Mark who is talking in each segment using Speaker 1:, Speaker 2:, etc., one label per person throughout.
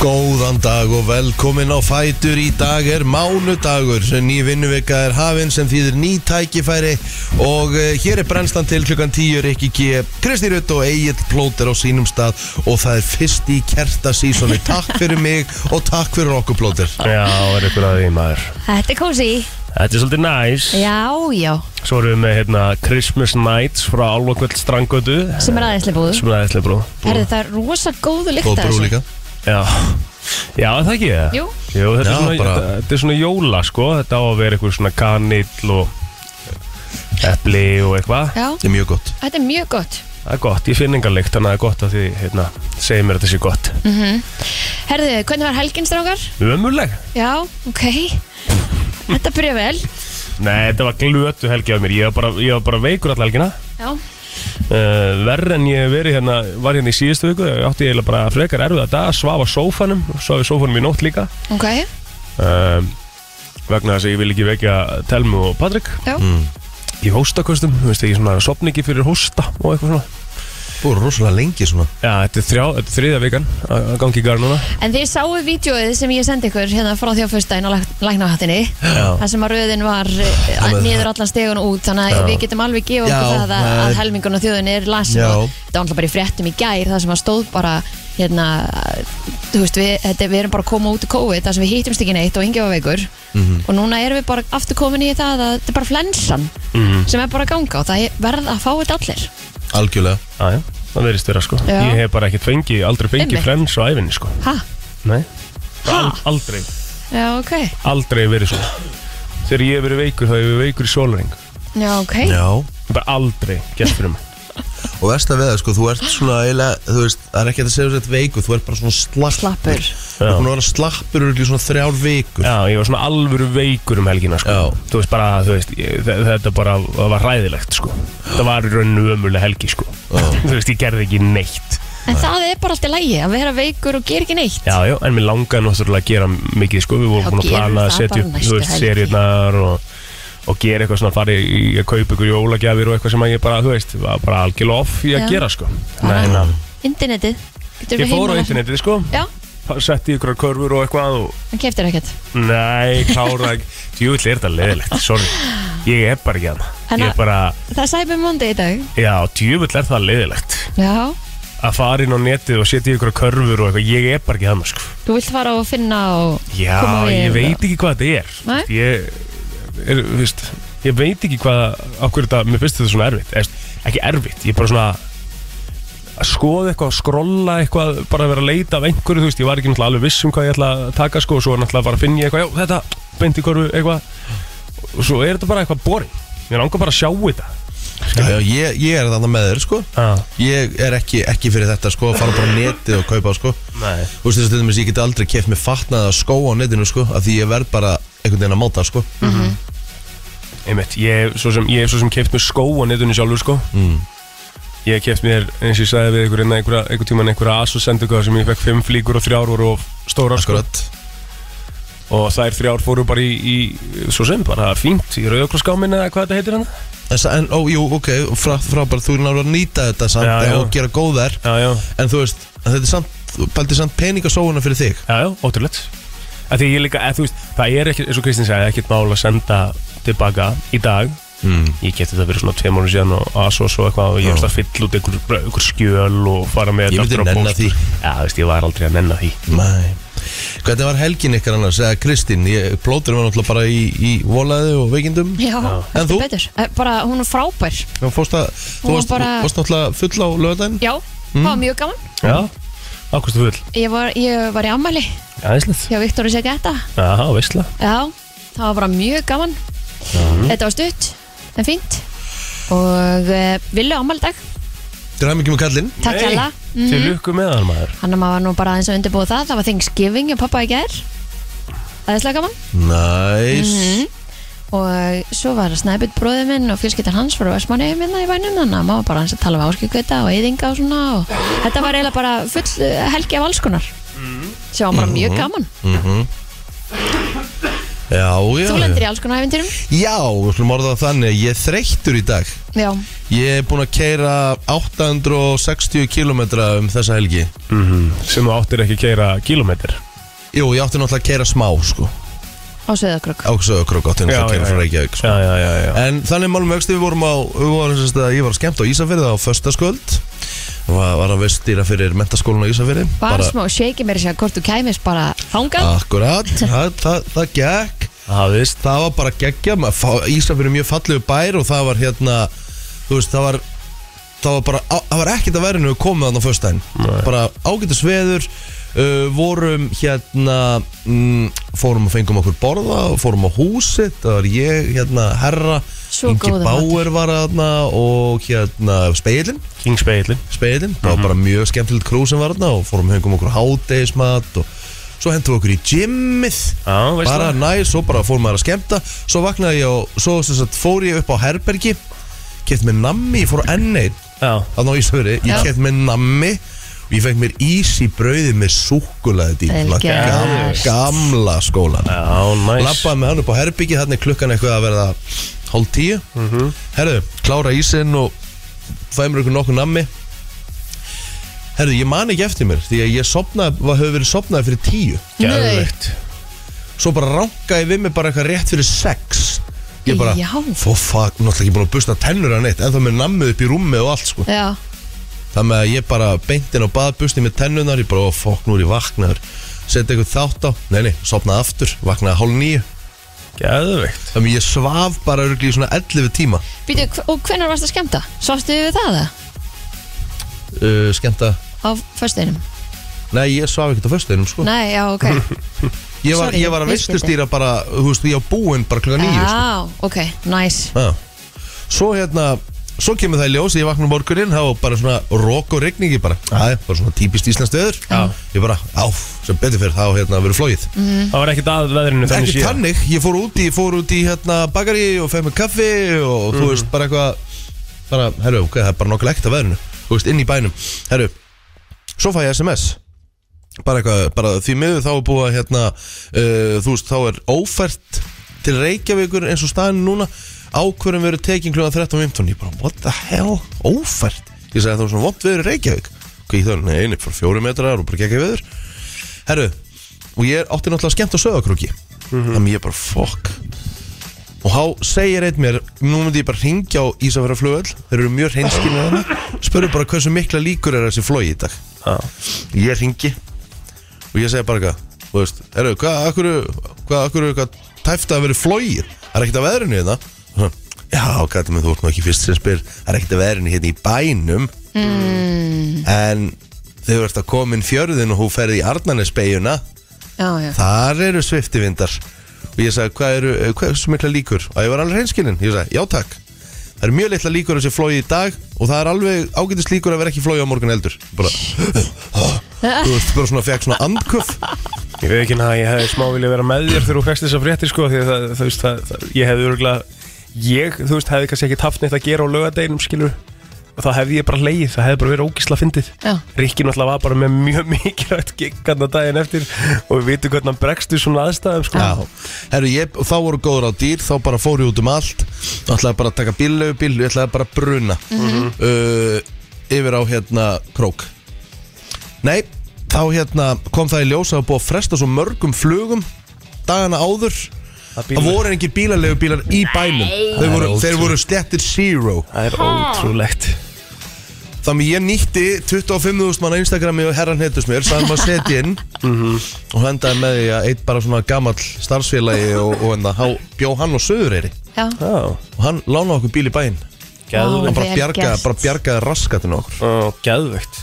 Speaker 1: Góðan dag og velkomin á Fætur í dag er mánudagur ný vinnuvika er hafinn sem þýðir ný tækifæri og uh, hér er brennstan til klukkan 10 Rikki G, Kristi Rutt og Egil Plóter á sínum stað og það er fyrst í kertasísoni Takk fyrir mig og takk fyrir okkur Plóter
Speaker 2: Já, er ykkur að því maður
Speaker 3: Þetta er kósi
Speaker 2: Þetta er svolítið næs
Speaker 3: Já, já
Speaker 2: Svo erum við með hérna Christmas Nights frá Álokvöld Strangötu
Speaker 3: Sem er aðeinslega búður
Speaker 2: Sem er aðeinslega brú
Speaker 3: Herðu það er rosa góðu lykt
Speaker 1: og
Speaker 3: af
Speaker 1: brú
Speaker 3: þessu.
Speaker 1: líka
Speaker 2: Já Já, er það ekki það?
Speaker 3: Jú.
Speaker 2: Jú, þetta,
Speaker 1: Já,
Speaker 2: er svona,
Speaker 1: bara-
Speaker 2: þetta, þetta er svona jóla sko Þetta á að vera eitthvað svona kanill og epli og eitthvað
Speaker 3: Já,
Speaker 1: þetta er mjög gott
Speaker 3: þetta er mjög gott
Speaker 2: Það er gott, ég finn engan lykt Þannig að það er gott að því, hérna, segir mér að þetta sé gott
Speaker 3: Mhm. Herðu, hvernig var helgin strákar?
Speaker 2: Ömurleg?
Speaker 3: Já, ok Þetta byrja vel
Speaker 2: Nei, þetta var glötu helgi af mér Ég var bara, ég var bara veikur all helgina
Speaker 3: Já,
Speaker 2: uh, verð en ég hef verið hérna var hérna í síðustu viku, átti ég eiginlega bara frekar erfið að dag, svaf á sófanum svaf í sófanum í nótt líka
Speaker 3: ok
Speaker 2: uh, vegna þess að ég vil ekki vekja Telmu og Patrik
Speaker 3: Já,
Speaker 1: Mm.
Speaker 2: í hóstakostum, þú veist, ég svona sopni ekki fyrir hósta og eitthvað svona
Speaker 1: Búið rosalega lengi svona
Speaker 2: Já, þetta er, þrjá, þetta er þriðja vikan að að gangi í garð núna
Speaker 3: En þið sáu vídjóið sem ég sendi ykkur hérna frá því á fyrstæðin á læknahattinni
Speaker 2: Já.
Speaker 3: Það sem að röðin var eh,
Speaker 1: með-
Speaker 3: niður allan stegun og út Þannig
Speaker 2: Já.
Speaker 3: að við getum alveg gefa
Speaker 1: Já,
Speaker 3: okkur það að,
Speaker 1: það er-
Speaker 3: að helmingun og þjóðin er lasin
Speaker 1: Já.
Speaker 3: og Þetta var alltaf bara í fréttum í gær Það sem að stóð bara hérna, þú veist, við, þetta, við erum bara að koma út í COVID Það sem við hittumst ekki neitt og engi var veikur
Speaker 4: Mm. Mhm.
Speaker 3: Og núna erum við bara aftur komin í það að Þetta er bara flensan
Speaker 2: Mm.
Speaker 3: sem er bara að ganga Og það er- verða að fá þetta allir
Speaker 1: algjörlega
Speaker 2: Já, já, það verðist vera sko
Speaker 3: Já.
Speaker 2: Ég hef bara ekkert fengið, aldrei fengið
Speaker 3: Einmitt.
Speaker 2: frens á æfinni sko
Speaker 3: Ha?
Speaker 2: Nei,
Speaker 3: Ha?
Speaker 2: Al, aldrei,
Speaker 3: Já, ok
Speaker 2: aldrei verið svona Þegar ég hef verið veikur, þá hef ég verið veikur í sólaring
Speaker 3: Já, ok
Speaker 1: Já
Speaker 2: Bara aldrei gert fyrir mig
Speaker 1: Og versta við það sko, þú ert svona eiginlega, þú veist, það er ekki hægt að segja þetta veiku, þú ert bara svona slappur.
Speaker 3: Slappur.
Speaker 1: Þú ert búin að vera slappur örugglega í svona þrjár vikur.
Speaker 2: Já, ég var svona alvöru veikur um helgina sko.
Speaker 1: Já.
Speaker 2: Þú veist bara, þú veist ég, þe- Þetta bara það var ræðilegt sko. Það var í rauninu ömuleg helgi sko. Þú veist, ég gerði ekki neitt
Speaker 3: En það er bara alltaf lægi að vera veikur og gera ekki neitt
Speaker 2: Já, já, en mér langaði náttúrulega að gera mikið sko. Við
Speaker 3: Já,
Speaker 2: vorum búin að
Speaker 3: gerum
Speaker 2: plana að
Speaker 3: það
Speaker 2: setja
Speaker 3: bara
Speaker 2: upp
Speaker 3: næstu
Speaker 2: þú veist,
Speaker 3: helgi.
Speaker 2: seríurnar og, og gera eitthvað svona farið í að kaupa ykkur jólagjafir og eitthvað sem að ég bara, þú veist var bara algjörlega off í að
Speaker 3: Já. Ah.
Speaker 2: gera sko. Nei, na,
Speaker 3: Internetið Getur
Speaker 2: Ég
Speaker 3: verið
Speaker 2: fór á
Speaker 3: heima-
Speaker 2: internetið sko,
Speaker 3: Já,
Speaker 2: setti ykkur körfur og eitthvað og
Speaker 3: hann keftir ekkert
Speaker 2: Nei, klára ekki Djúvill er þetta leðilegt, sorry Ég er bara ekki hann Ég
Speaker 3: Þannig
Speaker 2: er
Speaker 3: að-
Speaker 2: bara,
Speaker 3: Það er Cyber Monday í dag
Speaker 2: já, djúvill er það leðilegt
Speaker 3: Já,
Speaker 2: Að fara inn á netið og setja í ykkur körfur og eitthvað Ég er bara ekki hann, sko
Speaker 3: þú vilt fara og finna og
Speaker 2: Já,
Speaker 3: koma við
Speaker 2: ég
Speaker 3: og-
Speaker 2: veit ekki hvað þetta er
Speaker 3: Nei.
Speaker 2: Vist, Ég, er, viðst, ég veit ekki hvað Af hverju þetta, mér finnst þetta svona erfitt Eðst, Ekki erfitt, ég er bara svona að skoða eitthvað, að skrolla eitthvað bara að vera að leita af einhverju, þú veist, ég var ekki náttúrulega alveg viss um hvað ég ætla að taka sko og svo náttúrulega bara finn ég eitthvað, já, þetta, beint í hverju eitthvað, og svo er þetta bara eitthvað boring, ég langar bara að sjá þetta
Speaker 1: Já, já, ég, ég er þannig með þér, sko.
Speaker 2: ah.
Speaker 1: Ég er ekki, ekki fyrir þetta, sko, að fara bara á netið og kaupa, sko.
Speaker 2: Nei.
Speaker 1: Þú veist, þess að ég get aldrei keft með fatnaða skó á netinu, sko, af því ég verð bara einhvern veginn að máta, sko.
Speaker 2: Einmitt, ég hef svo sem, ég hef svo sem keft mér skó á netunni sjálfur sko
Speaker 1: Mm.
Speaker 2: Ég hef keft mér, eins og ég sagði við ykkur einna einhverja, einhver tíman einhverja ASUS sendingu þar sem ég fekk fimm flíkur og þrjár voru of stórar sko
Speaker 1: Akkurat.
Speaker 2: Og þær þrjár fóru bara í, í svo sem, bara fínt, í rauðokroskámin eða hvað þetta heitir hérna. hann
Speaker 1: En, sa- en ó, jú, ok, frá, frábært, þú er náttúrulega að nýta þetta samt
Speaker 2: Já, já.
Speaker 1: og gera góðar,
Speaker 2: Já, já,
Speaker 1: en þú veist, en þetta er samt, þú bæltir samt peningasóuna fyrir þig.
Speaker 2: já, já, ótrúlegt Af Því ég líka, eð, þú veist, það er ekkert, eins og Kristinn sagði, ekkert mál að senda tilbaka í dag
Speaker 1: Mm.
Speaker 2: Ég geti þetta verið svona tveim mánu síðan og ASOS og eitthvað og ég hefst að fylla út einhver, einhver skjöl og fara með þetta
Speaker 1: Ég myndi
Speaker 2: aftur á
Speaker 1: nenna
Speaker 2: póst.
Speaker 1: því.
Speaker 2: Já, þú veist, ég var aldrei að nenna því
Speaker 1: Nei Hvernig var helgin ykkar annars, eða Kristín, ég plótur var náttúrulega bara í, í volaði og veikindum
Speaker 3: Já,
Speaker 1: En
Speaker 3: heldur
Speaker 1: þú? Mm.
Speaker 3: betur Eh, Bara, hún er frábær
Speaker 1: Þú fórst að, þú
Speaker 3: Hún var
Speaker 1: varst,
Speaker 3: bara-
Speaker 1: varst náttúrulega full á Mm. lögadaginn
Speaker 3: Já, það var mjög gaman
Speaker 2: Já, ákvæmstu full
Speaker 3: Ég var, ég var í ammæli
Speaker 2: Æðislegt
Speaker 3: hjá Viktor Segetta
Speaker 2: Já, veistla
Speaker 3: Já, það var bara mjög gaman
Speaker 1: Mhm.
Speaker 3: Þetta var stutt en fínt Og uh, villu ammæli í dag
Speaker 1: Þegar hafði mikið með kallinn
Speaker 3: Takk Mhm.
Speaker 2: Nei.
Speaker 3: hella
Speaker 2: Til lukku með hann maður
Speaker 3: Hann að maður var nú bara aðeins að undirbúa það Það var Thanksgiving og pappa í gær Æðislega gaman
Speaker 1: Næs
Speaker 3: Mhm. og svo var Snæbjörn bróðið minn og fjölskyttar hans fyrir Vestmanni minna hérna í bænum þannig að maður var bara hans að tala um áskilgöta og eyðinga og svona og þetta var eiginlega bara full
Speaker 1: Mhm.
Speaker 3: eh, helgi af alls konar sem var bara mjög gaman
Speaker 1: Já, já,
Speaker 3: Þú
Speaker 1: já.
Speaker 3: lendir í alls konar æfintyrum
Speaker 1: Já, við slum orða það þannig Ég er þreyttur í dag
Speaker 3: Já,
Speaker 1: Ég er búinn að keira 860 km um þessa helgi
Speaker 2: Mhm. sem þú áttir ekki að keira kílómetr
Speaker 1: Jú, ég átti náttúrulega að keira smá sko
Speaker 3: á Söðakrök
Speaker 1: Áksöðakrök átti náttúrulega að keira frá Reykjavík sko.
Speaker 2: já, já, já, já.
Speaker 1: En þannig málum vexti við vorum á við vorum, sérst, Ég var að skemmta á Ísafyrði á föstaskvöld Var, var að vestýra fyrir mentaskólan á Ísafyrði
Speaker 3: Bara smá shake mér sér hvort þú kæmis bara þangað
Speaker 1: Akkurat, það, það, það gekk
Speaker 2: Það veist
Speaker 1: það var bara geggja maður fá- Ísafjörður er mjög fallegu bær og það var hérna þú veist það var það var bara, á- það var ekkert að verðinu við komum þannig á föstudaginn, bara ágætis veður uh, vorum hérna mm, fórum og fengum okkur borða fórum á húsið, það var ég hérna herra,
Speaker 3: Svo góður
Speaker 1: Báer var þarna og hérna speilin
Speaker 2: Kingspeilin
Speaker 1: speilin, það
Speaker 2: Mhm.
Speaker 1: var bara mjög skemmtilegt krú sem var þarna og fórum hengum okkur hádegismat og svo hentum við okkur í gymmið
Speaker 2: Já, veist
Speaker 1: bara
Speaker 2: það?
Speaker 1: næs, svo bara fór maður að skemmta svo vaknaði ég og svo sem sagt, fór ég upp á herbergi keft mér nammi, ég fór á N1
Speaker 2: Já,
Speaker 1: þannig á Ísafjörði,
Speaker 3: Já.
Speaker 1: ég keft mér nammi og ég fekk mér ís í brauði með súkkulaði
Speaker 3: Vel
Speaker 1: dýla
Speaker 3: gert.
Speaker 1: gamla skólan
Speaker 2: já, næs
Speaker 1: lappaði með hann upp á herbergi, þannig klukkan eitthvað að verða hálf tíu herðu, klára ísinn og fæði mér okkur nokkuð nammi herðu, ég man ekki eftir mér því að ég sopnaði, höfðu verið sopnaði fyrir tíu
Speaker 2: Geðveikt.
Speaker 1: svo bara rankaði við mig bara eitthvað rétt fyrir sex ég bara,
Speaker 3: Já.
Speaker 1: fó fuck, náttúrulega ekki búin að busta tennur að neitt, en þá með nammuð upp í rúmið og allt sko,
Speaker 3: Já,
Speaker 1: þannig að ég bara beintin og baðbusti með tennunar, ég bara, ó fokk, nú er ég vaknaður setja eitthvað þátt á, nei nei, sopnaði aftur vaknaði hálf nýju,
Speaker 2: Geðveikt
Speaker 1: þannig að ég svaf bara örugglega í svona 11 tíma
Speaker 3: býtu, og hvenær varst að skemmta? Svafstu við það það?
Speaker 1: uh, skemmta,
Speaker 3: Á föstuðinum?
Speaker 1: nei ég svaf ekkert á föstuðinum sko,
Speaker 3: Nei, já, ok
Speaker 1: ég var,
Speaker 3: sorry,
Speaker 1: ég var að
Speaker 3: misskildi.
Speaker 1: vistustýra bara, þú veist, ég á búinn bara klukka nýju sko.
Speaker 3: Já, ok, nice
Speaker 1: Já. Svo hérna Svo kemur það í ljós, ég vakna um morgunin þá var bara svona rók og rigning ég bara, aðe, bara svona típist íslenskt öður ég bara, á, sem betur fyrir þá hérna verið flóið.
Speaker 2: Það var ekkert að veðrinu þannig
Speaker 1: Ekki
Speaker 2: síðan
Speaker 1: tannig, ég fór út í, ég fór út í hérna bakari og fegð með kaffi og þú veist bara eitthvað bara, herru, ok, það er bara nokkuð ekkert af veðrinu þú veist, inn í bænum, herru svo fæ ég SMS bara eitthvað, bara því miður þá er búið að hérna, uh, þú veist, þá er ófært til Reykjavíkur eins og staðin núna, ákvörðum verið tekin kljóðan 13.15, ég bara, what the hell ófært, ég sagði það var svona vond veður í Reykjavík, ok, það er neini, fyrir fjóri metrar og bara gekk í veður herru, og ég átti náttúrulega skemmt á söðakrúki þannig ég bara, fuck og há segir einn mér nú myndi ég bara ringja á Ísafjara þeir eru mjög hreinskilni að það spurðu bara hversu mikla líkur er þessi flói í dag
Speaker 2: Já.
Speaker 1: ég ringi og ég segi bara eitthvað þú veist, eru, hvað, akkur hvað, akkur, hvað tæft að vera flóið það er ekkert að veðrinu hérna Hm, já, gæti mig, þú ert nú ekki fyrst sem spyr það er ekkert að veðrinu hérna í bænum mm. en þau ert að koma inn fjörðin og hún ferði í Arnarnesbegjuna
Speaker 3: Já, já
Speaker 1: þar eru sviftivindar og ég sagði, hvað eru, eh, hvað er svo mikla líkur og ég var alveg hreinskilinn, ég sagði, já takk það eru mjög litla líkur að þessi flói í dag og það er alveg ágætis líkur að vera ekki flói á morgun eldur bara, þú veist, bara svona fekk svona andköf
Speaker 2: Ég veit ekki að ég hefði smá vilja vera með þér þegar þú fæst þessar fréttir sko því að það, þú veist, það, það, ég hefði örgulega ég, þú veist, hefði kannski ekki haft neitt að gera á lögadeinum skilur og þá hefði ég bara leið, það hefði bara verið ógísla fyndið
Speaker 3: Já.
Speaker 2: Rikki náttúrulega var bara með mjög mikilvægt giggarna daginn eftir og við vitum hvernig hann bregst við svona aðstæðum sko
Speaker 1: Já, herru, ég, þá voru góður á dýr þá bara fór ég út um allt og ætlaði bara að taka bíllegu bíl, ég ætlaði bara að bruna uh, yfir á hérna krók Nei, þá hérna kom það í ljós að það var búið að fresta svo mörgum flugum dagana áður
Speaker 2: Það
Speaker 1: Það voru engin bílalegu bílar í bænum þeir voru,
Speaker 2: Það er
Speaker 1: þeir voru slettir zero
Speaker 2: Það er ótrúlegt
Speaker 1: Þannig ég nýtti 25.000 mann á Instagrami og herran heitust mér sagði maður að setja inn
Speaker 2: Mhm.
Speaker 1: og hendaði með því að eitt bara svona gamall starfsfélagi og, og enda há, bjó hann og söðureyri
Speaker 3: Já,
Speaker 2: Já,
Speaker 1: og hann lánaði okkur bíl í bæinn
Speaker 3: Vá.
Speaker 2: geðveikt
Speaker 1: hann bara
Speaker 3: Vel
Speaker 1: bjargaði,
Speaker 3: gert.
Speaker 1: bara bjargaði raskatinn á okkur
Speaker 2: Ó, Geðveikt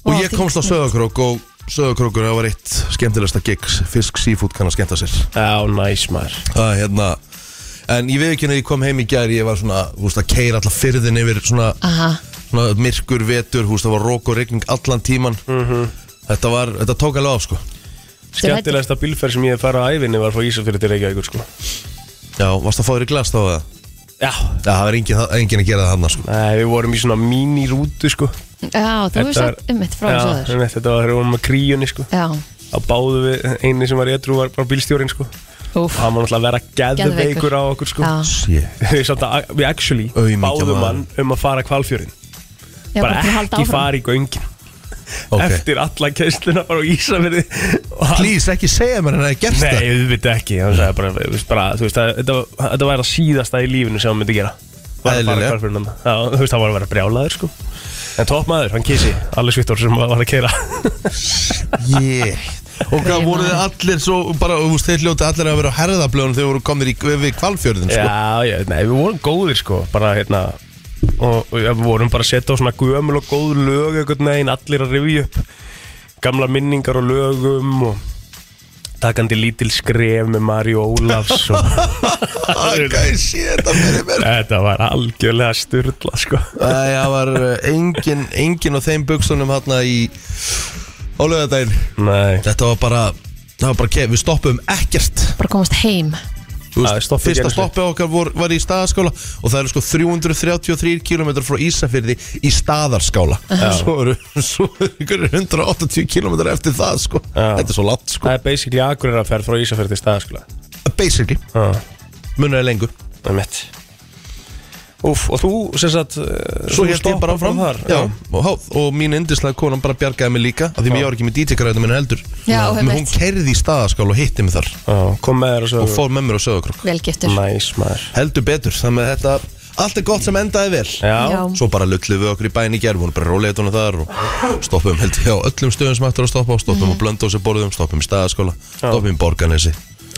Speaker 1: og
Speaker 3: Vá,
Speaker 1: ég komst á
Speaker 3: fínt.
Speaker 1: söðakrók og söðakrókur það var eitt skemmtilegsta gig fisk seafood kann að skemmta sér
Speaker 2: Já, næs maður
Speaker 1: það er hérna en ég veið ekki henni að ég kom heim í gær ég var svona, þú veist, að keira alla fyrðin yfir svona
Speaker 3: Aha,
Speaker 1: svona myrkur vetur, þú veist, það var rók og regning allan tíman
Speaker 2: Mhm.
Speaker 1: þetta, var, þetta tók alveg á, sko
Speaker 2: Skemmtilegasta bílferð sem ég hef farið á ævinni var frá Ísafjörði til Reykjavíkur sko
Speaker 1: Já, varst að fá þér í glas þá eða?
Speaker 2: Já
Speaker 1: Já, það var engin, engin að gera það hann, sko
Speaker 2: Nei, við vorum í svona mínirútu sko
Speaker 3: já þú hefur
Speaker 2: Þetta
Speaker 3: sagt um mitt frá
Speaker 2: Já,
Speaker 3: þessu
Speaker 2: einmitt, Þetta var, við vorum með kríunni sko
Speaker 3: Já,
Speaker 2: Á báðu við, eini sem var í edru var, var bílstjórin sko
Speaker 3: Úff.
Speaker 2: hann var náttúrulega að vera geðveikur á okkur sko
Speaker 3: Já.
Speaker 2: Við samt að- við actually
Speaker 1: Aumingja
Speaker 2: báðum
Speaker 1: maður.
Speaker 2: hann um að fara kvalfjörin
Speaker 3: Já,
Speaker 2: bara
Speaker 3: bara til að halda
Speaker 2: ekki
Speaker 3: áfram.
Speaker 2: fara í göngin
Speaker 1: Ok.
Speaker 2: eftir alla kæsluna bara á Ísafirði og hann-
Speaker 1: Please, ekki segja mér hann að gerst
Speaker 2: Nei,
Speaker 1: það
Speaker 2: auðvitað ekki hann sagði bara, þú veist, bara, þú veist, að, þetta, var- þetta væri að síðasta í lífinu sem hann myndi gera Var að fara
Speaker 1: Eðlilega.
Speaker 2: hvarf fyrir hann. Já, Þú veist, hann var að vera brjálaður sko. En toppmaður, hann kissi Allir svittur sem var að keira
Speaker 1: yeah. Og hvað voru þið allir svo bara, þú veist, þeir hljóti allir að vera á herðablöðun þegar voru komnir í, við kvalfjörðin sko.
Speaker 2: Já, já, nei, við vorum góðir sko Bara, hérna Og, og ja, við vorum bara að setja á svona gömul og góð lög einhvern veginn, allir að rifja upp Gamla minningar og lögum og Takandi lítil skref með Mari Ólafs og
Speaker 1: Ok, sé þetta fyrir mér
Speaker 2: Þetta var algjörlega styrla sko
Speaker 1: Æ, það var uh, engin, engin á þeim buksunum hérna í Ólugadaginn
Speaker 2: Nei
Speaker 1: Þetta var bara, það var bara, ke- við stoppum ekkert
Speaker 3: bara komast heim
Speaker 2: Já,
Speaker 1: Þú
Speaker 2: við
Speaker 1: veist,
Speaker 2: stoppum ekki
Speaker 1: Fyrsta
Speaker 2: einu sinni.
Speaker 1: stoppi okkar vor, var í staðarskála og það eru sko 333 km frá Ísafyrði í staðarskála Svo eru, svo eru ykkur 180 km eftir það sko
Speaker 2: Já.
Speaker 1: Þetta er svo látt sko Uh,
Speaker 2: Það er basically akkurir að ferð frá Ísafjörð til sko. staðaskula
Speaker 1: Basically,
Speaker 2: Það
Speaker 1: munnaði lengur
Speaker 2: er mitt Úf, og þú sem sagt eh,
Speaker 1: Svo
Speaker 2: þú
Speaker 1: hélt ég bara
Speaker 2: stoppar
Speaker 1: áfram
Speaker 2: þar,
Speaker 1: Já, og, há, og mín indislega konan bara bjargaði mig líka af því mér var ekki með DJ-græðinu minna heldur
Speaker 3: Já,
Speaker 1: Men
Speaker 3: einmitt.
Speaker 1: Hún kerði í staðarskála og hitti mig þar
Speaker 2: Já, kom með þér og svo
Speaker 1: og fór með mér á söðakrok
Speaker 3: velgiftur
Speaker 2: Næs maður
Speaker 1: Heldur betur, þannig að þetta allt er gott sem endaði vel
Speaker 2: Já,
Speaker 1: Svo bara lulluðum við okkur í bæin í gerð, vorum bara rólega tónu þar og stoppum held ég á öllum stöðum sem eftir að stoppa á, stoppum
Speaker 3: Mhm.
Speaker 1: mm. á blöndósi borðum, stoppum í staðaskóla, stoppum í borganesi.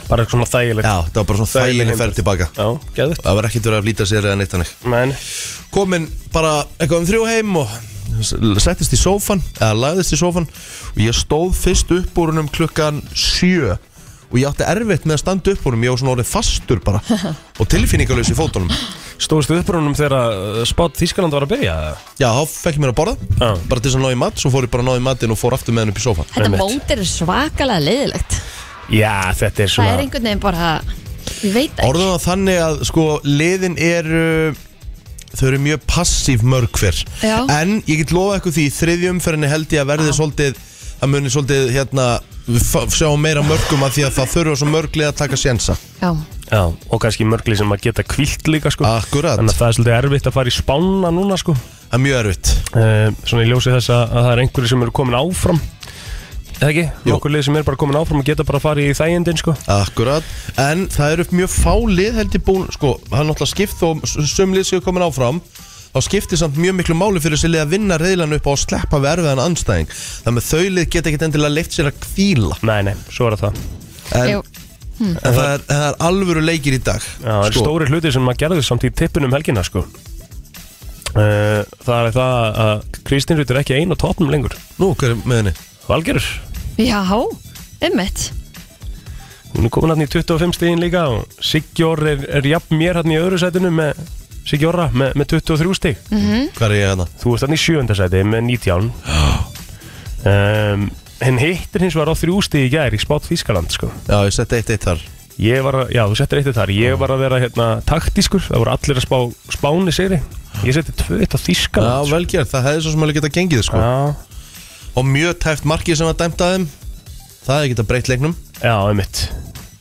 Speaker 2: bara svona þægilegt
Speaker 1: Já, það var bara svona
Speaker 2: Þægileg
Speaker 1: þæginni
Speaker 2: heimferð.
Speaker 1: ferð tilbaka.
Speaker 2: Já, geðvægt
Speaker 1: Það var ekkert verið að flýta sér eða neitt hannig.
Speaker 2: Men,
Speaker 1: Komin bara eitthvað um þrjú heim og s- settist í sófan, eða lagðist í sófan og ég stóð fyrst upp úr húnum klukkan sjö og ég átti erfitt með að standa upp úr húnum, ég var svona orðið fastur bara og tilfinningalös í fótunum.
Speaker 2: stóðstu upprúnum þegar eh, spátt Þískaland var að byrja eða?
Speaker 1: Já, þá fekk ég mér að borða,
Speaker 2: Já.
Speaker 1: bara til þess að ná í mat, svo fór ég bara að ná í matinn og fór aftur með henn upp í sófan.
Speaker 3: Þetta
Speaker 2: Einmitt.
Speaker 3: mót er svakalega leiðilegt
Speaker 2: Já, þetta er
Speaker 3: Það
Speaker 2: svona
Speaker 3: er einhvern veginn bara Ég veit það
Speaker 1: Orðum það þannig að sko liðin eru þau eru mjög passív mörg hver
Speaker 3: Já.
Speaker 1: en ég get lofa eitthvað því í þriðjum fyrir held ég að verði svolítið að muni svolítið hérna við fá- sjáum meira mörgum að því að það þurfa svo mörglið að taka sjensa
Speaker 3: Já,
Speaker 2: Já, og kannski mörgli sem að geta kvilt líka sko
Speaker 1: Akkurat.
Speaker 2: Þannig að það er svolítið erfitt að fara í spána núna sko
Speaker 1: það er mjög erfitt
Speaker 2: Eh, svona í ljósi þess að, að það er einhverju sem eru komin áfram eða ekki,
Speaker 1: Jú.
Speaker 2: okkur lið sem eru bara komin áfram og geta bara að fara í þægindin sko
Speaker 1: Akkurat, en það eru mjög fálið held ég búin, sko, hann náttúrulega skipt þó sumlið séu komin áfram þá skiptir samt mjög miklu máli fyrir þessi lið að vinna reyðlan upp á að sleppa við erfiðan anstæðing þannig að þau lið geta ekkit endilega leift sér að kvíla
Speaker 2: nei, nei, svo er það
Speaker 1: en,
Speaker 3: Jú, Hm.
Speaker 1: En það er, það er alvöru leikir í dag sko.
Speaker 2: Já, það eru stóri hluti sem maður gerði samt í tippinum helgina sko Eh, það er það að Kristín Rut er ekki ein og topnum lengur
Speaker 1: Nú, hver er með henni?
Speaker 2: Valgerur,
Speaker 3: já, ummitt
Speaker 2: hún er komin hann í 25 stíðin líka og Sigjor er, er jafn mér hann í öðru sætinu með Sigjorra með, með 23 stíð
Speaker 3: Mhm.
Speaker 1: Hver er ég hérna?
Speaker 2: Þú ert hann í sjöundasæti með 19 um, En hittir hins var á þrjústi í gær í spátt Þískaland sko.
Speaker 1: Já, ég setti eitt eitt þar
Speaker 2: Ég var að, já þú settir eitt þar Ég var að vera hérna taktískur Það voru allir að spá spáni sigri Ég setti tvö eitt á
Speaker 1: Já,
Speaker 2: Þískaland
Speaker 1: vel gert, það hefði svo sem alveg geta gengið sko.
Speaker 2: Já,
Speaker 1: Og mjög tæft markið sem var dæmt að þeim Það hefði geta breytt leiknum
Speaker 2: já, einmitt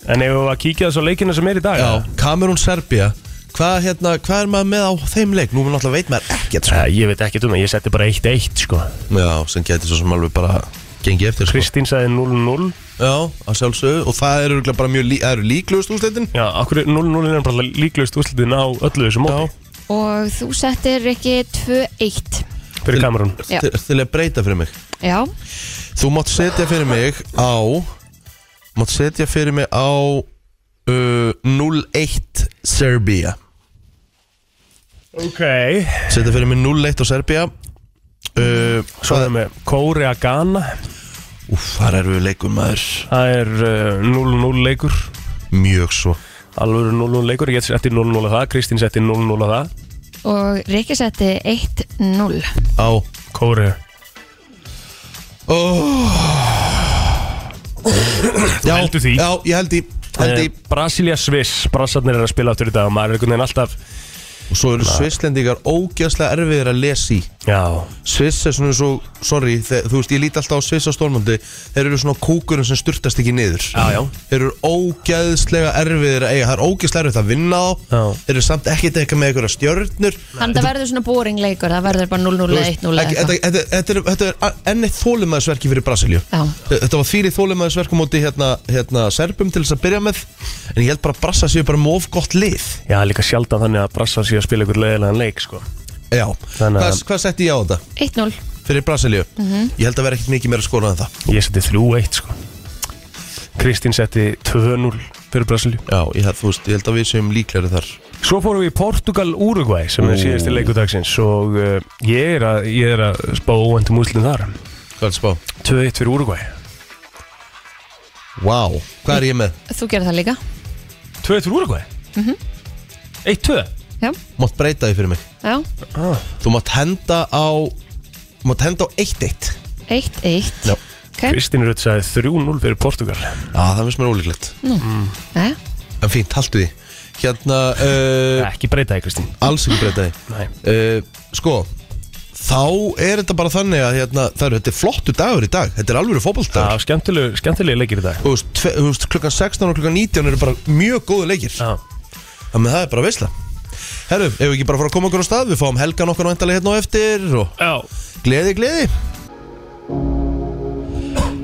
Speaker 2: En ef við varum að kíkja þess á leikina sem er í dag
Speaker 1: Já, Kamerún Serbia Hvað hérna, hvað er maður með á þeim leik? Nú náttúrulega veit maður ekkert sko.
Speaker 2: Eh, Ég veit ekki um það, ég setti bara eitt eitt sko.
Speaker 1: Já, sem geti svo sem alveg bara gengið eftir sko.
Speaker 2: Kristín sagði 0-0
Speaker 1: Já, að sjálfsögðu Og það eru örugglega bara mjög lí, það eru líklegust úrslitin
Speaker 2: Já, akkur 0-0 er bara líklaust úrslitin á öllu þessu móti
Speaker 3: Og þú settir ekki 2-1
Speaker 2: Fyrir kamerun
Speaker 3: Já.
Speaker 1: til, til að breyta fyrir mig
Speaker 3: Já,
Speaker 1: Þú mátt setja fyrir mig á Mátt setja fyrir mig á uh, 0-1 Serbia
Speaker 2: Ok
Speaker 1: Setja fyrir mig 0-1 á Serbia uh,
Speaker 2: Svo
Speaker 1: það,
Speaker 2: erum við Kórea-Gana
Speaker 1: úf, þar eru við leikum maður
Speaker 2: Það er uh, 0-0 leikur
Speaker 1: Mjög svo
Speaker 2: Alvöru 0-0 leikur, ég setti 0-0 að það Kristín setti 0-0 að það
Speaker 3: og Rikki setti 1-0
Speaker 1: Á
Speaker 2: Kóri
Speaker 1: oh, já,
Speaker 2: heldur því. Eh,
Speaker 1: Já, ég held í Held í
Speaker 2: Brasilia Sviss, Brassarnir er að spila áttur í dag og maður er einhvern veginn alltaf
Speaker 1: og svo eru svisslendingar ógjastlega erfiðir að lesa í
Speaker 2: Já,
Speaker 1: Sviss er svona svo, sorry, þe- þú veist, ég líti alltaf á Sviss á stórmöndi Þeir eru svona kúkurinn sem styrtast ekki niður
Speaker 2: Já, já.
Speaker 1: Þeir eru ógæðslega erfiðir að eiga Það er ógæðslega erfitt að vinna á
Speaker 2: Já.
Speaker 1: Þeir eru samt ekkert eitthvað með einhverja stjörnur
Speaker 3: Þannig að það verður svona boring leikur, það verður bara 0-0
Speaker 1: Þú
Speaker 3: eða
Speaker 1: veist,
Speaker 3: 1-0
Speaker 1: ekki-
Speaker 3: eða
Speaker 1: Þetta
Speaker 3: eitthvað.
Speaker 1: þetta- þetta er- þetta er enn eitt þólimaðisverki fyrir Brasilíu
Speaker 3: Já.
Speaker 1: Þetta var fyrir þólimaðisverk á móti hérna, hérna Serbum til þess að byrja með En ég held bara að Brassa séu bara móf gott lið
Speaker 2: já líka sjaldan þannig að Brassa sé að spila ykkur leiðilegan leik sko.
Speaker 1: Já,
Speaker 2: Þannig að-
Speaker 1: hvað, hvað setti ég á þetta?
Speaker 3: 1-0
Speaker 1: Fyrir Brasilíu
Speaker 3: Mhm.
Speaker 1: Ég held að vera ekkert mikið meira skora en það
Speaker 2: Ég seti 3-1 sko. Kristín seti 2-0 fyrir Brasilíu
Speaker 1: Já, ég held, þú veist, ég held að við séum líklegri þar
Speaker 2: Svo fórum við í Portugal-Uruguay sem er síðasti leikudagsins og uh, ég, er að, ég er að spá óvendum úslinn þar
Speaker 1: Hvað er spá?
Speaker 2: 2-1 fyrir Uruguay
Speaker 1: Vá, hvað er ég með?
Speaker 3: Þú gerir það líka Mhm.
Speaker 2: 2-1 fyrir Uruguay? Mm
Speaker 3: Já,
Speaker 1: Mátt breyta því fyrir mig
Speaker 3: já,
Speaker 2: -hmm. 1-2
Speaker 1: Þú mátt henda á Mátt henda á 1-1
Speaker 3: 1-1
Speaker 1: Já.
Speaker 3: Ok,
Speaker 2: Kristín Rutt sagði 3-0 fyrir Portugal Mm.
Speaker 1: Já, það finnst mér ólíklegt
Speaker 3: Jæja.
Speaker 1: En fínt, haldu því Hérna, uh,
Speaker 2: Ekki breyta þig Kristín
Speaker 1: alls ekki breyta því
Speaker 2: Nei.
Speaker 1: uh, Sko Þá er þetta bara þannig að hérna, það eru, þetta er flottu dagur í dag Þetta er alvöru
Speaker 2: Það
Speaker 1: fótboltagur
Speaker 2: er skemmtilegu, skemmtilegu leikir í dag
Speaker 1: Þú veist, tve- þú veist, klukkan 16 og klukkan 19 eru bara mjög góðu leikir
Speaker 2: Já,
Speaker 1: Þannig að það er bara veisla Herru, ef við ekki bara fara að koma okkur á stað Við fáum helgan okkur væntalega hérna á eftir og
Speaker 2: já.
Speaker 1: Gleði, gleði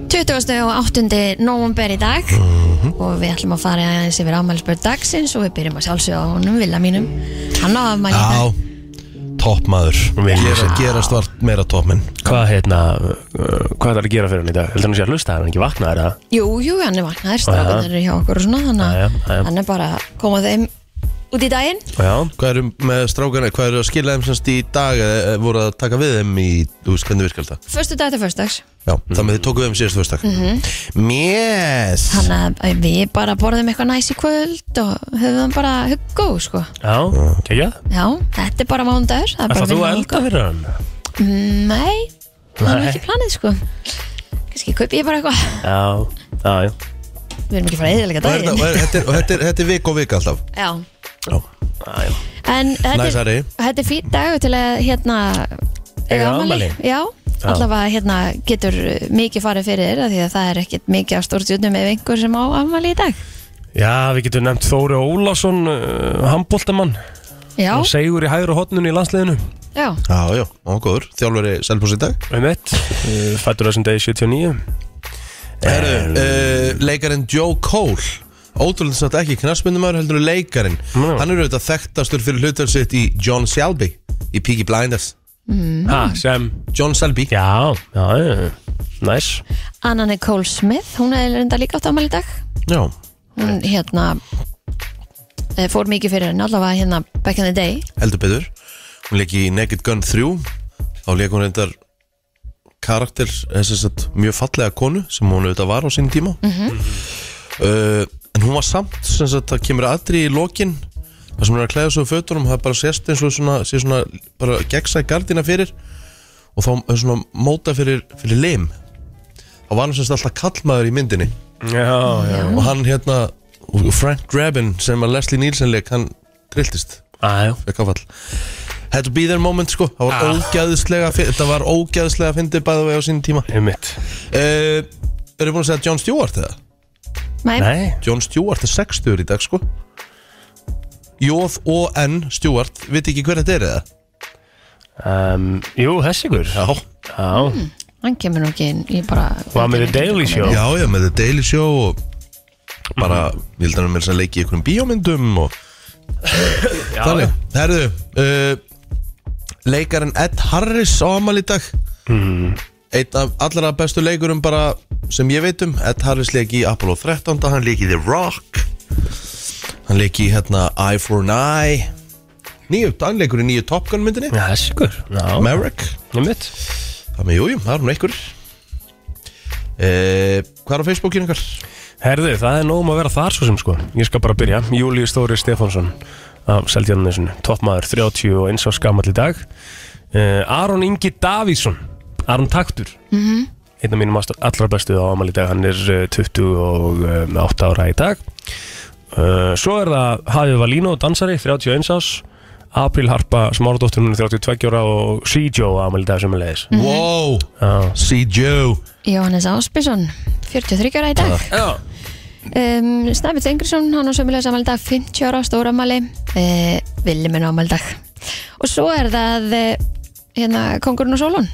Speaker 3: 20. og 8. november í dag
Speaker 1: Mhm.
Speaker 3: og við ætlum að fara aðeins yfir afmælisbörð dagsins og við byrjum að sjálfsögja á honum, Villa mínum hann á afmæli í dag.
Speaker 1: Já, toppmaður
Speaker 2: Vel
Speaker 1: Ég er að
Speaker 2: gert.
Speaker 1: gera svart meira toppmenn
Speaker 2: Hvað hérna uh, Hvað er að gera fyrir hann í dag? Heldur hann sé að hlusta hann er ekki vaknaður það?
Speaker 3: Jú, jú, hann er vaknaður, strákan
Speaker 2: Jæja.
Speaker 3: er hjá okkur og svona þannig
Speaker 2: Jæja, jæja.
Speaker 3: að hann er bara að koma þeim út í daginn
Speaker 2: Já,
Speaker 1: Hvað eru með strákana, hvað eru að skila þeim semst í dag eða eða voru að taka við þeim í, þú veist hvernig virkar þetta?
Speaker 3: Föstu dag til föstudags
Speaker 1: Já,
Speaker 2: Mhm.
Speaker 1: mm. þannig að þið tóku við þeim síðast fyrstak mm
Speaker 3: Mhm.
Speaker 1: -hmm. Yes!
Speaker 3: Þannig að við bara borðum eitthvað næs í kvöld og höfum bara huggó, sko
Speaker 2: já, kegja
Speaker 3: Já, þetta er bara mándagur Það er bara
Speaker 2: Það þú
Speaker 3: vinna
Speaker 2: að
Speaker 3: helga.
Speaker 2: elda fyrir hann?
Speaker 3: Nei, það er nú
Speaker 2: Nei.
Speaker 3: ekki planið, sko Kannski kaupi ég bara eitthvað
Speaker 2: Já, já, já
Speaker 3: Við erum ekki að fara að eðilega
Speaker 1: Og er þetta-
Speaker 3: daginn
Speaker 1: og er- Þetta er- og þetta er- þetta er vik og vik alltaf
Speaker 3: Já,
Speaker 1: Já,
Speaker 2: Já, já.
Speaker 3: en þetta er,
Speaker 1: Næsari.
Speaker 3: þetta er fýtt dagur til að hérna
Speaker 2: Eiga afmæli.
Speaker 3: Já,
Speaker 2: Já.
Speaker 3: allavega hérna getur uh, mikið farið fyrir þér af því að það er ekkit mikið af stórtjúnum ef einhver sem á afmæli í dag
Speaker 2: já, við getum nefnt Þóri Ólásson uh, Hamboltamann
Speaker 3: Já,
Speaker 2: Hann segur í hægri hotnun í landsliðinu
Speaker 3: já,
Speaker 1: já, já, ágóður, þjálfari Selfoss í dag Eh.
Speaker 2: Um eitt uh, Fættur þessum degi 79
Speaker 1: Herru, uh, leikarinn Joe Cole Ótrúlega satt ekki knarsmyndumæður heldur en leikarinn
Speaker 2: Nú.
Speaker 1: Hann er auðvitað þekktastur fyrir hlutur sitt í John Shelby Í Peaky Blinders
Speaker 2: Ha,
Speaker 3: Mm.
Speaker 2: sem
Speaker 1: John Shelby
Speaker 2: Já, já, já, já. Næs
Speaker 3: Annan er Cole Smith, hún er reynda líka átt afmæli í dag
Speaker 1: Já,
Speaker 3: Hún hérna eh, fór mikið fyrir henni allavega hérna back in the day
Speaker 1: heldur betur hún leik í Naked Gun 3 þá leik hún reyndar karakter, þess að mjög fallega konu sem hún auðvitað var á sín tíma uh, en hún var samt sem sagt, það kemur aðri í lokin það sem hún er að klæða svo fötunum það bara sést eins og svona, sé svona bara gegsa í gardina fyrir og þá er svona móta fyrir, fyrir lim þá var hann sem sagt alltaf kallmaður í myndinni
Speaker 2: Já, já
Speaker 1: og hann hérna og Frank Drabin sem að Leslie Nielsen leik hann trilltist
Speaker 2: Já, já
Speaker 1: fekk áfall Had to be there moment sko Það var
Speaker 2: Ah.
Speaker 1: ógæðislega fi- Þetta var ógæðislega að fyndi bæða við á sín tíma
Speaker 2: Um eitt
Speaker 1: uh, Eru búin að segja John Stewart eða?
Speaker 3: Nei,
Speaker 2: Nei
Speaker 1: John Stewart er 60 í dag sko J-O-N Stewart Viti ekki hver þetta er eða?
Speaker 2: um, Jú, þessi ykkur Já, já.
Speaker 3: Hmm, hann kemur nú ekki inn í bara
Speaker 2: Var með The Daily Show.
Speaker 1: Já, já, með The Daily Show og bara, ég held að hann með þess að leiki í einhverjum bíómyndum og
Speaker 2: já
Speaker 1: þannig, herðu uh, leikarinn Ed Harris á amal í dag Mhm. einn af allra bestu leikurum bara sem ég veit um Ed Harris leik í Apollo 13 hann leik í The Rock hann leik í hérna Eye for an Eye nýju, hann leikur í nýju Top Gun myndinni
Speaker 2: Já, þessi ykkur Já
Speaker 1: Maverick,
Speaker 2: Um eitt
Speaker 1: þannig jújú, það er hún einhver uh, hvað er á Facebookinu einhver?
Speaker 2: Herðu, það er nógum að vera þar svo sem sko Ég skal bara byrja Júlíu Stóri Stefánsson Af Seldjarnasinu Toppmaður 30 og eins á skamall í dag uh, Aron Ingi Davísson Aron Taktur mm
Speaker 3: Mhm.
Speaker 2: -hmm. Einn af mínum ást- allra bestu á ámali í dag Hann er eh, 28 Eh, ára í dag Uh, svo er það Hafi Valino, dansari, 31 árs April Harpa, Smáradóttir, hún er 32 ára og C.J.O. ámæli dag sem er leiðis
Speaker 1: Wow,
Speaker 2: Já,
Speaker 1: see Joe
Speaker 3: Jóhannes Áspilsson, 43 ára í dag
Speaker 2: Já.
Speaker 3: um, Snæbjörn Þengrisson, hann á sömulega samaldag 50 ára stóramali uh, Villimin ámaldag og svo er það uh, hérna Kongurinn og Sólun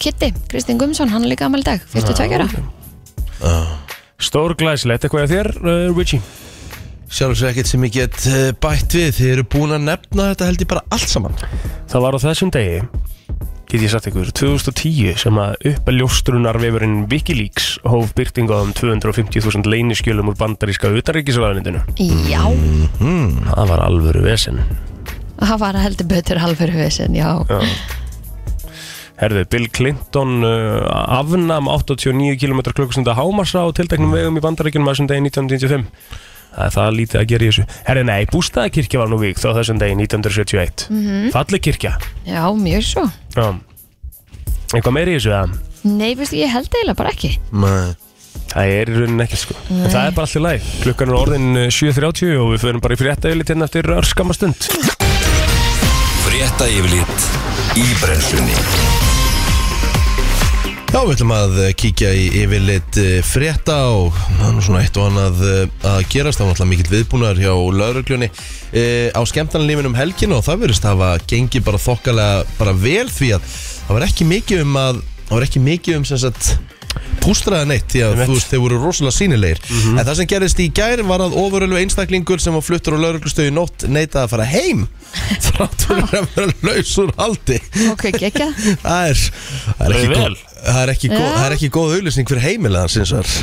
Speaker 3: Kitty, Kristinn Guðmundsson, hann er líka ámaldag 42 ára
Speaker 2: Stór glæsilegt, eitthvað hjá þér, uh, Richie?
Speaker 1: Sjálfsög ekkert sem ég get eh, bætt við Þið eru búin að nefna þetta held ég bara allt saman
Speaker 2: Það var á þessum degi get ég sagt ykkur, 2010 sem að uppaljóstrunarvefurinn Wikileaks hóf byrtingu á um 250.000 leyniskjölum úr bandaríska utaríkisraðanindinu.
Speaker 3: Já,
Speaker 2: Það var alvöru vesen.
Speaker 3: það var að heldur betur halvur hufisinn, já
Speaker 2: Já. Herðu, Bill Clinton uh, afnam 89 km klukkustunda hámarsa á tilteknum vegum í bandaríkjunum á þessum degi 1995. Það er það lítið að gera í þessu. Herðu, nei, bústaðakirkja var nú víkt á þessum degi 1971. Mm
Speaker 3: Mhm.
Speaker 2: -hmm. Falleg kirkja.
Speaker 3: Já, mjög svo
Speaker 2: Já. Eitthvað meiri í þessu, eða?
Speaker 3: Nei, veistu, ég held eiginlega bara ekki
Speaker 1: Nei.
Speaker 2: Það er í rauninni ekki sko En það er bara allt í læg Klukkan er orðin eh, 7.30 og við förum bara í frétta yfirlit hérna eftir örskamma stund
Speaker 4: Frétta yfirlit í brennslunni
Speaker 1: Já, við ætlum að eh, kíkja í yfirleitt frétta og það er nú svona eitt og annað eh, að gerast, það var náttúrulega mikill viðbúnar hjá laurugljóni á skemmtarnalífinum helgin og það verðist hafa gengið bara þokkalega bara vel því að það var ekki mikið um að það var ekki mikið um sem sagt pústraða neitt því að
Speaker 2: Einmitt.
Speaker 1: þú veist þeir voru rosalega sínilegir en það sem gerðist í gær var að ofurölu einstaklingur sem var fluttur á lauruglustöðu nótt neitað að fara heim þrátt fyrir að vera laus úr haldi
Speaker 3: Ok, gekk að
Speaker 1: Það er, það er
Speaker 2: Leið
Speaker 1: ekki
Speaker 2: vel.
Speaker 1: góð Það er ekki, góð,
Speaker 3: Já.
Speaker 1: það er ekki góð auðlýsning fyrir heimilega hans eins og
Speaker 2: Nei.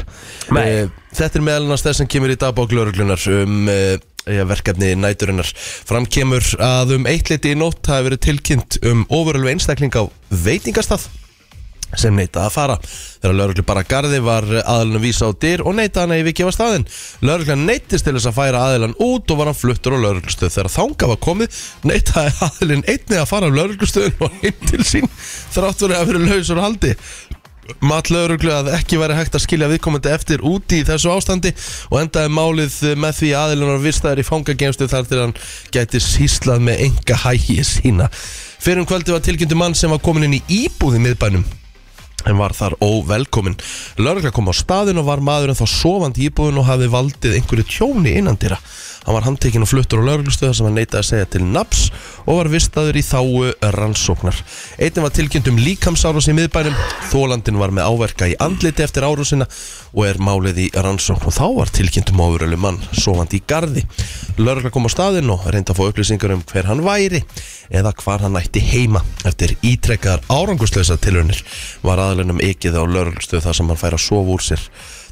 Speaker 1: þar Þetta er meðal annars þess sem kemur í dagbók lauruglunar um eh, ja, verkefni næturinnar Fram kemur að um eitt liti í nótt hafi verið tilkynnt um ofurölu einstakling á veitingastað sem neitaði að fara. Þegar lauruglu bara garði var aðlunum vísa á dyr og neitaði hann að yfirgefa staðinn. Lauruglan neittist til þess að færa aðlan út og var hann fluttur á lauruglustöð. Þegar þanga var komið neitaði aðlun einni að fara á lauruglustöðun og heim til sín þrátt verið að vera lausur á haldi. Matt lauruglu að ekki væri hægt að skilja viðkomandi eftir úti í þessu ástandi og endaði málið með því aðlunar vistaðir í fangagemstu þar til hann gæti síslað með enga hægi sína. Fyrir um kvöldi var tilkynntu mann sem var komin inn í íbúði miðbænum en var þar óvelkomin. Lörgla kom á staðin og var maðurinn þá sofandi í íbúðin og hafði valdið einhverju tjóni innan dýra. Hann var handtekinn og fluttur á lörglustöða sem hann neitaði að segja til naps og var vistaður í þáu rannsóknar. Einnig var tilkynnt um líkamsárás í miðbænum, þólandin var með áverka í andliti eftir árásina og er málið í rannsókn og þá var tilkynnt um ofurölu mann sofandi í garði. Lörgla kom á staðin og reyndi að fá upplýsingar um hver hann væri eða hvar hann ætti heima eftir ítrekkaðar árangusleisa tilhörnir var aðlunum ekið á lörlustu þar sem hann fær að sofa úr sér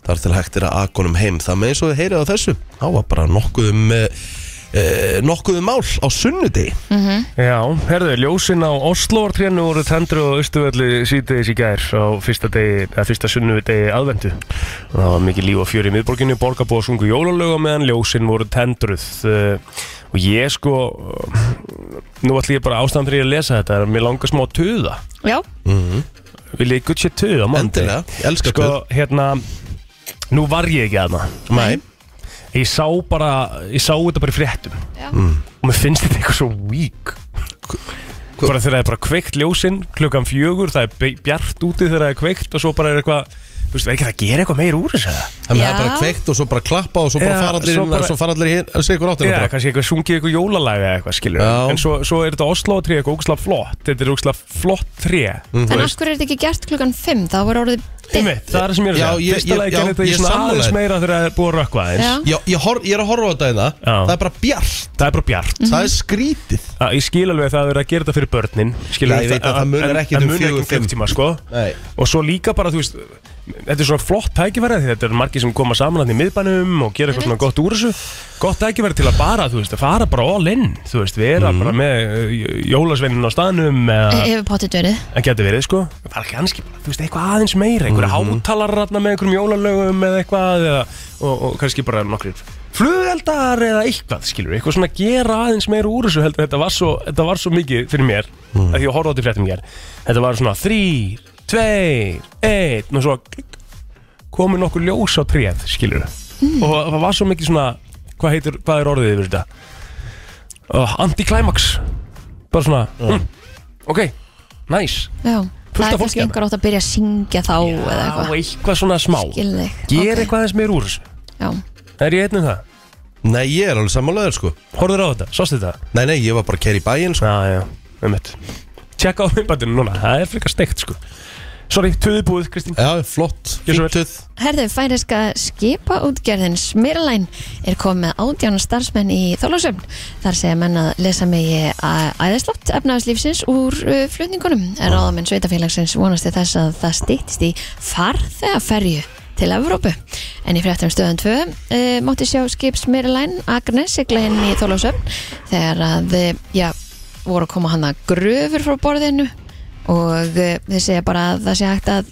Speaker 1: þar til hægt er að akonum heim það með eins og þið heyrið á þessu þá var bara nokkuðum eh, nokkuðum mál á sunnudegi
Speaker 2: Já, herðu, ljósin á Oslovartrénu voru tendru og austuvelli síðdeis í gær á fyrsta, degi, eða, fyrsta sunnu degi aðvendu. Það var mikið líf og fjör í miðborginni, borgarbúa sungu jólalög á meðan ljósin voru tendruð Eh, og ég sko, nú ætlum ég bara ástæðan fyrir ég að lesa þetta, er að mér langar smá að tuða.
Speaker 3: Já,
Speaker 2: Vil ég gutt sér tuða á mándi?
Speaker 1: Mhm. endilega, ég elska
Speaker 2: Sko,
Speaker 1: hvað
Speaker 2: hérna, nú var ég ekki aðna.
Speaker 1: Nei,
Speaker 2: Ég sá bara, ég sá þetta bara í fréttum
Speaker 3: Já.
Speaker 2: Og mér finnst þetta eitthvað svo vík
Speaker 1: hva-
Speaker 2: Bara þegar það er bara kveikt ljósinn Klukkan fjögur, það er be- bjart úti þegar það er kveikt Og svo bara er eitthvað Þú veist, ekki það gera eitthvað meir úr þessu eða?
Speaker 1: þannig að
Speaker 3: Já.
Speaker 1: það er bara kveikt og svo bara klappa og svo bara
Speaker 2: Já,
Speaker 1: fara allir
Speaker 2: svo
Speaker 1: inn
Speaker 2: bara-
Speaker 1: og svo fara allir hér að segja ykkur áttina
Speaker 2: Já,
Speaker 1: bara.
Speaker 2: kannski eitthvað sungið eitthvað jólalaga eða eitthvað skilur
Speaker 1: Já.
Speaker 2: En svo, svo er þetta Oslo tré eitthvað ógslag flott Þetta er ógslag flott tré
Speaker 1: Mhm.
Speaker 2: mm
Speaker 3: en af hverju er þetta ekki gert klukkan 5 þá var orðið dimmt
Speaker 2: Það er það sem ég er
Speaker 1: Já,
Speaker 2: að
Speaker 1: ég-
Speaker 2: segja Fyrsta
Speaker 1: ég-
Speaker 2: lagi
Speaker 1: já,
Speaker 2: gerði þetta
Speaker 1: ég
Speaker 2: í svona
Speaker 1: sammála
Speaker 2: aðeins
Speaker 1: þér.
Speaker 2: meira þegar það er búið að rökkva aðeins
Speaker 3: Já.
Speaker 1: Já, ég, hor, ég er að horfa á þetta hérna
Speaker 2: Já.
Speaker 1: það er bara bjart,
Speaker 2: Það er bara bjart
Speaker 1: það er skrítið
Speaker 2: Að- Ég skil alveg að það er verið að gera þetta fyrir börnin skilur,
Speaker 1: Já, ég veit að það munar
Speaker 2: en-
Speaker 1: ekkert
Speaker 2: en
Speaker 1: um
Speaker 2: munar
Speaker 1: fjögur,
Speaker 2: ekki
Speaker 1: fimm.
Speaker 2: fimm tíma sko.
Speaker 1: Nei.
Speaker 2: Og svo líka bara, þú veist Þetta er svona flott tækifæri því Þetta er margir sem koma saman hann í miðbænum Og gera eitthvað svona gott úr þessu Gott tækifæri til að bara, þú veist, að fara bara all in Þú veist, vera bara með uh, jólasveinin á staðnum eða,
Speaker 3: Hefur potið verið
Speaker 2: En geti verið, sko Bara kannski, bara, þú veist, eitthvað aðeins meira Einhverja mm hátalarratna með einhverjum jólalögum Eða eitthvað, eða, og, og kannski bara nokkrir Flugeldar eða eitthvað, skilur Eitthvað svona gera aðeins meira úr þessu heldur, en þetta, var svo, þetta var svo mikið fyrir mér mm. Því að horfa á þetta í fréttum hér Þetta var svona þrýr, tveir, einn Og svo klikk, komið nokkur ljós á tréð, skilur Og það var svo mikið svona Hvað heitir, hvað er orðið yfir þetta? oh, anti-climax bara svona hm, ok, nice
Speaker 3: Já, það er
Speaker 2: af fólki
Speaker 3: kannski einhver átt að byrja að syngja þá eða
Speaker 2: og
Speaker 3: eitthvað
Speaker 2: eitthvað svona smá
Speaker 3: Gildi
Speaker 2: gera eitthvað aðeins meir úr þessu.
Speaker 3: Já,
Speaker 2: er ég einnum það,
Speaker 1: Nei, ég er alveg sammálaður sko
Speaker 2: horfður á þetta, sástu þetta
Speaker 1: Nei, nei, ég var bara að kæra í bæinn sko
Speaker 2: já, já, um mitt tjekka á myndbandinu núna, það er frekar steikt sko sorry, töðu búið Kristín
Speaker 1: Já, flott,
Speaker 2: Gjörðu svo vel.
Speaker 1: fíntuð
Speaker 3: herðu færiska skipaútgerðin Smyrlæn er komið með átján starfsmenn í Þólasöfn þar segja menn að lesa megi að- æðislott efnaðslífsins úr uh, flutningunum en ráðamenn sveitafélagsins vonast til þess að það stýttist í farþegaferju til Evrópu. En í fréttum stöðan 2 uh, mátti sjá skip Smyrlæn Agnes sigla inn í Þólasöfn þegar að, eh, já, voru að koma hana gröfur frá borðinu og uh, þeir segja bara að það sé hægt að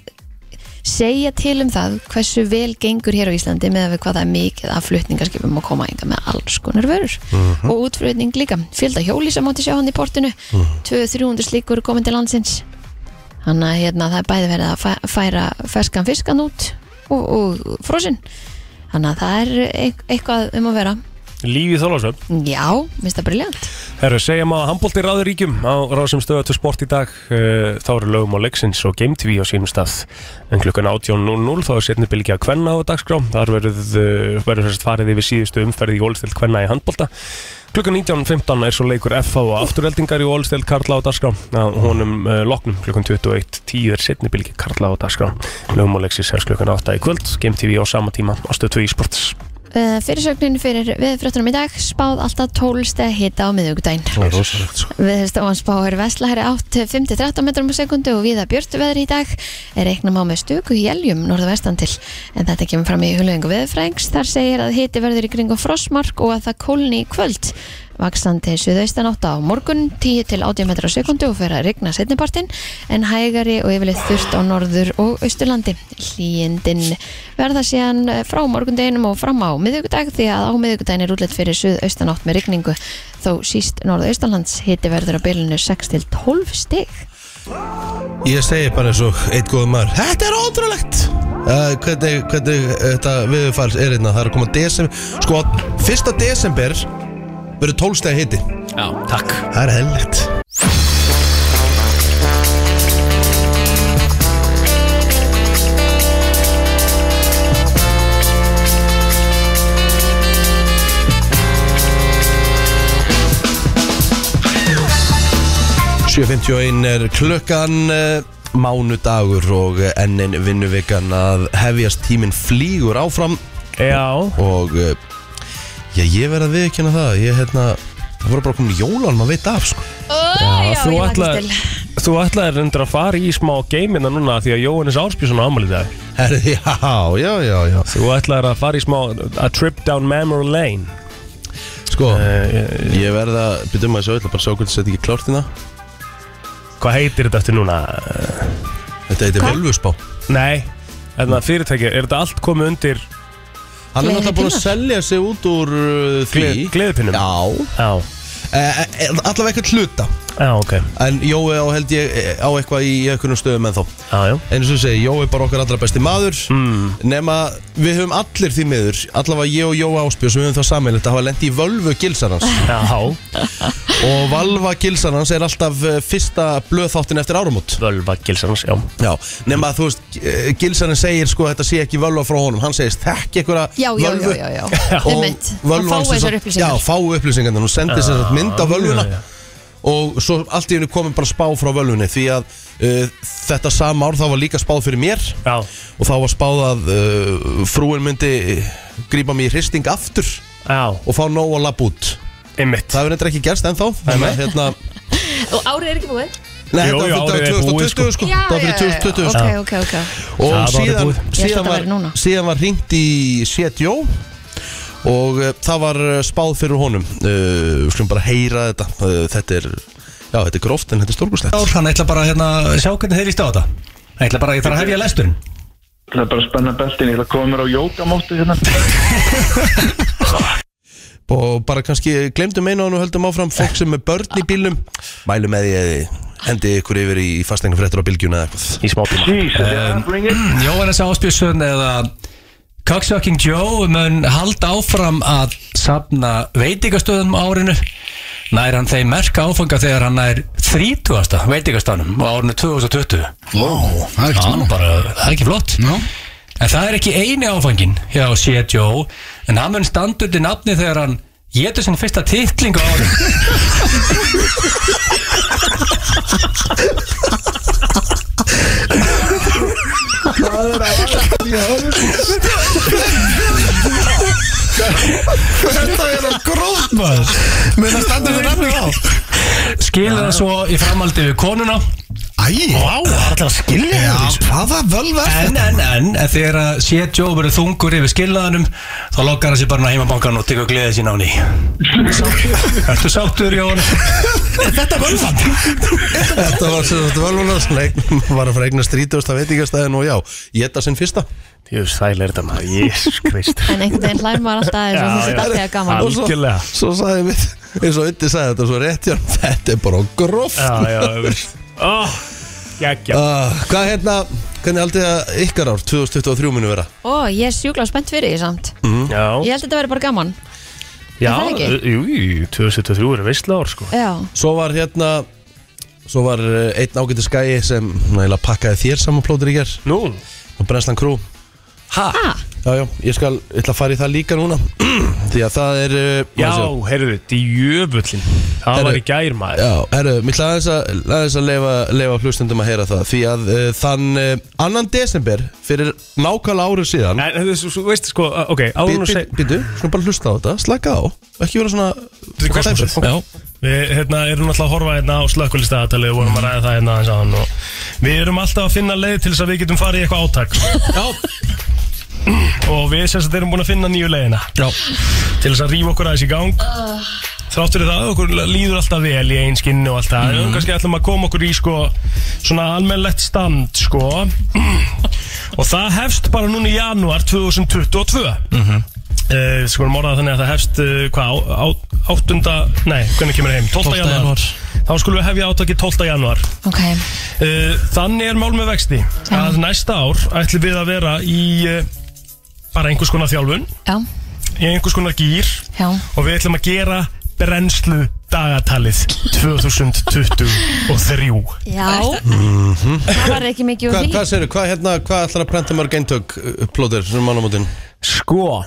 Speaker 3: segja til um það hversu vel gengur hér á Íslandi með að við hvað það er mikið af flutningarskipum að koma enga með alls konar vörur
Speaker 4: Mhm.
Speaker 3: og útflutning líka, fjölda hjóli sem átti sjá hann í portinu 200-300 slíkur eru komin til landsins þannig að hérna, það er bæði verið að fæ- færa ferskan fiskan út og, og frosinn þannig að það er eit- eitthvað um að vera
Speaker 2: lífið þólasöfn
Speaker 3: já, minnst það briljant
Speaker 2: Herru, segjum að handbólti ráður ríkjum á rásum stöðu til sport í dag eh, þá eru lögum á leiksins og Game TV á sínum stað en klukkan 18.00 þá er setni bylgja að kvenna á dagskrá þar verður, eh, verður sérst farið yfir síðustu umferði í ólstild kvenna í handbólta klukkan 19.15 er svo leikur FH og afturveldingar í ólstild Karla á dagskrá á honum uh, loknum klukkan 21.10 er setni bylgja Karla á dagskrá lögum á leiksins er klukkan 8 í kvöld Game TV á sama tíma á stöð 2 í sports
Speaker 3: Eh, fyrirsögnin fyrir viðfréttunum í dag spáð alltaf 12 steg hita á miðugdæn
Speaker 1: Það er rosalegt sko
Speaker 3: Viðstofan spáir vestlæri átt 5-13 metrum á sekundu og viða björtu veðri í dag er reiknum á með stöku í eljum norðvestan til en þetta kemur fram í hulöfingu viðfrængs þar segir að hiti verður í kringum frostmark og að það kólni í kvöld vaksandi suðaustan átta á morgun 10-18 metrar á sekundu og fer að regna setnipartin en hægari og yfirleitt þurft á norður og austurlandi hlýjindin verða síðan eh, frá morgundeginum og fram á miðvíkudag því að á miðvíkudagin er útlætt fyrir suðaustan átt með regningu þó síst norðaustanlands hiti verður á bylunu 6-12 stig
Speaker 1: Ég segi bara eins og eitt góð maður Þetta er ótrúlegt uh, Hvernig, hvernig eh, þetta viðfæls er einna Það er að koma desember Sko, fyrsta desember verður tólstæða hiti
Speaker 2: Já, takk
Speaker 1: Það er helgt .51 er klukkan uh, mánudagur og eh, enn einn vinnuvikan að hefjast tíminn flýgur áfram
Speaker 2: Já,
Speaker 1: og uh, já, ég verð að viðkynna það ég hérna, það voru bara komin jólan maður veit af sko
Speaker 3: Já,
Speaker 2: þú
Speaker 3: ég lakast
Speaker 2: ætlaðir-
Speaker 3: til.
Speaker 2: Þú ætlaðir reyndar að fara í smá geimina núna því að Jóhannes Ársbjörnsson á ámæli í dag
Speaker 1: Herði, já, já, já, já
Speaker 2: Þú ætlaðir að fara í smá a trip down memory lane
Speaker 1: Sko,
Speaker 2: uh,
Speaker 1: ég verð að byrja maður þessu öll bara að sjá hvernig þetta ekki klárt hérna
Speaker 2: Hvað heitir þetta eftir núna? Eh,
Speaker 1: Þetta heitir
Speaker 3: Hvað?
Speaker 1: Völvusbá
Speaker 2: Nei, þetta fyrirtæki, er þetta allt komið undir
Speaker 1: Hann er
Speaker 3: Gleðilegir
Speaker 1: náttúrulega búin að
Speaker 3: tímar.
Speaker 1: selja sig út úr uh, því
Speaker 2: gle- gleðipinnum?
Speaker 1: Já,
Speaker 2: Já,
Speaker 1: e, e, allavega eitthvað hluta
Speaker 2: já, ok
Speaker 1: En Jói á held ég eh, á eitthvað í einhvernum stöðum en þá
Speaker 2: Já, já,
Speaker 1: En eins og ég segi, Jói er bara okkar allra besti maður mm. Nema við höfum allir því miður Allavega ég og Jói Áspjós Við höfum það sammeinlegt að hafa lendi í völvu gilsarans
Speaker 2: já,
Speaker 1: Og valva gilsarans er alltaf eh, fyrsta blöðþáttin eftir árumót
Speaker 2: völva gilsarans, já
Speaker 1: Já, nema að þú veist eh, Gilsarinn segir sko þetta sé ekki völva frá honum Hann segist þekk einhverja
Speaker 3: Já, já, já,
Speaker 1: völvu
Speaker 3: já, já, já. Einmitt.
Speaker 1: völvan
Speaker 3: Hann fái
Speaker 1: sem sagt-
Speaker 3: þessar upplýsingar
Speaker 1: Já, fá upplýsingarna, hún sendi sér þetta mynd á völvuna
Speaker 2: já, já.
Speaker 1: og svo allt í hennu komum bara spá frá völvunni því að uh, þetta sama ár þá var líka spáð fyrir mér
Speaker 2: Já,
Speaker 1: og þá var spáð að uh, frúin myndi grípa mig í hristing aftur
Speaker 2: já,
Speaker 1: og fá nóg að lapp út
Speaker 2: einmitt
Speaker 1: Það hefur neitt ekki gerst ennþá en að, hérna,
Speaker 3: Og árið er ekki búið
Speaker 1: Nei,
Speaker 2: Jú,
Speaker 1: þetta
Speaker 2: jú,
Speaker 1: var
Speaker 2: árið er
Speaker 1: fyrir
Speaker 2: búið,
Speaker 1: 2020 sko
Speaker 3: Já,
Speaker 1: Það var fyrir
Speaker 3: já, já,
Speaker 1: 2020 sko.
Speaker 3: Ok, ok, ok
Speaker 2: Það var
Speaker 1: og
Speaker 2: orðið
Speaker 1: síðan,
Speaker 2: búið.
Speaker 3: Ég held
Speaker 1: síðan,
Speaker 3: að
Speaker 1: var,
Speaker 3: væri núna.
Speaker 1: síðan var hringt í Setjó og uh, það var uh, spáð fyrir honum uh, við skulum bara heyra þetta uh, þetta er, já þetta er gróft en þetta er stórkustlegt
Speaker 5: ár, hann ætla bara að hérna, sjá hvernig þeir líst á þetta Hann ætla bara, ég þarf að hefja lesturinn
Speaker 6: Það er bara að spenna beltin, ég ætla að koma mér á jókamóttu hérna.
Speaker 1: og bara kannski glemdum einu og höldum áfram fólk sem er börn í bílum mælu með því að þið hendi ykkur yfir í fastegna fréttur á bylgjuna eða
Speaker 2: Í
Speaker 1: eitthvað
Speaker 2: Eh, smá tíma
Speaker 6: Jesus, yeah, bring it.
Speaker 5: Eh, Jóhannes Áspjösson eða Cocksucking Joe mun halda áfram að safna veitingastöðum á árinu nær hann þeim merka áfanga þegar hann nær 30. veitingastanum á árinu 2020
Speaker 7: Vá, það er ekki
Speaker 5: hann
Speaker 7: smá
Speaker 5: bara, það er ekki flott
Speaker 7: Já.
Speaker 5: en það er ekki eini áfangin hjá C.J.O. en hann mun standa undir nafni þegar hann getur sinni fyrsta titling á árum
Speaker 7: Þetta er að gróð maður Með það standur þetta nafni á
Speaker 5: skilur það svo í framaldi við konuna
Speaker 7: Æ Vá, það er alltaf að skilja Já, hvaða völva er
Speaker 5: en, en, en, en þegar að C.J.O. verður þungur yfir skilnaðanum þá lokar hann sér bara inn á heimabankan og tekur gleðið sín á ný Sáttur- Ertu sáttur, Jón?
Speaker 7: þetta völvan?
Speaker 1: Þetta var sem þetta var lúna Hún var að fregna strítust að veitingastæðin og já Ég þetta sinn fyrsta
Speaker 2: Jöfus, sæl er þetta maður, jésus krist
Speaker 3: En einhvern veginn hlær maður alltaf aðeins og finnst
Speaker 2: Já,
Speaker 3: þetta
Speaker 2: já.
Speaker 3: alltaf gaman
Speaker 1: Og svo,
Speaker 2: Algjörlega.
Speaker 1: svo sagði við eins og Undi sagði þetta svo rétt hjá honum, Þetta er bara gróft
Speaker 2: Já, já, jöfus oh, Gægja
Speaker 1: uh, Hvað hérna, hvernig haldið að ykkar ár 2023 muni vera?
Speaker 3: Ó, ég er sjúkla spennt fyrir því samt Ég
Speaker 2: Já,
Speaker 3: held að þetta verður bara gaman
Speaker 2: Mhm. já,
Speaker 3: það ekki?
Speaker 2: jú, jú, 2023 er veistla ár sko
Speaker 3: Já,
Speaker 1: Svo var hérna Svo var uh, einn ágæti skæi sem nægilega pakkaði þér saman plótur í ger
Speaker 2: Nú,
Speaker 1: og Brenslan Crew
Speaker 3: ha,
Speaker 1: Já, já, ég skal, ég ætla að fara í það líka núna Því að það er uh,
Speaker 2: já,
Speaker 1: má sjá.
Speaker 2: heyrðu, djöfullin Það
Speaker 1: Heyrðu.
Speaker 2: var í gær maður
Speaker 1: Já, herru, mér ætla aðeins að, aðeins að leifa, leifa hlustundum að heyra það Því að uh, þann uh, annan desember fyrir nákvæmlega árið síðan
Speaker 2: En þú- þú þú veist sko, uh, ok, áður nú seg
Speaker 1: Býtu, svona bara hlusta á þetta, slaka á Ekki vera svona
Speaker 2: kosmosið.
Speaker 1: Já,
Speaker 2: Við hérna, erum alltaf að horfa hérna á slökkulistadatalið og vorum að ræða það hérna aðeins á hann og við erum alltaf að finna leið til þess að við getum farið í eitthvað átak og við sem sagt erum búin að finna nýju leiðina Já. til þess að rífa okkur aðeins í gang þrátt fyrir það okkur líður alltaf vel í einskinni og allt það mm. en kannski ætlum að koma okkur í sko svona almennlegt stand sko og það hefst bara núna í janúar 2022 mm -hmm. Uh, sko erum orðað þannig að það hefst uh, hvað, á- á- áttunda, nei, hvernig kemur það heim 12.
Speaker 5: 12. janúar.
Speaker 2: janúar þá skulum við hefja átaki 12. janúar
Speaker 3: ok
Speaker 2: Uh, Þannig er mál með vexti að næsta ár ætlum við að vera í uh, bara einhvers konar þjálfun
Speaker 3: Já,
Speaker 2: í einhvers konar gýr
Speaker 3: já,
Speaker 2: og við ætlum að gera brennslu dagatalið 2023
Speaker 3: já
Speaker 7: Mm.
Speaker 1: Mhm.
Speaker 3: Það var ekki mikið
Speaker 1: Hva,
Speaker 3: úr því
Speaker 1: hvað segir, hvað hérna, hvað ætlar að prenta mörg eintök uh, upplóðir sem mannamótin?
Speaker 2: Sko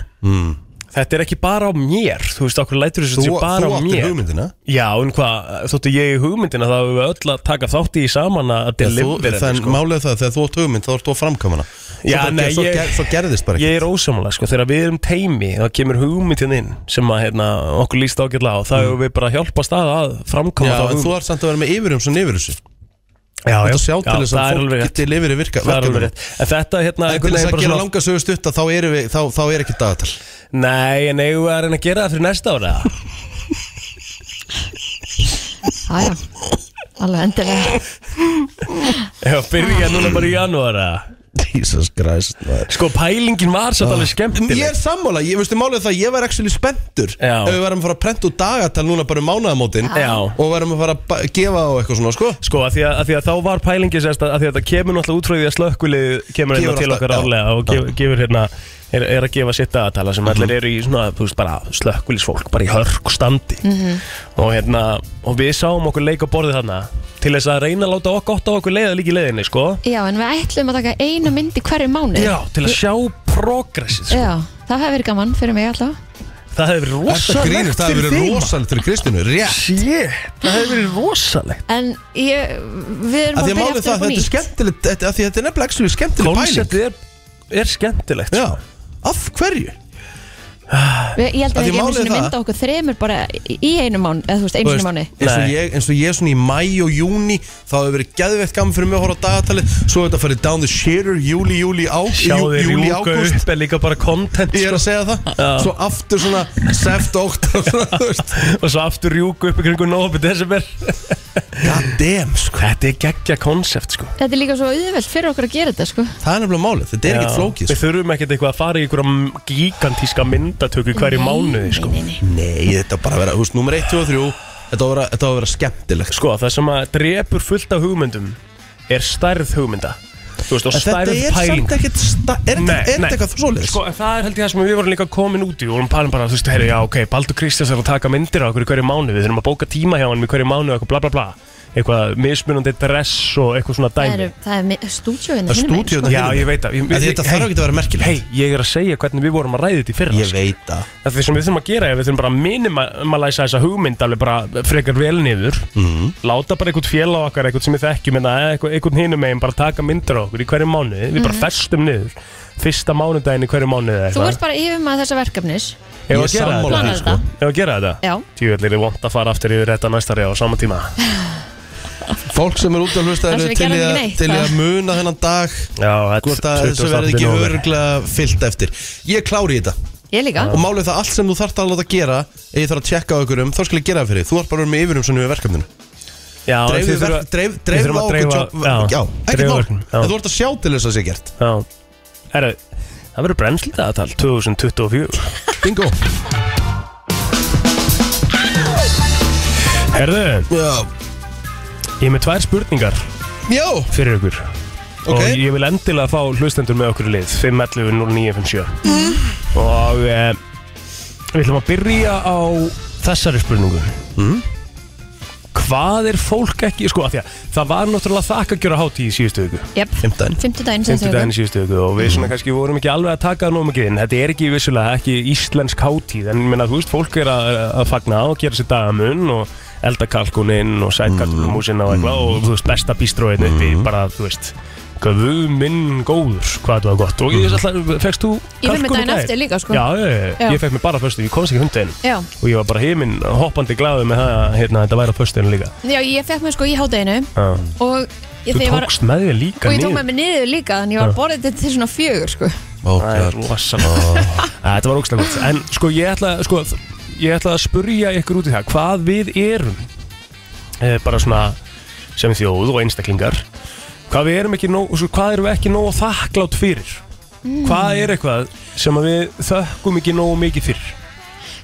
Speaker 2: Þetta er ekki bara á mér, þú veist okkur lætur þessu
Speaker 1: Hmm. Þú,
Speaker 2: þetta
Speaker 1: þú
Speaker 2: sé bara á
Speaker 1: áttir
Speaker 2: mér
Speaker 1: hugmyndina
Speaker 2: Já, en hvað, þóttu ég í hugmyndina þá hefur við öll að taka þátt í saman að sko. delivera
Speaker 1: Þann
Speaker 2: henni,
Speaker 1: málið er það, þegar þú átt hugmynd þá ert þú að framkvæmana Svo
Speaker 2: Já,
Speaker 1: bara
Speaker 2: nei,
Speaker 1: ger- svo,
Speaker 2: ég-
Speaker 1: ger, svo gerðist bara ekki
Speaker 2: Ég er ósamlega, sko, þegar við erum teimi þá kemur hugmyndin inn sem að hérna, okkur líst ágætlega á, þá hefur við bara að hjálpa stað að framkoma
Speaker 1: Mm. Já,
Speaker 2: þá
Speaker 1: en
Speaker 2: hugmynd
Speaker 1: þú ert samt að vera með yfirum sem yfir þessu Þú
Speaker 2: já,
Speaker 1: ert að sjá til þess
Speaker 2: það
Speaker 1: að
Speaker 2: er alveg
Speaker 1: fólk
Speaker 2: rétt,
Speaker 1: geti lifir í virka
Speaker 2: það er alveg
Speaker 1: verkefnum.
Speaker 2: rétt En þetta hérna
Speaker 1: En til
Speaker 2: einhvern veginn
Speaker 1: þess að
Speaker 2: bara
Speaker 1: gera
Speaker 2: svona-
Speaker 1: langa sögu stutt þá, erum við- þá, þá er ekki dagatal
Speaker 2: Nei, en eigum við að reyna að gera það fyrir næsta ára
Speaker 3: Já, já, alveg endilega
Speaker 2: Já, byrja núna bara í janúara
Speaker 1: Jesus Christ maður.
Speaker 2: Sko, pælingin var satt alveg
Speaker 1: Ég
Speaker 2: skemmtileg
Speaker 1: er sammála, ég veistu málið er það, ég var actually spenntur
Speaker 2: Já.
Speaker 1: Ef við verðum að fara að prenta út dagatal núna bara um mánaðamótin
Speaker 2: Já.
Speaker 1: Og verðum að fara að ba- gefa á eitthvað svona, sko
Speaker 2: Sko, að því að, að því að þá var pælingi sérst að, að því að þetta kemur náttúrulega útrúið að slökkulið kemur hérna
Speaker 1: Kemur
Speaker 2: til
Speaker 1: alltaf-
Speaker 2: okkar
Speaker 1: já, Mhm.
Speaker 2: árlega og gef, gefur hérna er, er að gefa sitt aðtala sem allir eru í svona, þú veist, bara slökkulisfólk bara í hörk standi
Speaker 3: Mm-hmm.
Speaker 2: og hérna, og við sáum okkur leik á borðið þarna til þess að reyna að láta okkur gott á okkur leiða líka í leiðinni, sko
Speaker 3: Já, en við ætlum að taka eina mynd í hverju mánu
Speaker 2: Já, til að sjá progressið, sko.
Speaker 3: Já, það hefur verið gaman fyrir mig alltaf
Speaker 2: það hefur verið
Speaker 1: Þetta grínist,
Speaker 2: rosalegt
Speaker 1: það hefur
Speaker 2: fyrir
Speaker 1: verið
Speaker 2: því
Speaker 1: rosalegt fyrir Kristínu, rétt
Speaker 2: Shit, það hefur verið rosalegt
Speaker 3: En ég, við erum að
Speaker 1: Af Því að
Speaker 3: byrja
Speaker 1: málið er
Speaker 3: aftur
Speaker 1: það,
Speaker 3: upp á
Speaker 1: þetta er
Speaker 3: nýtt
Speaker 1: skemmtilegt þetta- af Því að þetta er nefnilega actually skemmtileg pæling
Speaker 2: Konceptið er, er skemmtilegt sko.
Speaker 1: Já, af hverju?
Speaker 3: Við- Ég held
Speaker 1: Af
Speaker 3: að
Speaker 1: því
Speaker 3: við
Speaker 1: málið
Speaker 3: erum
Speaker 1: er
Speaker 3: að
Speaker 1: það-
Speaker 3: mynda okkur þremur bara í í einu mánu Eða þú veist, einu sinni
Speaker 1: Þú veist,
Speaker 3: mánu
Speaker 1: eins og
Speaker 2: Nei.
Speaker 1: ég, eins og ég svona í mæ og júni þá hefur verið geðveitt gaman fyrir mig að horfa á dagatalið svo er þetta farið down the shitter júli, júli, á, jú,
Speaker 2: Sjáðu
Speaker 1: júli,
Speaker 2: rjúka
Speaker 1: ágúst
Speaker 2: upp er líka bara content sko.
Speaker 1: ég er að segja það, svo aftur svona seft ótt og svona, þú veist
Speaker 2: og svo aftur rjúku upp í kringu nóbi desember
Speaker 1: god damn, sko,
Speaker 2: Þetta er geggja konsept sko
Speaker 3: Þetta er líka svo auðvelt fyrir okkur að gera þetta, sko
Speaker 1: það er nefnilega málið þetta er ekkert
Speaker 2: Já.
Speaker 1: flókið,
Speaker 2: Við
Speaker 1: sko.
Speaker 2: þurfum ekkert eitthvað að fara í einhverja gigantíska myndatöku í hverju mánuði sko
Speaker 1: nei, þetta á bara að vera, þú veist, nummer 1, 2 og 3 þetta á að vera, þetta á að vera skemmtilegt,
Speaker 2: Sko það sem að drepur fullt af hugmyndum er stærð hugmynda Þú veist, og
Speaker 1: En þetta
Speaker 2: stærð
Speaker 1: er
Speaker 2: pæling
Speaker 1: samt ekkert sta- Er þetta er þetta eitthvað svoleiðis?
Speaker 2: Sko, en það er held ég það sem við vorum líka komin út í og vorum palin bara, þú veist, herri, já, ok, Baldur Kristjáns er að taka myndir á okkur í hverju mánu, við þurfum að bóka tíma hjá hann í hverju mánu og eitthvað bla bla bla eitthvað mismunandi dress og eitthvað svona
Speaker 3: Það
Speaker 2: dæmi
Speaker 3: er, það er mi- stúdíóinu
Speaker 1: Það er hérna
Speaker 3: hinum megin,
Speaker 1: stúdíóinu
Speaker 3: sko.
Speaker 2: Já, ég veit að ég,
Speaker 1: Af því þetta þarf ekki að vera merkilegt.
Speaker 2: Hei, ég er að segja hvernig við vorum að ræða þetta í fyrra sko.
Speaker 1: Ég veit að
Speaker 2: Það er því sem við þurfum að gera er Við þurfum bara að minimalæsa þessa hugmynd alveg bara frekar vel niður
Speaker 1: Mhm.
Speaker 2: -hmm. Láta bara einhvern félag okkar, einhvern sem við þekkjum eða einhvern, einhvern hinum megin bara taka myndir á okkur í hverju mánuði Við bara festum niður Fyrsta mánudaginn í hverju mánuði
Speaker 3: Mhm.
Speaker 2: eða
Speaker 3: Þú
Speaker 2: eitthvað.
Speaker 3: ert bara yfir maður þessa verkefnis
Speaker 2: Eigum við
Speaker 1: Ég
Speaker 2: að gera
Speaker 1: sammála
Speaker 2: þetta?
Speaker 1: sko.
Speaker 3: Planar þetta
Speaker 2: Hefur að gera þetta?
Speaker 3: Já,
Speaker 2: Tjúvel er vont að fara aftur yfir þetta næstari á sama tíma
Speaker 1: Fólk sem er út að hlusta
Speaker 3: Það sem
Speaker 1: eru
Speaker 3: við
Speaker 1: til
Speaker 3: gerðum
Speaker 1: í
Speaker 3: ekki
Speaker 1: að-
Speaker 3: neitt, sko.
Speaker 1: til í
Speaker 3: það.
Speaker 1: að muna þennan dag
Speaker 2: Já,
Speaker 1: Hvort að þessu verði ekki örglega fyllt eftir Ég klári þetta
Speaker 3: ég líka
Speaker 1: Og málið er það allt sem þú þarft að láta gera Ef ég þarf að tjekka á ykkur um, þá skal ég gera það fyrir þig. Þú ert bara með yfirum sem við verkefninu
Speaker 2: Já,
Speaker 1: Dreifðu
Speaker 2: þið þurfa-
Speaker 1: verk- dreif-
Speaker 2: þið
Speaker 1: Dreifðu
Speaker 2: þurfa
Speaker 1: á
Speaker 2: að
Speaker 1: okkur
Speaker 2: dreifa-
Speaker 1: job- Já, ekkert
Speaker 2: dreifa
Speaker 1: mál
Speaker 2: verkum, já.
Speaker 1: En þú ert að sjá til þess að sé gert
Speaker 2: Já, herru, það verður brennslið aðtal 2024
Speaker 1: Bingo
Speaker 2: Herðu,
Speaker 1: Já,
Speaker 2: ég er með tvær spurningar
Speaker 1: já
Speaker 2: fyrir ykkur
Speaker 1: Ok.
Speaker 2: og ég vil endilega fá hlustendur með okkur í lið 511 0957
Speaker 1: Mm.
Speaker 2: og e, við ætlum að byrja á þessari spurningu
Speaker 1: Mm.
Speaker 2: Hvað er fólk ekki, sko, af því að það var náttúrulega þakka að gjöra hátíð í síðustu viku
Speaker 3: Jep,
Speaker 1: Fimmtæn
Speaker 3: fimmtudaginn sem þau
Speaker 2: Fymtudaginn í síðustu viku og við svona kannski vorum ekki alveg að taka það nóg mikið inn Þetta er ekki vissulega ekki íslensk hátíð En ég meina, þú veist, fólk er að, að fagna og gera sér dagamun og elda kalkuninn og sætkartunumúsinn og eitthvað og þú veist, besta bístróin uppi bara, þú veist, guð minn góður, hvað þetta var gott og ég alltaf, fegst þú
Speaker 3: Ég fer með
Speaker 2: kalkun í
Speaker 3: daginn
Speaker 2: gær?
Speaker 3: eftir líka, sko.
Speaker 2: Já, ég,
Speaker 3: Já.
Speaker 2: ég fekk mig bara fyrstu, ég komst ekki hundin
Speaker 3: Já.
Speaker 2: og ég var bara heiminn hoppandi glaðu með það að hérna, þetta væri á fyrstinu líka
Speaker 3: Já, ég fekk mig sko í hádeginu
Speaker 2: Já.
Speaker 3: og ég,
Speaker 2: Þú
Speaker 3: þegar ég var,
Speaker 2: tókst með þér líka
Speaker 3: og ég tók
Speaker 2: niður.
Speaker 3: með mig niður líka þannig ég var borðið til, til svona fjögur sko.
Speaker 2: Það er rosalega Þetta var ógstlega gott En sko ég ætla, sko, ég ætla að spurja ykkur út í það Hvað við erum eh, Bara svona sem þjóð og einstaklingar Hvað við erum ekki nóg svo, Hvað erum við ekki nóg þakklátt fyrir Mm.
Speaker 3: Mm.
Speaker 2: Hvað er eitthvað sem að við þökkum ekki nóg mikið fyrir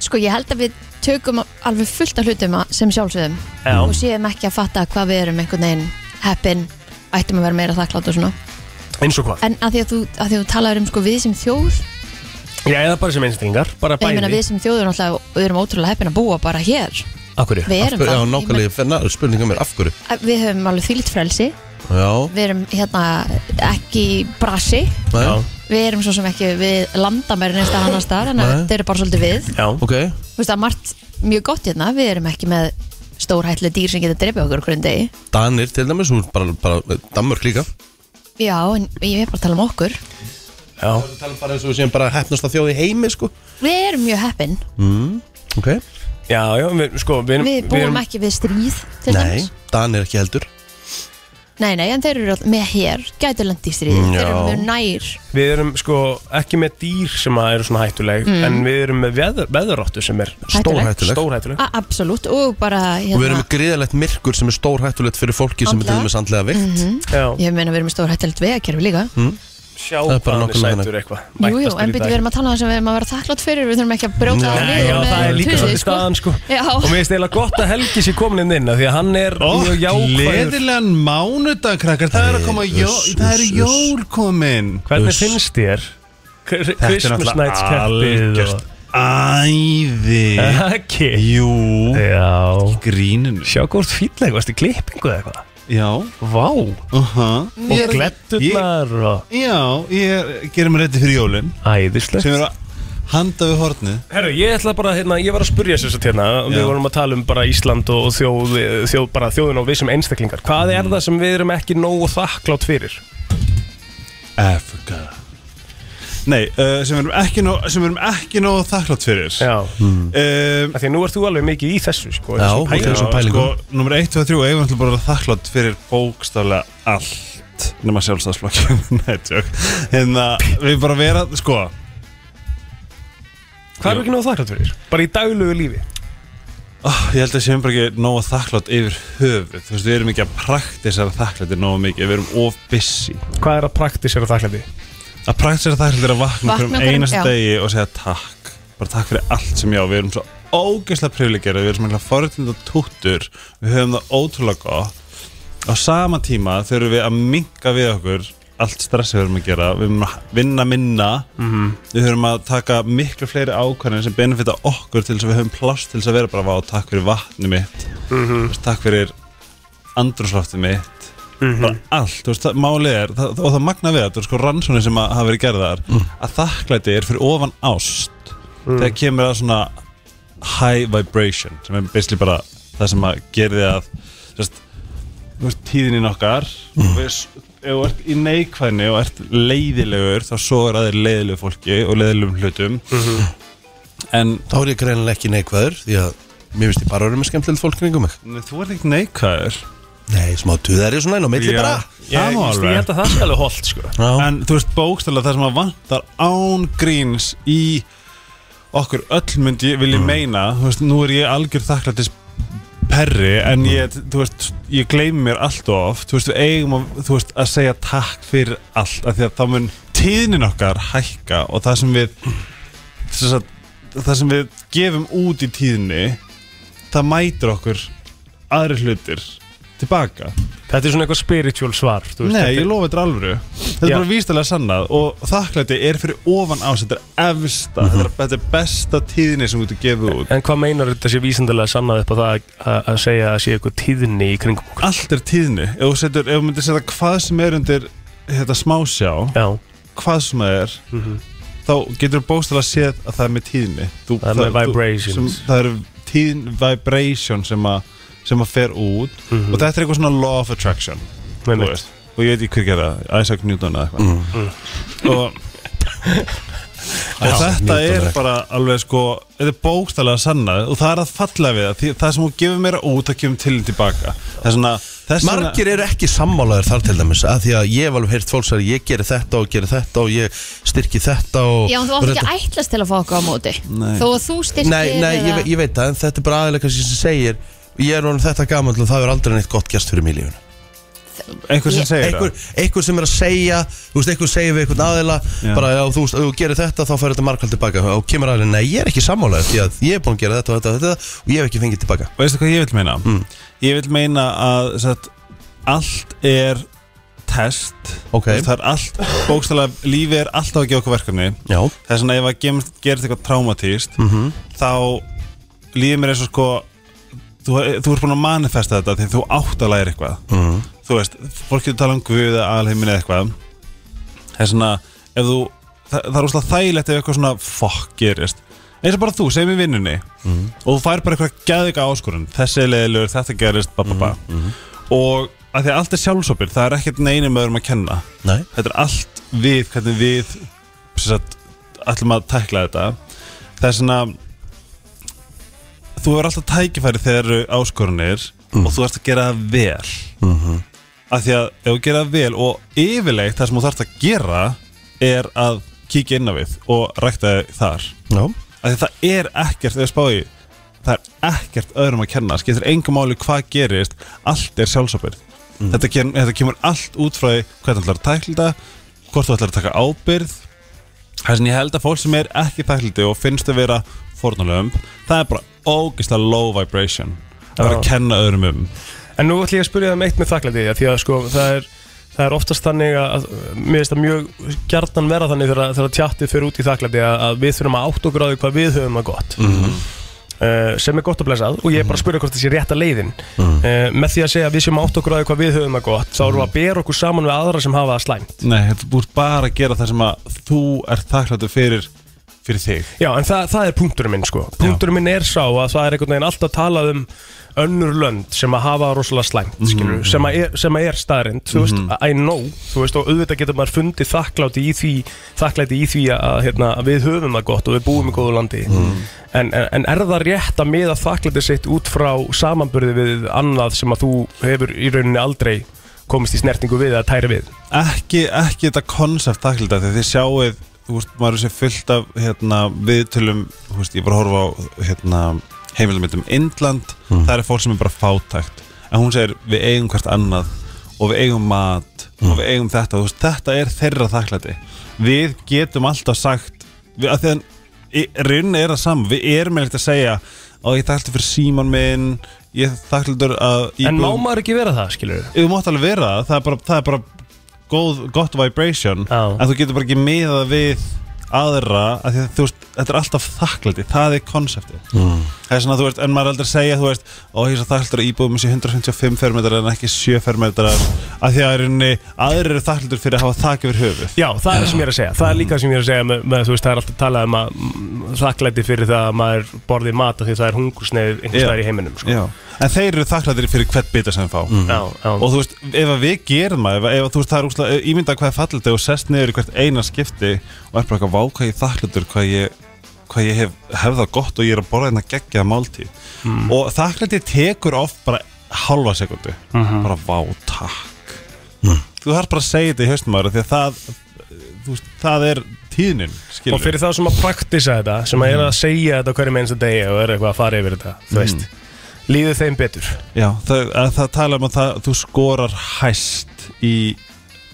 Speaker 3: sko ég held að við tökum alveg fullt af hlutum að- sem sjálfsögum
Speaker 2: Já.
Speaker 3: og séum ekki að fatta hvað við erum einhvern veginn heppin, ættum að vera meira þakklátt og svona
Speaker 2: Eins og hvað
Speaker 3: en að því að þú, að því að þú talaður um sko við sem þjóð
Speaker 2: Já, eða bara sem einstaklingar Bara
Speaker 3: ég meina
Speaker 2: bæði
Speaker 3: við sem þjóður náttúrulega og við erum ótrúlega heppin að búa bara hér
Speaker 2: Akkurri
Speaker 3: við erum það
Speaker 1: Já,
Speaker 3: Ég meina,
Speaker 1: nákvæmlega, na- spurninga mér, um af hverju
Speaker 3: að við höfum alveg þýlit frelsi
Speaker 1: Já,
Speaker 3: við erum hérna ekki í brasi
Speaker 1: næ,
Speaker 2: Já,
Speaker 3: við erum svo sem ekki við landamæri neist að annars staðar en
Speaker 1: Nei.
Speaker 3: þetta eru bara svolítið við
Speaker 2: já
Speaker 1: ok
Speaker 3: þú veist að margt mjög gott hérna við erum ekki með stórhættileg dýr sem getur drefið okkur okkur en degi
Speaker 1: Danir til dæmis, hún bara, bara Danmörk líka
Speaker 3: já, en ég er bara að tala um okkur
Speaker 2: Já,
Speaker 1: Talum um bara eins og við séum bara hefnast að þjóði heimi, sko
Speaker 3: við erum mjög heppin,
Speaker 1: Ok
Speaker 2: Mm. já, já við, sko, við, erum-
Speaker 3: við búum
Speaker 2: erum-
Speaker 3: ekki við stríð til
Speaker 1: Nei,
Speaker 3: dæmis.
Speaker 1: Danir ekki heldur
Speaker 3: nei, nei, en þeir eru all- með hér gætur lendi í stríð,
Speaker 1: Mm,
Speaker 3: þeir eru
Speaker 1: já.
Speaker 3: mjög nær
Speaker 2: Við erum sko ekki með dýr sem að eru svona hættuleg
Speaker 3: Mm.
Speaker 2: En við erum með veður, veðuráttu sem er
Speaker 1: Stórhættuleg.
Speaker 2: stórhættuleg
Speaker 3: A- absolutt, og bara
Speaker 1: Og við erum
Speaker 3: hérna,
Speaker 1: með gríðalegt myrkur sem er stór hættulegt fyrir fólki sem er til
Speaker 3: Andlega. Mhm.
Speaker 1: dæmis andlega vikt
Speaker 2: Já,
Speaker 3: ég meina við erum með stórhættilegt vegakerfi líka
Speaker 2: sjá
Speaker 1: Hmm? Það er bara
Speaker 2: hvað hann er
Speaker 1: nokkuð
Speaker 2: sætur eitthvað
Speaker 3: Jú, jú, en byrju, við erum að tala um það sem við erum að vera þakklátt fyrir Við þurfum ekki að brjóta
Speaker 1: Nei,
Speaker 3: það
Speaker 2: Nei,
Speaker 3: niður
Speaker 2: já,
Speaker 3: með
Speaker 2: það er líka
Speaker 3: tuði,
Speaker 2: svolítið
Speaker 3: sko.
Speaker 2: staðan sko
Speaker 3: Já.
Speaker 2: Og mér finnst eiginlega gott að Helgi sé komin inn inn af Því að hann er
Speaker 7: Ó,
Speaker 2: mjög jákvæður
Speaker 7: gleðilegan mánudag, krakkar Það er að koma
Speaker 1: Nei,
Speaker 7: jól,
Speaker 1: uss,
Speaker 7: það er
Speaker 1: uss,
Speaker 7: jól komin
Speaker 2: Hvernig
Speaker 1: Uss.
Speaker 2: finnst þér Kr-
Speaker 7: Þetta er
Speaker 2: Christmas
Speaker 7: náttúrulega
Speaker 2: Nights keppið
Speaker 7: algjört Æði
Speaker 2: og Ekki
Speaker 7: Jú
Speaker 2: Já
Speaker 7: Gríninu
Speaker 2: Sjá hvort fýtleg, varstu í klippingu eða eitthvað
Speaker 7: Já
Speaker 2: Vá,
Speaker 7: uh
Speaker 2: og gletturnar og
Speaker 7: Já, ég gerir mér rétti fyrir jólin
Speaker 2: æðislegt
Speaker 7: sem er að handa við hornið
Speaker 2: Herru, ég ætla bara, hérna, ég var að spurja sér satt hérna Við
Speaker 7: Já.
Speaker 2: vorum að tala um bara Ísland og og þjóð, þjóð bara þjóðin og við sem einstaklingar Hvað er það sem við erum ekki nógu þakklátt fyrir?
Speaker 7: Africa Nei, uh, sem við erum ekki nóg, sem við erum ekki nóg þakklátt fyrir
Speaker 2: Já,
Speaker 7: um,
Speaker 2: af því að nú ert þú alveg mikið í þessu, sko
Speaker 1: Já,
Speaker 2: þessum
Speaker 1: út í
Speaker 2: pælingum.
Speaker 1: þessum pælingum.
Speaker 7: sko, Númer 1, 2, 3 eigum við bara að vera þakklátt fyrir bókstaflega allt nema sjálfstæðsflokki Nei, tjók Hérna, við bara vera, sko
Speaker 2: Hvað erum við ekki nógu þakklátt fyrir? Bara í daglegu lífi
Speaker 7: oh, Ég held að séum bara ekki nóg þakklátt yfir höfuð Þú veist, við erum ekki að praktisera þakklætti nóg mikið Við erum of busy
Speaker 2: Hvað er að praktisera þakklæti?
Speaker 7: Að praktisera þakklætti er að vakna
Speaker 3: Vakna
Speaker 7: okkur um
Speaker 3: hverjum-
Speaker 7: einasta
Speaker 3: já.
Speaker 7: degi og segja takk Bara takk fyrir allt sem já, við erum svo ógeðslega privilegjara Við erum svona forutind og túttur Við höfum það ótrúlega gott Á sama tíma þurfum við að minka við okkur allt stressi við erum að gera Við erum að vinna minna Við höfum að taka miklu fleiri ákvæðin sem benefita okkur til þess að við höfum pláss til þess að vera bara vá, takk fyrir vatni mitt mm veist, takk fyrir andrúslofti mitt bara allt, þú veist, það, málið er það, og það magna við að, þú veist, sko rannsóni sem að hafa verið gerðar, að þakklæti er fyrir ofan ást þegar kemur að svona high vibration sem er basically bara það sem að gerði að þú veist, þú veist, tíðinni nokkar mm. veist, ef þú ert í neikvæðni og ert leiðilegur þá svo er aðeir leiðilegu fólki og leiðilegum hlutum en
Speaker 1: Þá er ég greinilega ekki neikvæður Því að mér finnst ég bara að vera með skemmtilegt fólk kringum mig
Speaker 7: nei, þú ert ekki neikvæður
Speaker 1: Nei, smá tuðari svona inn á milli bara
Speaker 7: það
Speaker 2: Ég,
Speaker 7: má
Speaker 2: ég
Speaker 7: alveg
Speaker 2: held að það sé alveg holdt sko
Speaker 1: Já,
Speaker 7: en þú veist, bókstæðlega það sem að vantar án gríns í okkur öll myndi ég vilja meina þú veist, nú er ég algjör þakklættis perri en ég, þú veist, ég gleymi mér allt of oft, þú veist, við eigum að, þú veist, að segja takk fyrir allt, af því að þá mun tíðnin okkar hækka og það sem við þess að, það sem við gefum út í tíðni það mætir okkur aðri hlutir tilbaka
Speaker 2: Þetta er svona eitthvað spiritual svar þú veist,
Speaker 7: Nei,
Speaker 2: þetta
Speaker 7: ég
Speaker 2: er-
Speaker 7: lofa þetta er alvöru Þetta er
Speaker 2: Já.
Speaker 7: bara vístalega sannað og þakklæti er fyrir ofan ás Þetta er efsta, þetta, er, þetta er besta tíðinni sem þú getur gefið út
Speaker 2: Mhm. En hvað meinar þetta sé vísindalega sannað upp á það að- að- að segja að sé eitthvað tíðni í kringum okkur?
Speaker 7: Allt er tíðinni Ef þú setur, ef þú myndir setja hvað sem er undir þetta smásjá,
Speaker 2: Já, Mhm.
Speaker 7: hvað sem það er þá getur þú bóstalega séð að það er með tíðinni þú,
Speaker 2: Það er með
Speaker 7: þú-
Speaker 2: vibrations.
Speaker 7: sem, Það eru tíðin vibration sem að sem að fer út
Speaker 2: Mhm.
Speaker 7: og þetta er eitthvað svona law of attraction
Speaker 2: með
Speaker 7: þú
Speaker 2: mitt
Speaker 7: veist, og ég veit ekki hver gera það, Isaac Newton eða eitthvað og, og þetta er bara alveg sko þetta er bókstælega sannað og það er að falla við það því það sem hún gefur meira út það kemur til þín tilbaka það er svona þess vegna-
Speaker 1: Margir eru ekki sammálaður þar til dæmis að Því að ég hef alveg heyrt fólk sér Ég geri þetta og geri þetta og ég styrki þetta og
Speaker 3: Já, en þú átt ekki að ætlast til að fá okkur á móti
Speaker 7: Nei.
Speaker 3: Þó að þú styrkir
Speaker 1: Nei, nei, ég, ve- ég veit það En þetta er bara aðeins kannski sem segir Ég er orðin þetta gaman og það er aldrei neitt gott gæst fyrir mig í lífun
Speaker 7: einhver sem segir
Speaker 1: einhver, einhver sem er að segja Þú veist, einhver segir við einhvern aðila
Speaker 7: Já.
Speaker 1: Bara, já, þú veist, ef þú gerir þetta þá fær þetta markald tilbaka Og kemur aðeins, nei, ég er ekki sammálaður Því að ég er búin að gera þetta og þetta og þetta Og ég hef ekki fengið tilbaka Mm.
Speaker 7: veistu hvað ég vil meina ég vil meina að satt, allt er test
Speaker 1: Ok.
Speaker 7: Þú veist, það er allt bókstælega lífi er alltaf að gefa okkur verkefni
Speaker 1: Já, Mhm.
Speaker 7: Það er svona ef að gem- gerist eitthvað traumatíst þá líður mér eins og sko þú, þú ert búin að manifesta þetta því þú átt að læra eitthvað -hmm. þú veist, fólk getur talað um guð eða alheimin eða eitthvað það er svona ef þú, það, það er úslega þægilegt ef eitthvað svona fokk gerist eins og bara þú, segjum í vinnunni og þú fær bara eitthvað geðvika áskorun þessi er leiðilegur, þetta gerist, ba ba ba og að því að allt er sjálfsopir það er ekkert neinum öðrum að kenna
Speaker 1: nei,
Speaker 7: þetta er allt við hvernig við sem sagt, ætlum að tækla þetta það er svona þú er alltaf tækifæri þegar eru áskorunir og þú ert að gera það vel mm af því að ef þú gera það vel og yfirleitt það sem þú þarfst að gera er að kíkja inn á við og rækta þig þar
Speaker 1: já,
Speaker 7: af því að það er ekkert, þegar spáði það er ekkert öðrum að kenna skiptir engum máli hvað gerist allt er sjálfsábyrð þetta, kem, þetta kemur allt út frá því hvernig þú ætlar að tækla þetta hvort þú ætlar að taka ábyrð það sem ég held að fólk sem er ekki tækliti og finnst að vera fornulegum það er bara ógeðslega low vibration að vera að
Speaker 2: Já.
Speaker 7: kenna öðrum um
Speaker 2: En nú ætlum ég að spyrja það um eitt með þakklæti af Því að sko, það er, það er oftast þannig að að, Mér finnst það mjög gjarnan vera þannig Þegar, að- þegar tjattið fyrir út í þakklæti að, að við þurfum að átt okkur á því hvað við höfum að gott Uh, sem er gott að blessað og ég er bara að spyrja hvort það sé rétta leiðin
Speaker 7: mm-hmm. Mm.
Speaker 2: uh, með því að segja að við sem átt okkur á því hvað við höfum að gott þá erum við að bera okkur saman við aðra sem hafa það slæmt
Speaker 7: nei, þetta búið bara að gera það sem að þú er tækliti fyrir, fyrir þig
Speaker 2: Já, en það, það er punkturinn minn sko Punkturinn minn er sá að það er einhvern veginn alltaf talað um önnur lönd sem að hafa rosalega slæmt,
Speaker 7: Mhm.
Speaker 2: skilur, sem, að er, sem að er staðrind, þú veist, I know þú veist, og auðvitað getur maður fundið þakkláti í því þakklæti í því að, hérna, að við höfum það gott og við búum í góðu landi
Speaker 7: Mm.
Speaker 2: en, en, en er það rétt að miða þakklæti sitt út frá samanburði við annað sem að þú hefur í rauninni aldrei komist í snertingu við að tæri við
Speaker 7: ekki, ekki þetta konsept taklita þegar þið sjáuð þú veist, maður er sér fullt af hérna, viðtölum, þú veist, ég var að horfa á hérna, heimilmyndum Indland mm. það er fólk sem er bara fátækt en hún segir við eigum hvert annað og við eigum mat
Speaker 2: Mm.
Speaker 7: og við eigum þetta þú veist, þetta er þeirra þakklæti við getum alltaf sagt við, að því að raunin er það saman við erum með að segja og ég þakklæti fyrir síman minn ég þakklætur að
Speaker 2: En má
Speaker 7: íbúðum-
Speaker 2: maður ekki vera það, skilur
Speaker 7: Ef þú mátt alveg vera það, það er bara, það er bara góð, gott vibration
Speaker 2: Já.
Speaker 7: en þú getur bara ekki miða við aðra að því, að, þú veist, þetta er alltaf þakklæti það er konseptið það er svona, þú veist, en maður er aldrei að segja þú veist, ó, ég er svo þakklítur að íbúðum sé 155 fermetrar en ekki 7 fermetrar að því að í rauninni aðrir eru þakklítur fyrir að hafa þak yfir höfuð
Speaker 2: Já, það er það sem ég er að segja Það er líka það sem ég er að segja með, með þú veist, það er alltaf talað um að mm, þakklæti fyrir það að maður borði mat af því að það er hungursneið einhvers
Speaker 7: Já.
Speaker 2: staðar í heiminum sko. Mm.
Speaker 7: Já. en þeir eru þakklætur fyrir hvert bita sem þeir fá
Speaker 2: Já, já,
Speaker 7: og þú veist, ef að við gerum það ef, ef þú veist, það er úslega, ímynda hvað er fallit og sest niður í hvert eina skipti og er bara eitthvað vá hvað ég þakklætur hvað ég, hvað ég hef, hef það gott og ég er að borða hérna geggjað máltíð
Speaker 2: Mm.
Speaker 7: og þakklæti tekur oft bara halva sekundu,
Speaker 2: Mhm.
Speaker 7: bara vá takk þú þarf bara að segja þetta í haustum ára því að það þú veist, það er tíðnin skilur.
Speaker 2: Og fyrir þá sem að praktisa þetta sem
Speaker 7: Mm.
Speaker 2: að er að segja þetta á hverjum einsta degi og er eitthvað að fara yfir þetta, þú veist Líðu þeim betur
Speaker 7: Já, það, að það tala um að það, þú skorar hæst í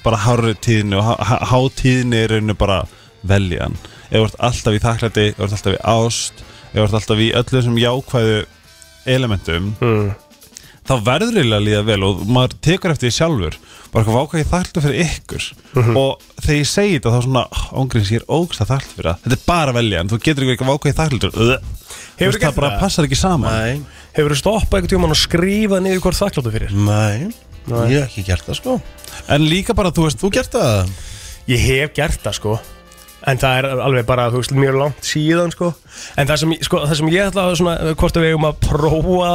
Speaker 7: bara hárri tíðinu og há- há tíðinu er rauninu bara veljan ef þú ert alltaf í þakklæti, ef þú ert alltaf í ást ef þú ert alltaf í öllu þessum jákvæðu elementum
Speaker 2: mm.
Speaker 7: þá verður eiginlega að líða vel og maður tekur eftir því sjálfur bara eitthvað vákvæði þakklæti fyrir ykkur
Speaker 2: Mhm.
Speaker 7: og þegar ég segi þetta þá svona ángrins ég er ógst að þakklæti fyrir það þetta er bara veljan, þú getur ekki vákvæði þakklæti
Speaker 2: Hefurðu
Speaker 7: það
Speaker 2: gert
Speaker 7: bara
Speaker 2: það?
Speaker 7: passar ekki saman
Speaker 1: Nei,
Speaker 2: Hefur þú stoppað einhvern tímann og skrifað niður hvort þakkláttu fyrir?
Speaker 1: nei, ég hef ekki gert það sko
Speaker 7: en líka bara, þú veist,
Speaker 1: Þú gert það?
Speaker 2: Ég hef gert það sko En það er alveg bara, þú veist, mjög langt síðan sko En það sem, sko, það sem ég ætla að svona, hvort að við eigum að prófa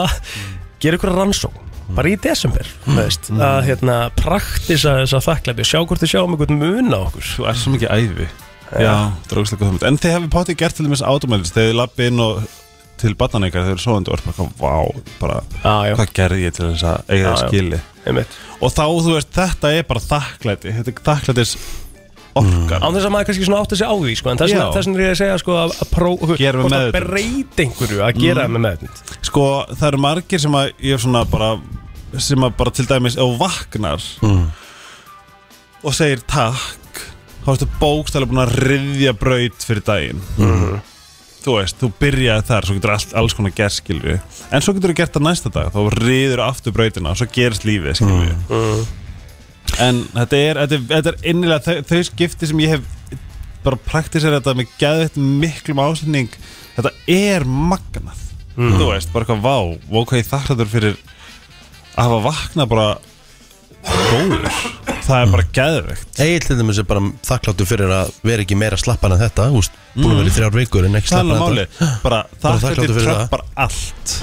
Speaker 2: Gera ykkur rannsók Bara í desember, þú veist
Speaker 7: Mm.
Speaker 2: Að hérna, praktisa þessa þakklæti og Sjá hvort þið sjáum einhvern mun á okkur
Speaker 7: Þú er svo mikið æfi Já, drókslega góð hugmynd En þið hefði potið gert til þess automælis Þegar þið lappi inn og til barnan ykkar Þeir eru svoðandi og er bara, vá, bara
Speaker 2: Já, já.
Speaker 7: Hvað gerði ég til þess að eiga
Speaker 2: Já,
Speaker 7: það
Speaker 2: já.
Speaker 7: skili
Speaker 2: Einmitt.
Speaker 7: Og þá, þú veist, þetta er bara þakklæti Þetta er þakklætis orkar
Speaker 2: Án þess að maður kannski svona átti Mm. sig á því sko En þess
Speaker 7: Já.
Speaker 2: vegna er ég að segja sko að, að prófa hvort
Speaker 7: Gerum við
Speaker 2: að
Speaker 7: meðvitund.
Speaker 2: breyta einhverju að gera mm. með meðvind
Speaker 7: Sko, það eru margir sem að ég er svona bara Sem að bara til dæmis Ef þú vaknar Og segir takk Þá ertu bókstælega búin að riðja braut fyrir daginn þú veist, þú byrjaði þar svo getur all, alls konar gerst, skilju en svo getur þú gert það næsta dag, þá riður aftur brautina og svo gerist lífið, skilju en þetta er, þetta er, þetta er innilega þau, þau skipti sem ég hef bara praktisir þetta með geðvett miklum áslutning þetta er magnað þú veist, bara eitthvað vá og hvað ég þakklæður fyrir að hafa vaknað bara góður, það er bara geðvegt
Speaker 1: Egil til dæmis er bara þakkláttu fyrir að vera ekki meira slappan að þetta Úst, búin að vera í þrjár vikur en
Speaker 7: Mhm.
Speaker 1: ekki
Speaker 7: það er
Speaker 1: slappan
Speaker 7: alveg máli,
Speaker 1: að þetta
Speaker 7: bara
Speaker 1: Bara
Speaker 7: þakklæður
Speaker 1: þakklátur fyrir það.
Speaker 7: tröppar allt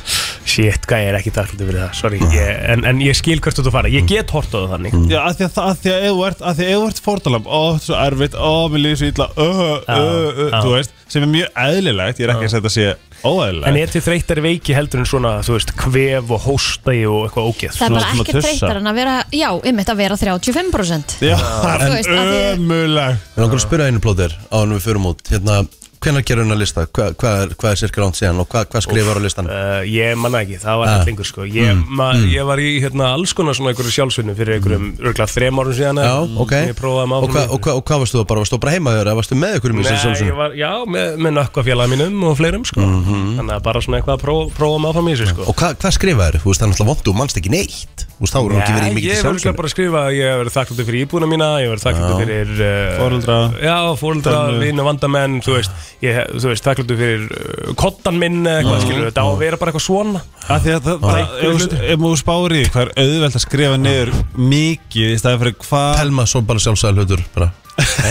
Speaker 2: Shit, hvað ég er ekki þakkláttu fyrir það Sorry, ég, en, en ég skil hvert þú ert að
Speaker 7: Mm.
Speaker 2: fara Ég get hort á það þannig
Speaker 7: Já, að því að, að, því að, ef þú ert- að því að ef þú ert fórtalamb Ó, þetta er svo erfitt, ó, mér líður svo illa Ö,
Speaker 2: Já,
Speaker 7: ö, ö,
Speaker 2: já.
Speaker 7: Uh, þú veist Sem er mjög eðlilegt, ég er ekki að setja sé
Speaker 2: En
Speaker 7: óeðlilegt
Speaker 2: er til þreytari veiki heldur en svona, þú veist, kvef og hóstagi og eitthvað ógeð?
Speaker 3: Það er bara
Speaker 7: svona
Speaker 3: ekkert
Speaker 7: tussa.
Speaker 3: þreytar en að vera, já, einmitt að vera 35%
Speaker 7: Já, um- það
Speaker 3: Þú
Speaker 7: er
Speaker 3: veist, að því-
Speaker 7: ömulegt
Speaker 1: Við langar að spyrja einu plóðir á hann við förum út Hérna, hvenær gerur hennar lista? Hva, hvað, er, hvað er cirka langt síðan og hvað, hvað skrifar á listan?
Speaker 2: Uh, ég manna ekki, það var
Speaker 1: Ah.
Speaker 2: ekkert lengur sko ég,
Speaker 7: Mm.
Speaker 2: ma, ég var í hérna, alls konar svona einhverju sjálfsvinnum fyrir
Speaker 7: Mm.
Speaker 2: einhverjum örgla þrem árum síðan
Speaker 1: Já,
Speaker 2: eða,
Speaker 1: ok
Speaker 2: sem Ég prófaði
Speaker 1: Og
Speaker 2: maður
Speaker 1: hvað og hva, og hva varstu það bara? Varstu bara heima þér? eða Varstu með ykkur um þessu
Speaker 2: Nei, ég
Speaker 1: sjálfsögum?
Speaker 2: var, já, með, með nökkvafélag mínum og fleirum sko
Speaker 7: Mhm.
Speaker 2: Þannig að bara svona eitthvað að prófa, prófa maður fram í þessu sko
Speaker 1: Mm. Og hvað hva skrifaði þér? Þú veist, það er náttúrulega vond og mannst ekki neitt Þú veist, þá eru ekki verið í mikið
Speaker 2: ég var líka
Speaker 1: sjálfsögum
Speaker 2: bara að skrifa að ég hef verið þakkláttur fyrir íbúna mína, ég hef verið þakkláttur fyrir uh,
Speaker 7: Foreldra.
Speaker 2: já, fóreldra, vinn og vandamenn, þú veist, ég, hef- þú veist þakkláttur fyrir uh, kottan minn, eða eitthvað, skilur þetta á að vera bara eitthvað svona.
Speaker 7: Að því að það, það,
Speaker 2: Einhver
Speaker 7: ef þú- ef þú spáir í því, hvað er auðvelt að skrifa niður mikið í staði fyrir hvað
Speaker 1: Telma svo bara sjálfsæðal hlutur bara.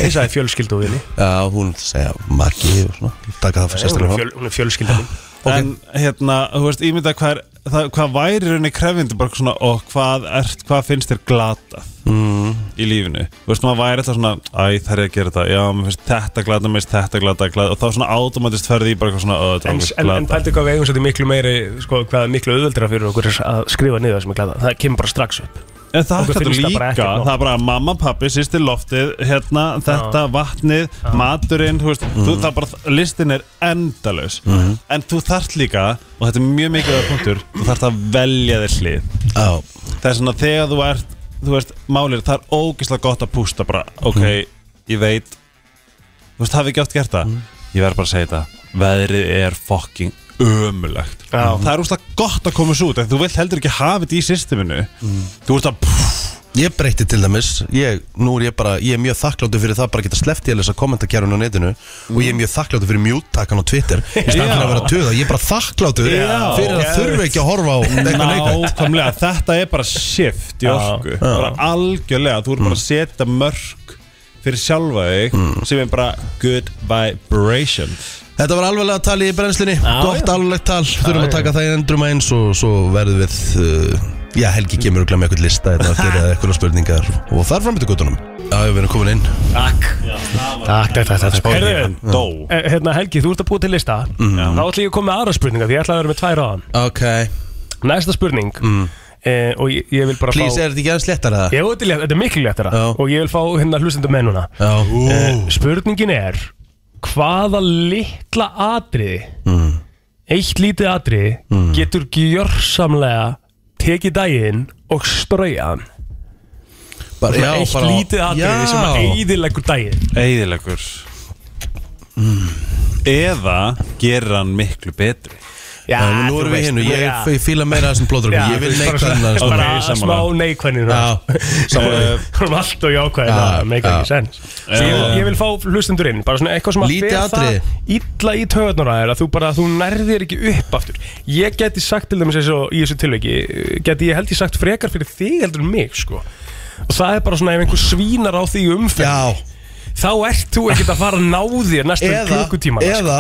Speaker 2: Ég sagði fjölskyldu og vinni,
Speaker 1: Já, hún segja Maggi og svona Taka það fyrir
Speaker 2: hún er,
Speaker 1: sérstaklega fram.
Speaker 2: fjöl, hún er fjölskylda mín.
Speaker 7: En hérna, þú veist, ímynda hvað er það, hvað væri í rauninni krefjandi bara svona, og hvað, ert, hvað finnst þér glatað Mm. í lífinu þú veist, maður væri alltaf svona, æ, það er að gera þetta já, maður finnst þetta glata, maður finnst þetta glata, glata og þá svona automatist ferði í bara eitthvað svona "Ó, þetta er
Speaker 2: En,
Speaker 7: alveg
Speaker 2: en, en
Speaker 7: glatað."
Speaker 2: pældu hvað við eigum svolítið miklu meiri, sko, hvað er miklu auðveldra fyrir okkur að skrifa niður það sem er glæða. Það kemur bara strax upp.
Speaker 7: En það hættu
Speaker 2: Okkur finnst það
Speaker 7: líka,
Speaker 2: bara ekkert nóg.
Speaker 7: það er bara mamma, pappi, sýsti loftið, hérna, þetta, vatnið, maturinn, þú veist, þú, það er bara, listin er endalaus. En þú þarft líka, og þetta er mjög mikilvæg punktur, þú þarft að velja þér hlið.
Speaker 1: Já,
Speaker 7: það er svona þegar þú ert þú veist, málir, það er ógeðslega gott að pústa bara, ok, ég veit þú veist, hafi ekki oft gert það ég verð bara að segja þetta veðrið er fucking ömulegt
Speaker 2: Já.
Speaker 7: Mm. það er úrslega gott að koma svo út en þú vilt heldur ekki hafa þetta í systeminu þú veist að pff,
Speaker 1: Ég breytti til dæmis ég, Nú er ég bara, ég er mjög þakkláttur fyrir það bara að geta sleppt í að lesa kommentarkerfinu á netinu og ég er mjög þakkláttur fyrir mjúttakan á Twitter í staðan fyrir að vera að töða, ég er bara þakkláttur
Speaker 7: Já.
Speaker 1: fyrir að þurfa ekki að horfa á eitthvað neikvægt
Speaker 7: Nákvæmlega, þetta er bara shift í orku bara algjörlega, þú er bara að
Speaker 1: Mm.
Speaker 7: setja mörg fyrir sjálfa þig sem er bara good vibration
Speaker 1: Þetta var alveglega tal í brennslinni Gott alveglegt tal, þurfum að taka það í endrum eins og svo verðum við uh, Já, Helgi kemur og glemja eitthvað lista eða eitthvað eitthvað spurningar og þar fram eftir guttunum Já, við erum komin inn
Speaker 8: Takk, takk, takk, takk
Speaker 2: Heyrðu,
Speaker 1: Mm.
Speaker 7: Dó
Speaker 2: eh, Hérna Helgi, þú ert að búa til lista Þá ætla ég að koma með aðra spurninga Því ég ætla að vera með tvær á hann
Speaker 1: Ok
Speaker 2: Næsta spurning eh, Og ég, ég vil bara
Speaker 1: Mm. Please,
Speaker 2: fá
Speaker 1: er þetta ekki aðeins léttar eða?
Speaker 2: Ég, þetta, er létt- þetta er miklu léttara
Speaker 1: Já.
Speaker 2: Og ég vil fá hérna hlustendum með núna
Speaker 1: Já
Speaker 2: Eh, Spurningin er Hvaða litla atriði Eitt lítið atriði
Speaker 1: Mm.
Speaker 2: Getur gjörsamlega Tekið daginn og strauja hann
Speaker 1: bara,
Speaker 2: Svona Eitt lítið atriði sem
Speaker 7: Ah.
Speaker 2: að eiðilegur daginn
Speaker 7: Eðilegur
Speaker 1: Mm.
Speaker 7: Eða gera hann miklu betri
Speaker 2: Já,
Speaker 1: Já, nú erum við hinnu, ég, ég fíla meira þessum
Speaker 2: Já,
Speaker 1: blóðdröfum, ég vil
Speaker 2: þú veist,
Speaker 1: neikvæðan
Speaker 2: bara,
Speaker 1: aðeins
Speaker 2: bara
Speaker 7: Ok,
Speaker 2: smá
Speaker 7: sammála.
Speaker 2: neikvæðin
Speaker 1: Já, samanlega
Speaker 2: Við erum alltaf jákvæðin
Speaker 1: Já,
Speaker 2: Það meikar
Speaker 1: já.
Speaker 2: ekki sens Svo ég, ég vil fá hlustendur inn Bara svona eitthvað sem að
Speaker 1: Lítið
Speaker 2: fer
Speaker 1: atriði.
Speaker 2: það Illa í töðunar að þér að Þú bara, þú nærðir ekki upp aftur Ég geti sagt til dæmis eins og í þessu tilveiki Geti ég held ég sagt frekar fyrir þig heldur en mig sko Og það er bara svona ef einhver svínar á því
Speaker 1: Já,
Speaker 2: umferð Þá ert þú ekkert að fara að ná þér næstu
Speaker 1: eða,
Speaker 2: klukkutíma
Speaker 1: eða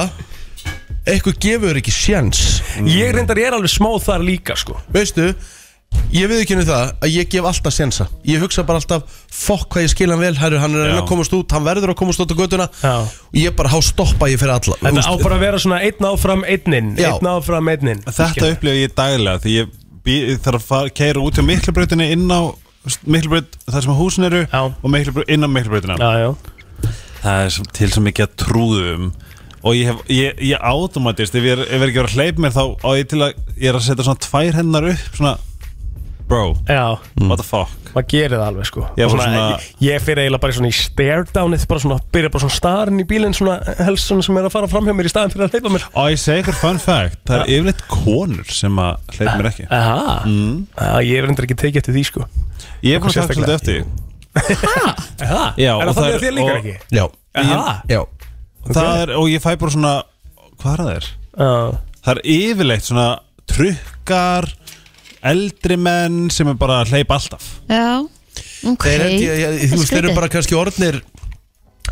Speaker 1: eitthvað gefur ekki sjans
Speaker 2: Ég reyndar ég er alveg smá þar líka sko
Speaker 1: Veistu, ég við ekki um það að ég gef alltaf sjensa Ég hugsa bara alltaf, fokk hvað ég skil hann vel Herru, hann er að reyna
Speaker 7: Já.
Speaker 1: að komast út, hann verður að komast út á göduna
Speaker 2: Já.
Speaker 1: Og ég bara há stoppa ég fyrir alla
Speaker 2: Þetta á
Speaker 1: Úst,
Speaker 2: bara að vera svona einn áfram einninn
Speaker 1: Já.
Speaker 2: Einn áfram einninn
Speaker 7: Þetta upplifa ég daglega því ég bý, þarf að fara, keira út á miklubrautinni inn á miklubraut þar sem húsin eru
Speaker 2: Já.
Speaker 7: og miklubraut, inn á miklubrautina
Speaker 2: Já, já
Speaker 7: það er svo- til svo mikið að trúðum um. og ég hef, ég, ég automatist ef ég er, ef ég er ekki að vera að hleyp mér þá á ég til að ég er að setja svona tvær hennar upp svona, bro,
Speaker 2: Já,
Speaker 7: what the fuck
Speaker 2: Mm. maður gerir það alveg sko
Speaker 7: Ég
Speaker 2: Og
Speaker 7: var
Speaker 2: svona,
Speaker 7: svona-
Speaker 2: ég, ég fyrir eiginlega bara svona í stare downið bara svona, byrja bara svona starinn í bílinn svona helst svona sem er að fara fram hjá mér í staðin fyrir að hleypa mér
Speaker 7: og ég segi ykkur fun fact, það er yfirleitt konur sem að hleyp mér ekki
Speaker 2: Aha, mm. ég er endur ekki tekið eftir því sko
Speaker 7: ég er búin að taka
Speaker 2: sérstaklega.
Speaker 7: svolítið eftir því.
Speaker 2: Aha,
Speaker 7: Já,
Speaker 2: er
Speaker 7: og
Speaker 2: það
Speaker 7: það
Speaker 2: þannig
Speaker 7: er-
Speaker 2: að þér líkar
Speaker 7: og-
Speaker 2: ekki?
Speaker 1: Já,
Speaker 2: Aha,
Speaker 1: já
Speaker 7: það er, og ég fæ bara svona hvað er það er?
Speaker 2: já,
Speaker 7: það er yfirleitt svona trukkar eldri menn sem er bara að hleypa alltaf
Speaker 3: Já, ok
Speaker 1: Þeir, held ég, ég, þú veist, þeir eru
Speaker 3: Skrítið.
Speaker 1: bara kannski orðnir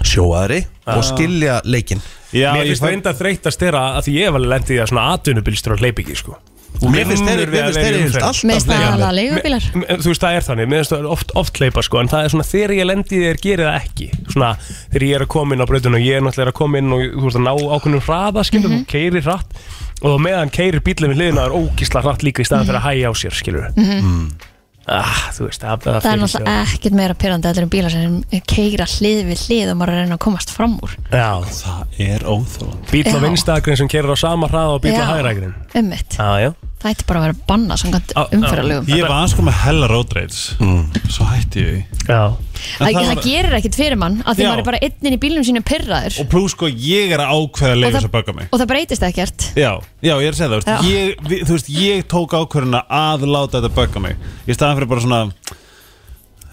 Speaker 1: sjóaðri og skilja leikinn
Speaker 7: Já,
Speaker 2: Ah. Mér
Speaker 7: ég
Speaker 2: finnst
Speaker 7: fæ-
Speaker 2: það enda þreytast þeirra að því ég var lendið í að svona atunubílstur að hleypa ekki sko
Speaker 1: Mér finnst þeir, mér finnst þeir, þeir alltaf
Speaker 3: Mér finnst það
Speaker 1: fleiri en við.
Speaker 3: alveg leigubílar
Speaker 2: M- Þú veist, það er þannig, mér finnst það oft, oft hleypa sko, en það er svona þegar ég lendi í þér gerir það ekki svona þegar ég er að koma inn á brautinu og ég er náttúrulega að koma inn og þú veist að ná ákveðnum hraða skilur,
Speaker 3: Mhm.
Speaker 2: mm -hmm. keirir hratt og þá meðan keirir bílum við hliðina það er ógisla hratt líka í staðan fyrir
Speaker 3: Mhm.
Speaker 2: að hæja á sér skilur
Speaker 7: Mm,
Speaker 2: ah, þú veist, það, það,
Speaker 3: Það er
Speaker 2: fyrir sig
Speaker 3: náttúrulega ekkert meira pyrrandi Þetta eru bílar sem keira hlið við hlið og maður er að reyna að komast fram úr
Speaker 2: Já,
Speaker 7: það er óþólandi
Speaker 2: bíl á
Speaker 3: Já.
Speaker 2: vinstakrin sem keirir á sama hraða og bíl á
Speaker 3: Já.
Speaker 2: hægrakrin
Speaker 3: Ummitt,
Speaker 2: Já, já
Speaker 3: það ætti bara að vera banna samkvæmt
Speaker 7: Ah,
Speaker 2: Á, á.
Speaker 3: umferðarlegum
Speaker 7: Ég var sko með hella road rage
Speaker 1: Mm.
Speaker 7: Svo hætti ég því.
Speaker 2: Já,
Speaker 7: en
Speaker 3: Það,
Speaker 7: það var-
Speaker 3: það gerir ekkert fyrir mann að því
Speaker 7: Já.
Speaker 3: maður er bara einn inn í bílnum sínu pyrraður
Speaker 7: Og plús sko ég er að ákveða að leifa þess að bögga mig
Speaker 3: og það breytist ekkert
Speaker 7: Já, já, ég er að segja það, veist,
Speaker 3: Já.
Speaker 7: ég, við, þú veist, ég tók ákveðuna að láta þetta bögga mig Í staðan fyrir bara svona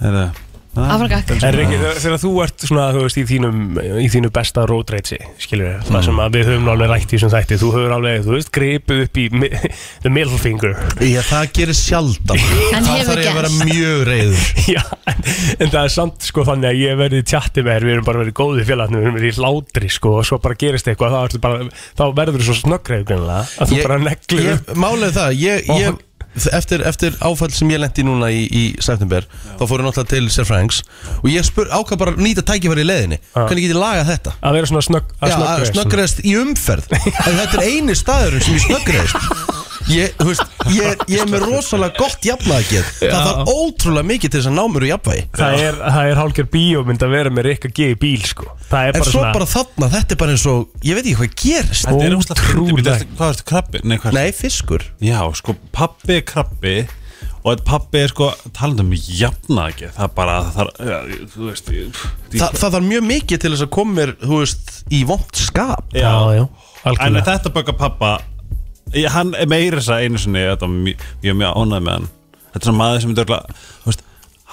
Speaker 7: Heyrðu, að-
Speaker 3: Afragak.
Speaker 7: þetta er
Speaker 2: en
Speaker 7: svona-
Speaker 2: Riki, þegar þegar þú ert svona, þú veist, í þínum, í þínu besta road rage skilur við, það sem að við höfum alveg rætt í þessum þætti, þú höfur alveg, þú veist, greipið upp í mi- the middle finger
Speaker 1: Já, það gerir sjaldan
Speaker 3: En
Speaker 1: Það
Speaker 3: hefur
Speaker 1: þarf ég að vera
Speaker 3: gerst.
Speaker 1: mjög reyður
Speaker 2: Já, en, en það er samt sko þannig að ég verði í tjatti með þér, við erum bara verið góði félagarnir, við erum verið í hlátri sko og svo bara gerist eitthvað, þá, ertu bara, þá verður þú svo snöggreif greinlega að þú bara neglir
Speaker 1: ég-
Speaker 2: upp
Speaker 1: Málið er það, ég, ég eftir, eftir áfall sem ég lendi núna í, í september, þá fór ég náttúrulega til sérfræðings og ég spur ákvað bara að nýta tækifæri í leðinni, hvernig get ég lagað þetta
Speaker 2: að vera svona snögg, að
Speaker 1: Já, að
Speaker 2: snöggreif
Speaker 1: snöggreðast í umferð en þetta er eini staðurinn sem ég snöggreðast Ég, þú veist, ég, er- ég er með rosalega gott jafnvægið Það þarf ótrúlega mikið til þess að ná mér úr jafnvægi
Speaker 2: Það er, það er hálkjör bíómynd að vera með Rikka G í bíl sko Það er
Speaker 1: En
Speaker 2: bara
Speaker 1: svo
Speaker 2: svona
Speaker 1: bara þarna, þetta er bara eins og Ég veit ekki hvað gerist
Speaker 7: Þetta er óslega
Speaker 2: ótrúlegt.
Speaker 7: fyndi Hvað ertu krabbi? Nei, hvað
Speaker 1: Nei, fiskur
Speaker 7: Já, sko, pabbi er krabbi Og þetta pabbi er sko, talandi um jafna ekki Það er bara, það er, já, þú veist ég,
Speaker 1: Þa, Það þarf mjög mikið til þess að koma mér, þú veist, í vond skap
Speaker 2: Já, já,
Speaker 7: En
Speaker 2: algjörlega
Speaker 7: þetta böggar pappa ég, Hann er meira þess að einu sinni Þetta var mjög, mjög, mjög ánægð með hann Þetta er svona maður sem er dörla veist,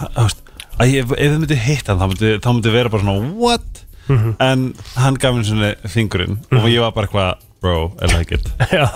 Speaker 7: hann- þú veist, að ég- ef ef þið myndi hitta hann þá myndi, þá myndi vera bara svona what
Speaker 2: Mhm.
Speaker 7: en hann gaf mér svona fingurinn og ég var bara eitthvað bro, I like it
Speaker 2: Já,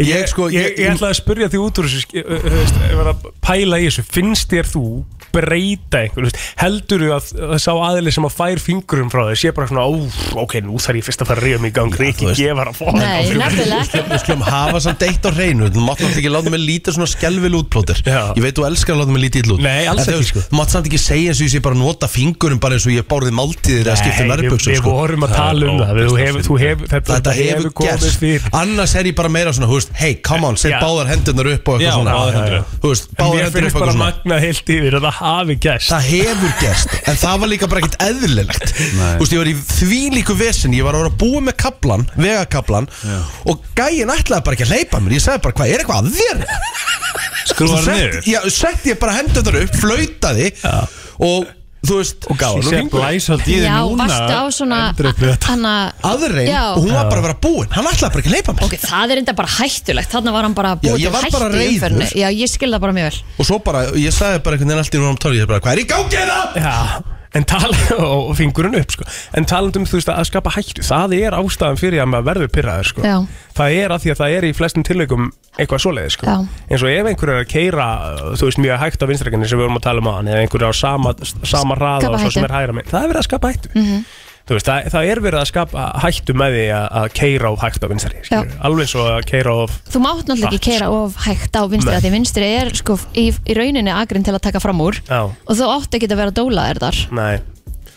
Speaker 2: ég,
Speaker 1: Ég sko-
Speaker 2: ég,
Speaker 1: ég-
Speaker 2: ég ætlaði að spyrja því út úr þessu sk- ö- ö- veist, ég var að pæla í þessu, finnst þér þú breyta einhver, veist, heldur þú að að sá aðili sem að fær fingurum frá þér sé bara svona, ó, ok, nú þarf ég fyrst að fara að ríða mig í gang,
Speaker 1: þú
Speaker 2: Riki
Speaker 1: veist.
Speaker 2: gefar að fá
Speaker 3: Nei, nefnilega ekki
Speaker 1: Við skulum hafa samt eitt á hreinu Þú mátt náttúrulega ekki láta mig lítið svona skelvil út plóter
Speaker 2: Já.
Speaker 1: Ég veit þú elskar að láta mig lítið illa út
Speaker 2: Nei, alls
Speaker 1: En þú
Speaker 2: ekki,
Speaker 1: veist,
Speaker 2: sko.
Speaker 1: Þú mátt samt ekki segja eins og ég sé bara að nota fingurum bara eins og ég bárði máltíðir að skipta um
Speaker 2: Nei, við,
Speaker 1: nærbjöksum
Speaker 2: við vorum að tala um það, þú hefur, þú hefur, þetta,
Speaker 1: Þetta hefur
Speaker 2: komið
Speaker 1: gerst
Speaker 2: fyrir.
Speaker 1: Annars er ég bara meira svona, hú veist, hey, come on Sett
Speaker 2: Já.
Speaker 1: báðar hendurnar upp og
Speaker 7: Já,
Speaker 1: eitthvað svona
Speaker 7: báðar hendur
Speaker 1: já. Þú veist,
Speaker 2: En
Speaker 1: báðar
Speaker 2: mér
Speaker 1: hendur
Speaker 2: finnst
Speaker 1: upp og
Speaker 2: bara
Speaker 1: eitthvað svona
Speaker 2: magnað heilt yfir að það hafi gerst.
Speaker 1: Það hefur gerst, en það var líka bara ekkert eðlilegt Þú veist, ég var í því líku vesin Ég var að vera að búa með kaplan, vegakaplan Og gæin ætlaði bara ekki að hleypa mér Ég sagði bara, hvað er eitthvað að þér?
Speaker 7: skrúar
Speaker 1: sett,
Speaker 7: niður
Speaker 1: já, sett ég bara hendur þar upp, flautaði Og þú veist og
Speaker 2: gáði honum fingur.
Speaker 7: blæsald
Speaker 3: Já, varstu á svona Hanna
Speaker 1: Aðrein,
Speaker 3: Já.
Speaker 1: og hún var bara að vera búin Hann ætlaði bara ekki að leipa mér
Speaker 3: Ok, það er enda bara hættulegt Þannig var hann bara
Speaker 1: Já,
Speaker 3: búið
Speaker 1: ég
Speaker 3: til
Speaker 1: var bara
Speaker 3: hættu í umferðinu
Speaker 1: reiður.
Speaker 3: Já, ég skil það bara mjög vel
Speaker 1: Og svo bara, ég sagði bara einhvern veginn allt í núna um tóli Ég bara, hvað er í gangi það?
Speaker 2: Já, en tala og og fingurinn upp sko. en talandum þú veist að skapa hættu það er ástæðan fyrir að maður verður pyrraður sko.
Speaker 3: Já.
Speaker 2: það er að því að það er í flestum tilleikum eitthvað svoleiði sko.
Speaker 3: Já.
Speaker 2: eins og ef einhver er að keira þú veist mjög hægt á vinstreikinu sem við vorum að tala um aðan eða einhver er á sama, sama hraða
Speaker 3: Skapa
Speaker 2: og svo sem
Speaker 3: hættu.
Speaker 2: er hægra með það er verið að skapa hættu
Speaker 1: Mhm.
Speaker 2: Þú Veist, það, það er verið að skapa hættu með því að, að keira of hægt á vinstri skilurðu.
Speaker 3: Já.
Speaker 2: alveg svo að keira of
Speaker 3: Þú mátt náttúrulega ekki
Speaker 2: Hratt,
Speaker 3: keira
Speaker 1: sko.
Speaker 3: of hægt á vinstri af Því vinstri er sko í, í rauninni agrinn til að taka fram úr
Speaker 2: já,
Speaker 3: Og þú átt ekki að vera dólaðir þar
Speaker 2: nei,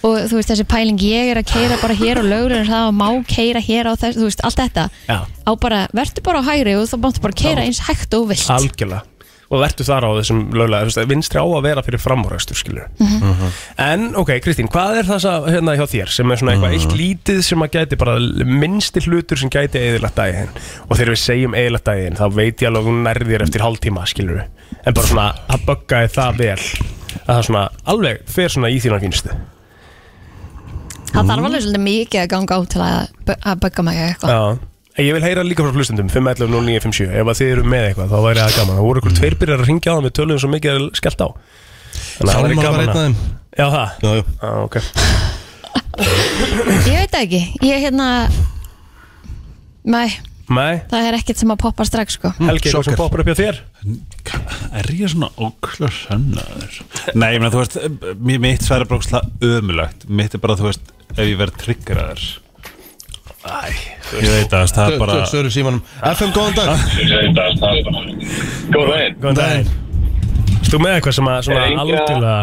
Speaker 3: Og þú veist þessi pæling Ég er að keira bara hér og lögur En það og má keira hér á þess Þú veist allt þetta
Speaker 2: Já.
Speaker 3: Á bara, verður bara á hægri Og þú máttu bara keira eins hægt og vilt
Speaker 2: algjörlega og verður þar á þessum löglega þú veist, vinstri á að vera fyrir framúræstur skilur
Speaker 1: Uh-huh.
Speaker 2: en ok, Kristín, hvað er það sem- hérna hjá þér sem er svona eitthvað eitt lítið sem að gæti bara minnsti hlutur sem gæti eðilagt daginn og þegar við segjum eðilagt daginn þá veit ég alveg að hún nærðir eftir hálftíma skilur en bara svona að böggaði það vel að það svona alveg fer svona í þína fínstu
Speaker 3: Það þarf alveg svolítið mikið að ganga á Til að, bö- að bögga mig eitthvað
Speaker 2: Já, en ég vil heyra líka frá hlustendum 511 0957, ef að þið eru með eitthvað þá væri það gaman, það voru ykkur tveir byrjar að ringja á það við töluðum svo mikið að skellt á Þannig að það væri
Speaker 1: Hjálmar var
Speaker 2: gaman
Speaker 1: einn af
Speaker 2: að-
Speaker 1: þeim
Speaker 2: Já, það?
Speaker 1: Já, já.
Speaker 2: Já, ok
Speaker 3: Ég veit það ekki Ég hérna Nei,
Speaker 2: Nei,
Speaker 3: það er ekkert sem að poppa strax sko
Speaker 2: Helgi, eitthvað sem
Speaker 1: sjokker.
Speaker 2: poppar upp hjá þér
Speaker 7: er ég svona ókla sönnaður nei, ég meina, þú veist, mér mitt sværa bróksla ömulegt, mitt er bara, þú veist ef ég verð triggeraður Æ, ég veit að það er bara
Speaker 1: Söru Símanum FM, góðan dag
Speaker 6: Góð veginn
Speaker 2: Góðan
Speaker 1: Nei.
Speaker 2: daginn Ertu með eitthvað sem að svona
Speaker 6: Enga-
Speaker 2: algjörlega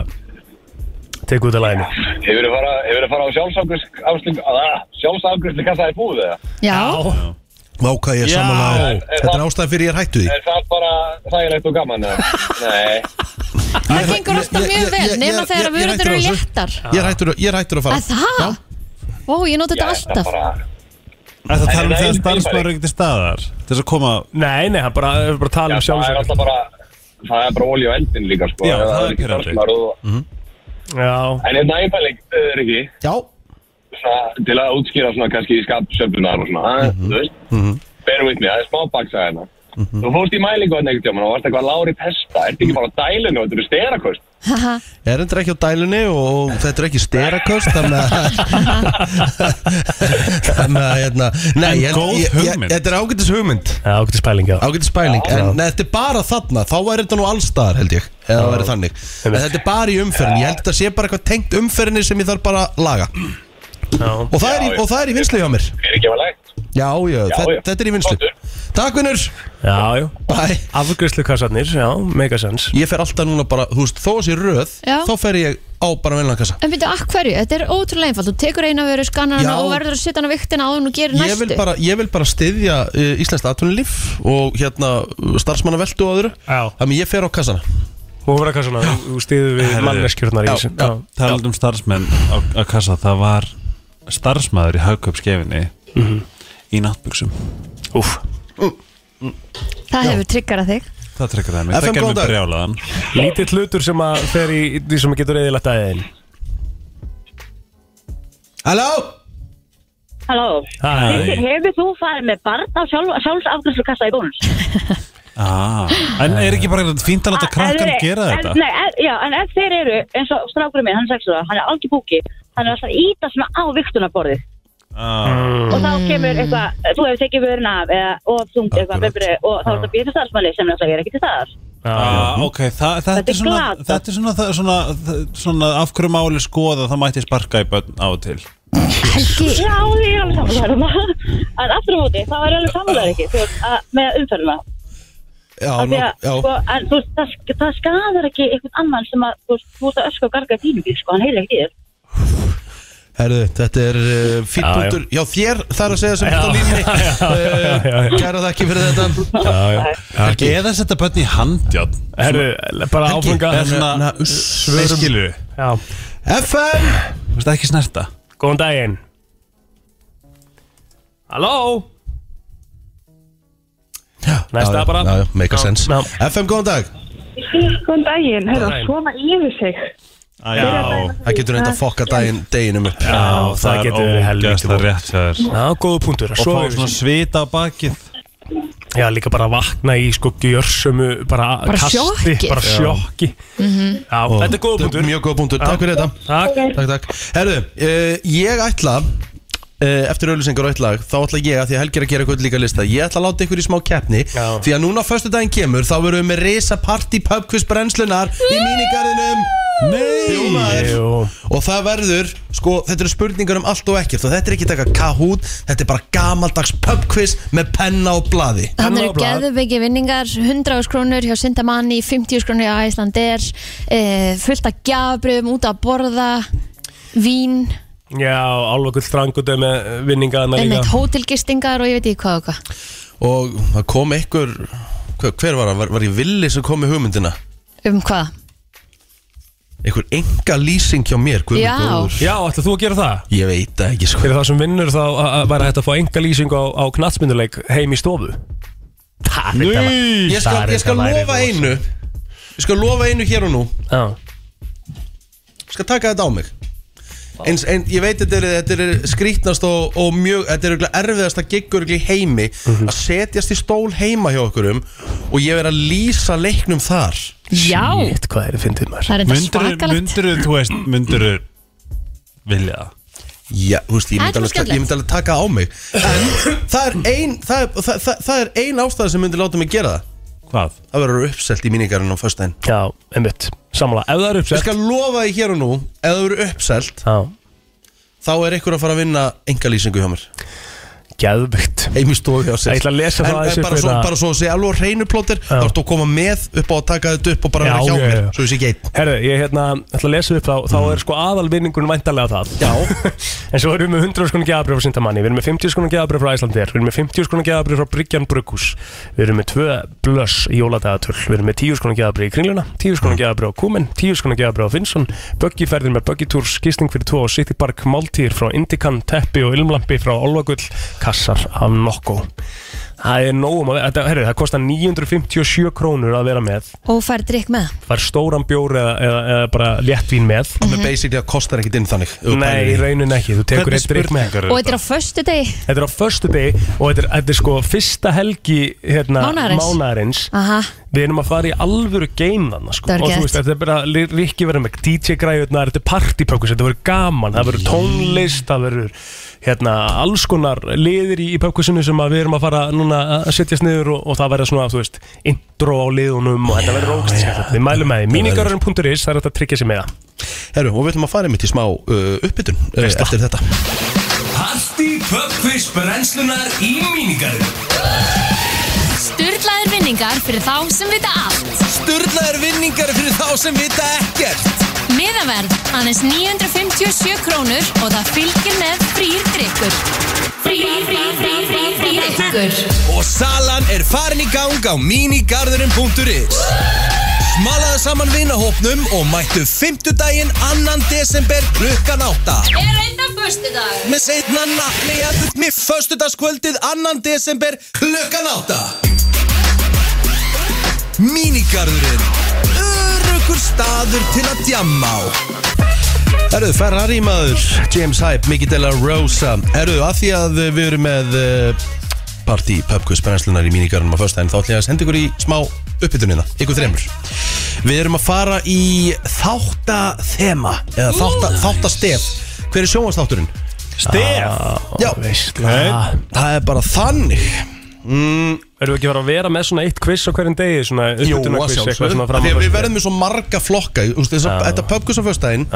Speaker 2: tekur út af læginu?
Speaker 6: Hefur þið fara, hefur þið fara á sjálfsangurstu kassa í búið eða?
Speaker 3: Já,
Speaker 1: Vá, hvað ég er samanlega Þetta er ástæði fyrir ég er hættu því
Speaker 6: Er það bara þægilegt og gaman eða? Nei,
Speaker 3: það gengur alltaf
Speaker 1: Ég-
Speaker 3: mjög
Speaker 1: ég-
Speaker 3: vel
Speaker 1: ég-
Speaker 3: Nefna
Speaker 1: ég-
Speaker 3: þegar
Speaker 1: ég-
Speaker 3: að
Speaker 1: ég er
Speaker 3: vörundur eru
Speaker 1: hættur á þessu.
Speaker 3: léttar
Speaker 1: Ég er hættur- ég er hættur að fara
Speaker 3: Að það? Ó, ég nota þetta alltaf
Speaker 7: Það tala um
Speaker 6: Nei,
Speaker 7: þegar
Speaker 6: nei,
Speaker 7: starfsmaður er ekki til staðar til þess að koma
Speaker 2: Nei, nei, hann bara, við bara tala um
Speaker 6: það er
Speaker 2: sjálfsögur
Speaker 6: alltaf bara það er bara olí á eldin líka sko.
Speaker 7: Já, það er
Speaker 6: ekki
Speaker 7: pirrandi.
Speaker 6: starfsmaður og-
Speaker 2: Mhm. Já,
Speaker 6: En hérna, þetta einbæling, Riki
Speaker 1: Já,
Speaker 6: svona, til að útskýra svona kannski í skapsöfnunar og svona, eh,
Speaker 2: Mhm.
Speaker 6: þú veist bear with me, það er smá baksaga hérna Þú fórst í mælingu hann einhvern tímann og varst eitthvað lári pesta, ertu ekki bara á dælinu og þetta eru sterakost
Speaker 3: Haha,
Speaker 1: er þetta ekki á dælunni og þetta er ekki steraköst þannig að þannig að hérna nei,
Speaker 7: En
Speaker 1: ég held-
Speaker 7: góð
Speaker 1: ég- ég-
Speaker 7: hugmynd.
Speaker 1: þetta er ágætis hugmynd
Speaker 2: já, okkur til spælingi á
Speaker 1: ágætis spæling en nei, þetta er bara þarna þá væri þetta nú allstaðar held ég eða það væri þannig en þetta er bara í umferðin ég held að þetta sé bara eitthvað tengt umferðinni sem ég þarf bara að laga
Speaker 2: Já,
Speaker 1: og það er í, og það er í vinslu hjá mér
Speaker 6: er ekki alveg
Speaker 1: já, já, þetta,
Speaker 6: já.
Speaker 1: þetta er í vinslu
Speaker 6: Flottur.
Speaker 1: takk vinnur
Speaker 2: já, já.
Speaker 1: bæ
Speaker 2: Afgriðslu kassarnir, já, megasens
Speaker 1: ég fer alltaf núna bara þú veist þó að sé röð
Speaker 3: Já.
Speaker 1: þá fer ég á bara veinlankassa
Speaker 3: en byrju, af hverju? Þetta er ótrúlega einfalt Þú tekur eina vöru skannarana
Speaker 1: Já.
Speaker 3: og verður að setja hana á viktina áður og gerir
Speaker 1: Ég vil
Speaker 3: næstu
Speaker 1: bara, ég vil bara styðja uh, Íslenskt atvinnulíf og hérna starfsmannaveldu og öðru
Speaker 2: Já.
Speaker 1: Þannig ég fer á kassana
Speaker 2: Þú verður eitthvað svona, þú stiður við manneskjurnar í
Speaker 1: Já,
Speaker 2: þessu
Speaker 1: já.
Speaker 2: Já.
Speaker 7: talað um starfsmenn á, á kassa það var starfsmaður í haugköpskefinni í náttbuksum
Speaker 2: Mhm. Úff,
Speaker 3: Það hefur triggerað þig
Speaker 7: það trekkar það mig, það
Speaker 1: FM,
Speaker 7: gerði
Speaker 1: góðan
Speaker 7: mig
Speaker 1: dag.
Speaker 7: brjálaðan
Speaker 2: lítill hlutur sem að fer í því sem getur eðilagt aðeðin
Speaker 1: Halló?
Speaker 9: Halló,
Speaker 2: Hæ,
Speaker 9: hefur þú farið með barn á sjálf, sjálfsafgjörslu kassa í bónus?
Speaker 7: ah. En er ekki bara fínt að láta krakkan
Speaker 9: En-
Speaker 7: gera
Speaker 9: en-
Speaker 7: þetta?
Speaker 9: Nei, en- já, en ef þeir eru eins og strákurinn minn, hann er sexuða, hann er algjör búki hann er alltaf að íta svona á viktunaborðið
Speaker 7: Ah.
Speaker 9: og þá kemur eitthvað, þú hefur tekið vörun af eða, og þungt eitthvað,
Speaker 7: Akkurat.
Speaker 9: bebri, og þá er þetta býðið til starfsmanni sem náttúrulega er ekki til staðar
Speaker 7: Ah, ok, Þa, þetta,
Speaker 9: Þetta
Speaker 7: er
Speaker 9: er
Speaker 7: svona,
Speaker 9: glatað.
Speaker 7: þetta er svona, það- svona, það- svona af hverju máli skoða það mætti sparka í börn á og til
Speaker 3: Helgi,
Speaker 9: Já, ég er alveg samfélagur um það en aftur á móti, þá er ég alveg samfélagur ekki þú veist, að- með umferðina
Speaker 1: Já,
Speaker 9: Af
Speaker 1: nú,
Speaker 9: því að,
Speaker 1: já,
Speaker 9: sko, en þú veist, það, sk- það skadar ekki einhvern annan sem að, þú veist, þú veist að ösku og garga í þínum bíl, sko, hann heyrir ekki í þér
Speaker 1: herðu, þetta er uh, fýtt
Speaker 2: Já, já.
Speaker 1: punktur Já, þér þar að segja sem þetta á
Speaker 2: já, já, já, já.
Speaker 1: línni Eh, Kæra þakki fyrir þetta
Speaker 2: Já, já.
Speaker 7: Helgi. Eða setja börn í handjárn
Speaker 2: Herru, bara áfanga
Speaker 7: Eða svona
Speaker 2: svörum.
Speaker 7: svörum
Speaker 2: Já.
Speaker 1: FM
Speaker 7: Þú veist ekki snerta
Speaker 2: Góðan daginn Halló Næsta
Speaker 1: Já, já,
Speaker 2: bara.
Speaker 1: já, já, Make a
Speaker 2: Já,
Speaker 1: sense
Speaker 2: já.
Speaker 1: FM, góðan dag
Speaker 10: Góðan daginn,
Speaker 2: Góðan
Speaker 10: hérna,
Speaker 2: daginn.
Speaker 10: svona yfir sig
Speaker 7: Já,
Speaker 1: Það getur reynda að fokka daginn, deginum upp
Speaker 2: Já, það getur verið helvíti
Speaker 7: Það er rétt hjá þér
Speaker 2: Já, góða punktur að
Speaker 7: Og
Speaker 2: sofa
Speaker 7: fá
Speaker 2: yfir
Speaker 7: svona
Speaker 2: sig.
Speaker 7: svita á bakið
Speaker 2: Já, líka bara vakna í sko gjörsömu bara,
Speaker 3: Bara
Speaker 2: kasti,
Speaker 3: sjokki. Mhm.
Speaker 2: bara sjokki Já, þetta er góða punktur
Speaker 1: Mjög góða punktur, takk fyrir þetta
Speaker 2: Takk
Speaker 1: Takk, takk Herðu, uh, ég ætla uh, Eftir auðlýsingar og eitt lag Þá ætla ég að því að Helgi er að gera eitthvað líka lista Ég ætla að láta ykkur í smá keppni
Speaker 2: Já.
Speaker 1: Því að núna á föstu daginn kemur Þá verðum við með risa party pub quiz brennslunar Í mínigarðinum Jú, maður.
Speaker 2: Jú.
Speaker 1: Og það verður, sko, þetta eru spurningar um allt og ekkert Og þetta er ekki taka kahút Þetta er bara gamaldags pub quiz Með penna og blaði
Speaker 2: Hann
Speaker 3: Hann
Speaker 2: á
Speaker 3: eru
Speaker 2: blað.
Speaker 3: geðveiki vinningar, 100 krónur hjá Sindamanni, 50 krónur hjá Æslander, e, fullt af gjafabröfum út að borða, vín,
Speaker 2: Já, álfakull strangutu með eh, vinningaðna líka
Speaker 3: einmitt hótelgistingar og ég veit ekki hvað og hvað.
Speaker 1: Og það kom ykkur Hver, hver var það? Var, var ég villi sem kom með hugmyndina?
Speaker 3: Um hvað?
Speaker 1: Einhver enga lýsing hjá mér guð minn
Speaker 3: Já.
Speaker 1: góður.
Speaker 2: Já, ætla þú að gera það?
Speaker 1: Ég veit það ekki sko
Speaker 2: Fyrir það sem vinnur þá að- að væri hægt að fá enga lýsing á, á knatsmynduleik heim í stofu Það er þetta
Speaker 1: Ég skal, ég skal lofa einu Ég skal lofa einu hér og nú
Speaker 2: Já,
Speaker 1: Ég skal taka þetta á mig Eins, en, Ég veit þetta er, þetta er skrítnast og, og mjög Þetta er örugglega erfiðasta giggur í heimi
Speaker 2: Mhm.
Speaker 1: Að setjast í stól heima hjá okkurum Og ég er að lýsa leiknum þar
Speaker 3: Já,
Speaker 2: Shit, hvað er það fyndið maður
Speaker 3: það er enda svakalegt.
Speaker 7: Mundur þú veist, mundur Vilja það
Speaker 1: Já, þú veist, ég myndi,
Speaker 3: Það er
Speaker 1: alveg,
Speaker 3: skemmtilegt.
Speaker 1: ég myndi alveg taka á mig En það er ein Það er, það, það, það er ein ástæða sem myndi láta mig gera það
Speaker 7: Hvað?
Speaker 1: Það verður uppselt í míningarinn á föstudaginn
Speaker 2: Já, einmitt, samanlega, ef það er
Speaker 1: Ég
Speaker 2: uppsett
Speaker 1: skal lofa því hér og nú Ef það verður uppselt
Speaker 2: Já,
Speaker 1: Þá er ykkur að fara að vinna enga lýsingu hjá mér
Speaker 2: geðvikt
Speaker 1: heim í stofu hjá sér
Speaker 2: Ég ætla að lesa það
Speaker 1: en,
Speaker 2: aðeins
Speaker 1: en
Speaker 2: upp hérna.
Speaker 1: bara,
Speaker 2: við
Speaker 1: svo,
Speaker 2: það.
Speaker 1: bara svo að segja alveg reynuplótir þá
Speaker 2: Já.
Speaker 1: ertu að koma með upp á að taka þetta upp og bara
Speaker 2: Já,
Speaker 1: vera hjá
Speaker 2: já,
Speaker 1: mér
Speaker 2: já.
Speaker 1: svo þessi ekki einn Mm.
Speaker 2: Herru, ég hérna, ætla að lesa upp þá, þá er sko aðalvinningun væntalega það
Speaker 1: Já.
Speaker 2: En svo erum við með 100 skona geðabrif frá Sintamanni, við erum með 50 skona geðabrif frá Æslandir, við erum með 50 skona geðabrif frá Bryggjan Brugghús, við erum með 2 blöss í jóladagatöl, við erum með 10 skona geðabrif í Kringluna, 10
Speaker 1: Mm.
Speaker 2: skona geðabrif á Kúmen, 10 skona geðabrif á Finnsson, böggiferðir með böggitúrs, gisting fyrir 2 á City Park, máltíðir frá Indikan, teppi og ilmlampi frá Olvagull, kassar af Nokko. Það er nógum að vera, þetta- herru, það kostar 957 krónur að vera með,
Speaker 3: Og fær drikk með.
Speaker 2: það er stóran bjór eða, eða, eða bara léttvín með.
Speaker 1: mm -hmm. basically að kostar ekkit inn þannig ef þú
Speaker 2: Nei, í
Speaker 1: pælir í því.
Speaker 2: raunin ekki, þú tekur eitt drikk með.
Speaker 7: spurningar
Speaker 3: Og þetta er á föstu degi.
Speaker 2: Þetta er á förstu deg og þetta er, þetta er sko fyrsta helgi hérna,
Speaker 3: Mánaðarins.
Speaker 2: mánaðarins.
Speaker 3: Aha,
Speaker 2: Við erum að fara í alvöru game þannig sko.
Speaker 3: Það er
Speaker 2: Og þú
Speaker 3: gett.
Speaker 2: veist, þetta er bara Rikki verður með DJ-græðunar Þetta er partypökkus, þetta verður gaman Það verður tónlist, það verður hérna, alls konar liðir í, í pökkusinu sem að við erum að fara núna að setjast niður og, og það verður svona, þú veist, intro á liðunum og þetta verður ógst Við mælum með því, mínigarurinn.is, það er þetta að tryggja sig með það
Speaker 1: Herru, og við ætlum að fara einmitt í smá uh, uppbytun uh, eftir þetta
Speaker 4: Parti Pökkvís brennslunar í mínigarð
Speaker 11: Sturlaðir vinningar fyrir þá sem vita allt.
Speaker 1: Sturlaður vinningar fyrir þá sem vita ekkert
Speaker 11: Miðaverð, aðeins 957 krónur og það fylgir með frýr drikkur. Frýr, frýr, frýr, frýr, frýr drikkur.
Speaker 1: og salan er farin í gang á minigarðurinn.is Smalaðu saman vinahópnum og mættu 5. daginn 2. desember klukkan 8
Speaker 11: Er reynda fyrstu dag.
Speaker 1: með setna nafni í aðlut með föstudagskvöldið 2. desember klukkan 8 Mínigarðurinn Örugur staður til að djamma á Herruðu, Ferrari maður, James Hype, Miki Della Rosa Herruðu, að því að við erum með uh, partí pubquiz brennslunar í mínigarunum á föstudaginn þá ætlum ég að senda ykkur í smá uppbytunina, ykkur þremur Við erum að fara í þáttathema eða þátta, þáttastef Hver er sjónvastátturinn?
Speaker 2: Stef?
Speaker 1: Já,
Speaker 2: Nei.
Speaker 1: það er bara þannig
Speaker 2: mm. Erum við ekki verið að vera með svona eitt quiz á hverjum degi Svona
Speaker 1: Jú, að
Speaker 2: uppbytunarquiz, eitthvað
Speaker 1: sjálfsögðu
Speaker 2: svona
Speaker 1: Af
Speaker 2: fram á
Speaker 1: Því að við
Speaker 2: föstudaginn?
Speaker 1: verðum með svo marga flokka þú veist, þessa-
Speaker 2: Já.
Speaker 1: Þetta pubquiz á föstudaginn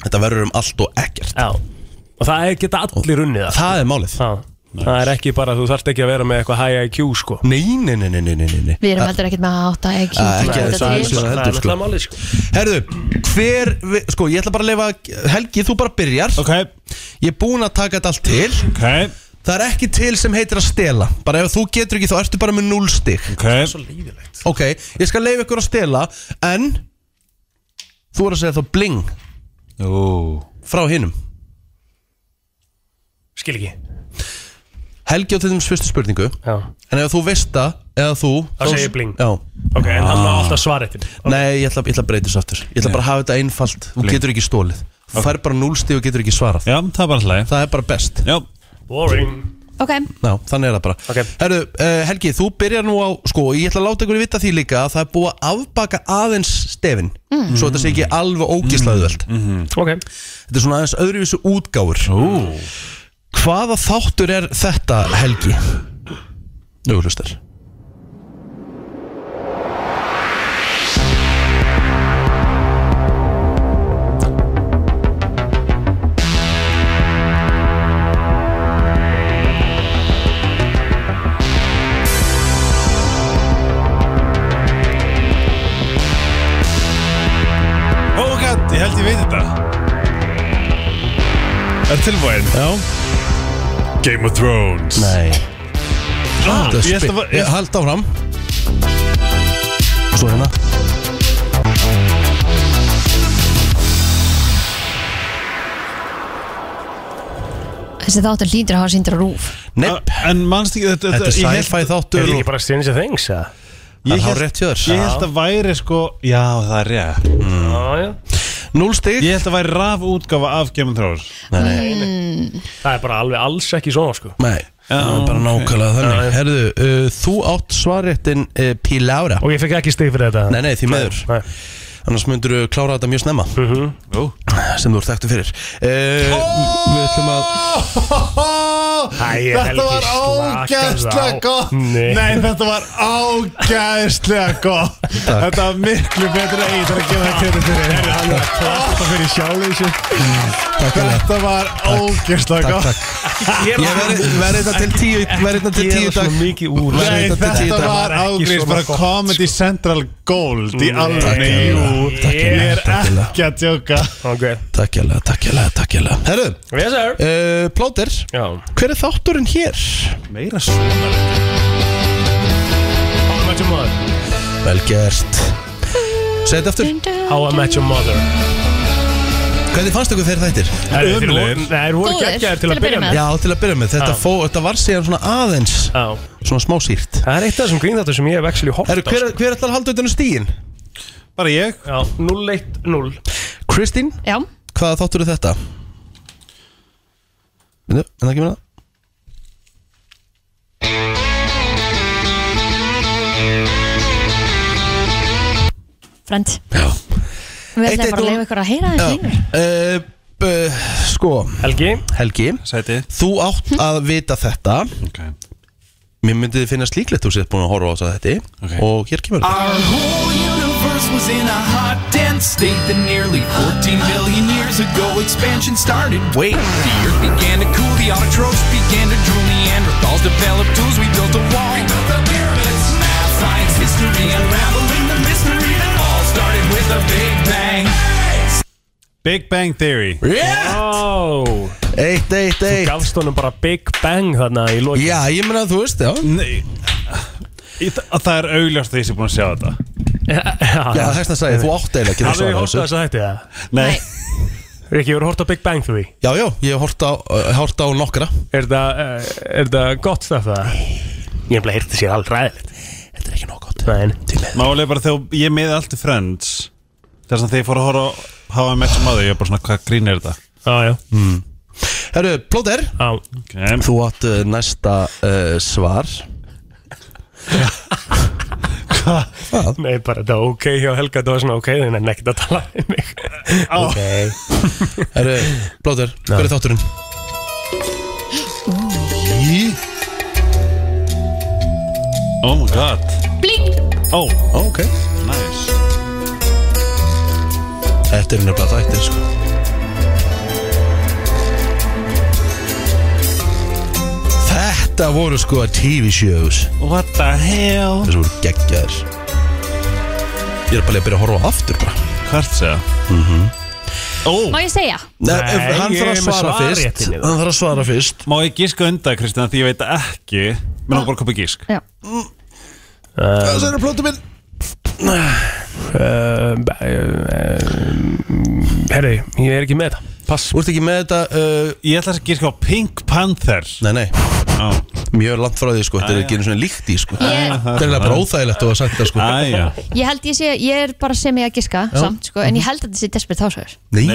Speaker 1: Þetta verður um allt og ekkert
Speaker 2: Já Og það er geta allir unnið það
Speaker 1: Það er málið
Speaker 2: Já Það er ekki bara, þú þarft ekki að vera með eitthvað high IQ sko
Speaker 1: Nei, nei, nei, nei, nei, nei, nei.
Speaker 3: Við erum heldur ekkert með að átta IQ
Speaker 1: Ekki
Speaker 3: til
Speaker 1: að
Speaker 3: að
Speaker 1: þessu
Speaker 3: þetta
Speaker 1: aðeins
Speaker 3: til.
Speaker 1: svona heldur, sko. Herðu, hver, vi- sko, ég ætla bara að lifa Helgi, þú bara byrjar okay. Ég er búinn að taka þetta allt til
Speaker 7: okay.
Speaker 1: Það er ekki til sem heitir að stela Bara ef þú getur ekki þá ertu bara með 0 stig
Speaker 7: okay.
Speaker 1: Svo leiðilegt Ok, ég skal leifa ykkur að stela En Þú er að segja þá bling
Speaker 7: Jú.
Speaker 1: Frá hinnum
Speaker 2: Skil ekki
Speaker 1: Helgi á til þeim fyrstu spurningu
Speaker 2: Já.
Speaker 1: En ef þú veist það Eða þú
Speaker 2: Þá segir ég bling.
Speaker 1: Já
Speaker 2: Ok, en hann á alltaf svaretinn
Speaker 1: Ah. Nei, ég ætla, ég ætla að breyta þessu aftur Ég ætla bara að hafa þetta einfalt Þú
Speaker 7: Bling.
Speaker 1: getur ekki stólið Þú fær bara núlstig og getur ekki svarað
Speaker 7: Já, það er bara hlæg
Speaker 1: Það er bara best
Speaker 7: Já,
Speaker 2: Boring
Speaker 3: Ok,
Speaker 1: Já þannig er það bara okay. Herru, uh, Helgi, þú byrjar nú á Sko, ég ætla að láta ykkur vita því líka að Það er búið að afbaka aðeins stefin
Speaker 2: Mm.
Speaker 1: Svo þetta sé ekki alveg ógislaðuvelt
Speaker 2: mm. Ok
Speaker 1: Þetta er svona aðeins öðruvísu útgáfur Ooh. Hvaða þáttur er þetta, Helgi? Nú, hlustar
Speaker 7: Oh my god, ég held ég veit þetta Er tilbúin? Já Game of Thrones
Speaker 1: Nei
Speaker 7: ah, Ég
Speaker 1: Þetta
Speaker 7: held
Speaker 1: er
Speaker 7: að
Speaker 1: spi-
Speaker 7: var-
Speaker 1: Ég
Speaker 7: ég-
Speaker 1: held Eh, áfram Og Svo hérna
Speaker 3: þessi þáttur hlýtur að hafa síndur á rúf
Speaker 1: Nepp
Speaker 7: En mannst ekki þetta
Speaker 2: Þetta er
Speaker 7: ég held-
Speaker 2: sci-fi þáttur Er þetta ekki og- bara Stranger Things, eða?
Speaker 7: Ég
Speaker 2: Það er
Speaker 7: held-
Speaker 2: hárrétt hjá þér.
Speaker 7: Ég held
Speaker 2: Já.
Speaker 7: að væri sko Já, það er rétt
Speaker 2: mm.
Speaker 1: Núl stig
Speaker 7: Ég held að væri raf útgafa af Game of Thrones
Speaker 3: mm.
Speaker 2: Það er bara alveg alls ekki svona sko
Speaker 1: Nei, það er bara nákvæmlega þannig Herðu, uh, þú átt svarréttin uh, Pílára
Speaker 2: Og ég fekk ekki stig fyrir þetta
Speaker 1: Nei, nei, því meður Annars myndur þú klára þetta mjög snemma
Speaker 2: Mhm.
Speaker 1: Sem þú ert þekktu fyrir uh, Við ætlum að
Speaker 2: Æ,
Speaker 7: Þetta var ágæðslega gott Nei. þetta var ágæðslega gott Þetta var miklu betra í Það er að gefa þetta fyrir fyrir Þetta er alveg klappa fyrir sjálfleysi Þetta var ógæðslega
Speaker 1: Takk,
Speaker 7: gott
Speaker 1: Ég verði verði þetta til tíu Verði þetta til
Speaker 7: Gera
Speaker 1: tíu í dag hérna
Speaker 7: svona Nei, þetta var ágríns bara Comedy Central Gold í
Speaker 1: Nei.
Speaker 7: alveg
Speaker 1: Takk
Speaker 7: Jú,
Speaker 1: hérlega, takk
Speaker 7: ég
Speaker 1: hérlega,
Speaker 7: er
Speaker 1: takk hérlega.
Speaker 7: ekki að djóka
Speaker 2: okay.
Speaker 1: Takk hérlega, takk hérlega, takk hérlega Herru,
Speaker 2: yes,
Speaker 1: uh, plóter
Speaker 2: Já.
Speaker 1: Hver er þátturinn hér?
Speaker 7: Meira svona
Speaker 2: How I Met Oh, Your Mother
Speaker 1: Vel gert Segð þetta aftur
Speaker 2: How I Met Oh, Your Mother
Speaker 1: Hvernig fannst ykkur þeir þættir?
Speaker 2: Herri, þeir voru- Ömurlegir. nei, þeir voru Góðir, geggjaðir til að til að byrja byrja með. með.
Speaker 1: Já, til að byrja með Þetta,
Speaker 2: Já.
Speaker 1: fó, þetta var síðan svona aðeins
Speaker 2: Já.
Speaker 1: Svona smá sírt
Speaker 2: Það er eitt af þessum grínþáttum sem ég hef actually hort
Speaker 1: Herru, hver, hver ætlar að halda utan um á stíin?
Speaker 7: Bara ég
Speaker 2: Já, 0-1-0
Speaker 1: Kristín,
Speaker 3: Já,
Speaker 1: hvaða þáttur er þetta? Vindu, en það kemur það
Speaker 3: frend
Speaker 1: Já
Speaker 3: Við ætlum
Speaker 1: Eitt,
Speaker 3: bara
Speaker 1: eitt,
Speaker 3: að
Speaker 1: núll.
Speaker 3: leifa ykkur að heyra það hlýnur
Speaker 1: uh, uh, Sko
Speaker 2: Helgi
Speaker 1: Helgi
Speaker 7: Sæti
Speaker 1: Þú átt að vita þetta
Speaker 7: Ok
Speaker 1: Mér myndi þið finnast líklegt þú sétt búin að horfa á þetta þetta Og hér kemur
Speaker 4: Our whole universe was in a hot, dense state that nearly 14 billion years ago expansion started. Wait, the earth began to cool, the autotrophs began to drool, Neanderthals developed tools, we built a wall. We built the pyramids, math, science, history, unraveling the mystery that all started with a big bang.
Speaker 7: Big Bang Theory
Speaker 1: Rétt!
Speaker 2: Wow.
Speaker 1: Eitt, eitt,
Speaker 2: Þú
Speaker 1: eitt
Speaker 2: gafst honum bara Big Bang þarna í lokin
Speaker 1: Já, ég meina að þú veist, já
Speaker 7: Nei Í þa- að Það er augljóst að ég sé búin að sjá þetta
Speaker 1: Já, þess að segja, þú átt eiginlega ekki að
Speaker 2: Hafið
Speaker 1: svara
Speaker 2: þið hort á
Speaker 1: þessu.
Speaker 2: þess að þetta eða?
Speaker 7: Nei
Speaker 2: Rikki, hefur hort á Big Bang Theory?
Speaker 1: Já, já, ég hef hort á, uh, hort á nokkra
Speaker 2: Er það, er það gott stöf það? Ég hef bara heyrt þessi allt ræðilegt
Speaker 1: Þetta er ekki nóg gott
Speaker 2: Nein.
Speaker 7: Málið er bara þegar ég miði allt í Friends Þess að þegar ég fór að horfa á How I Met Your Mother Ég var bara svona, hvað grín er þetta?
Speaker 2: Já, já
Speaker 1: mm. Herru, plóter okay. Þú átt uh, næsta uh, svar
Speaker 2: Hvað? Nei, bara þetta var ok hjá Helga, þetta var svona ok, þannig að nekkit að tala um mig. Á.
Speaker 1: Ok. Herru, Blóður, hver er þátturinn? Í
Speaker 7: Oh my god
Speaker 11: Bling
Speaker 7: Oh,
Speaker 1: ok
Speaker 7: Nice
Speaker 1: Þetta er nefnilega þættir sko Þetta voru sko TV shows
Speaker 7: What the hell
Speaker 1: Þessu voru geggjaðir Ég er bara að byrja að horfa á aftur bara
Speaker 7: Hvert segja?
Speaker 1: mm -hmm.
Speaker 3: Má ég segja?
Speaker 1: Nei, ef- hann
Speaker 7: ég
Speaker 1: þarf
Speaker 7: er
Speaker 1: að
Speaker 7: með
Speaker 1: svara
Speaker 7: svarið
Speaker 1: fyrst
Speaker 7: til þig.
Speaker 1: Hann þarf að svara fyrst
Speaker 7: Má ég gíska undan, Kristján, því ég veit ekki Mér langar bara að kopa gísk
Speaker 3: Já
Speaker 1: Það er plóta minn
Speaker 2: Eh, Herri, ég er ekki með þetta. Pass.
Speaker 1: Þú ert ekki með þetta uh,
Speaker 7: Ég ætla að gíska á Pink Panther
Speaker 1: Nei, nei Mjög langt frá því sko, þetta er ekki einu svona líkt í sko
Speaker 3: Ég-
Speaker 1: Þetta er eiginlega bara óþægilegt að hafa sagt það sko
Speaker 7: Æja
Speaker 3: Ég held ég sé, ég er bara sem ég að giska
Speaker 1: Já.
Speaker 3: samt, sko, en ég held að þetta sé Desperate Housewives
Speaker 1: Nei,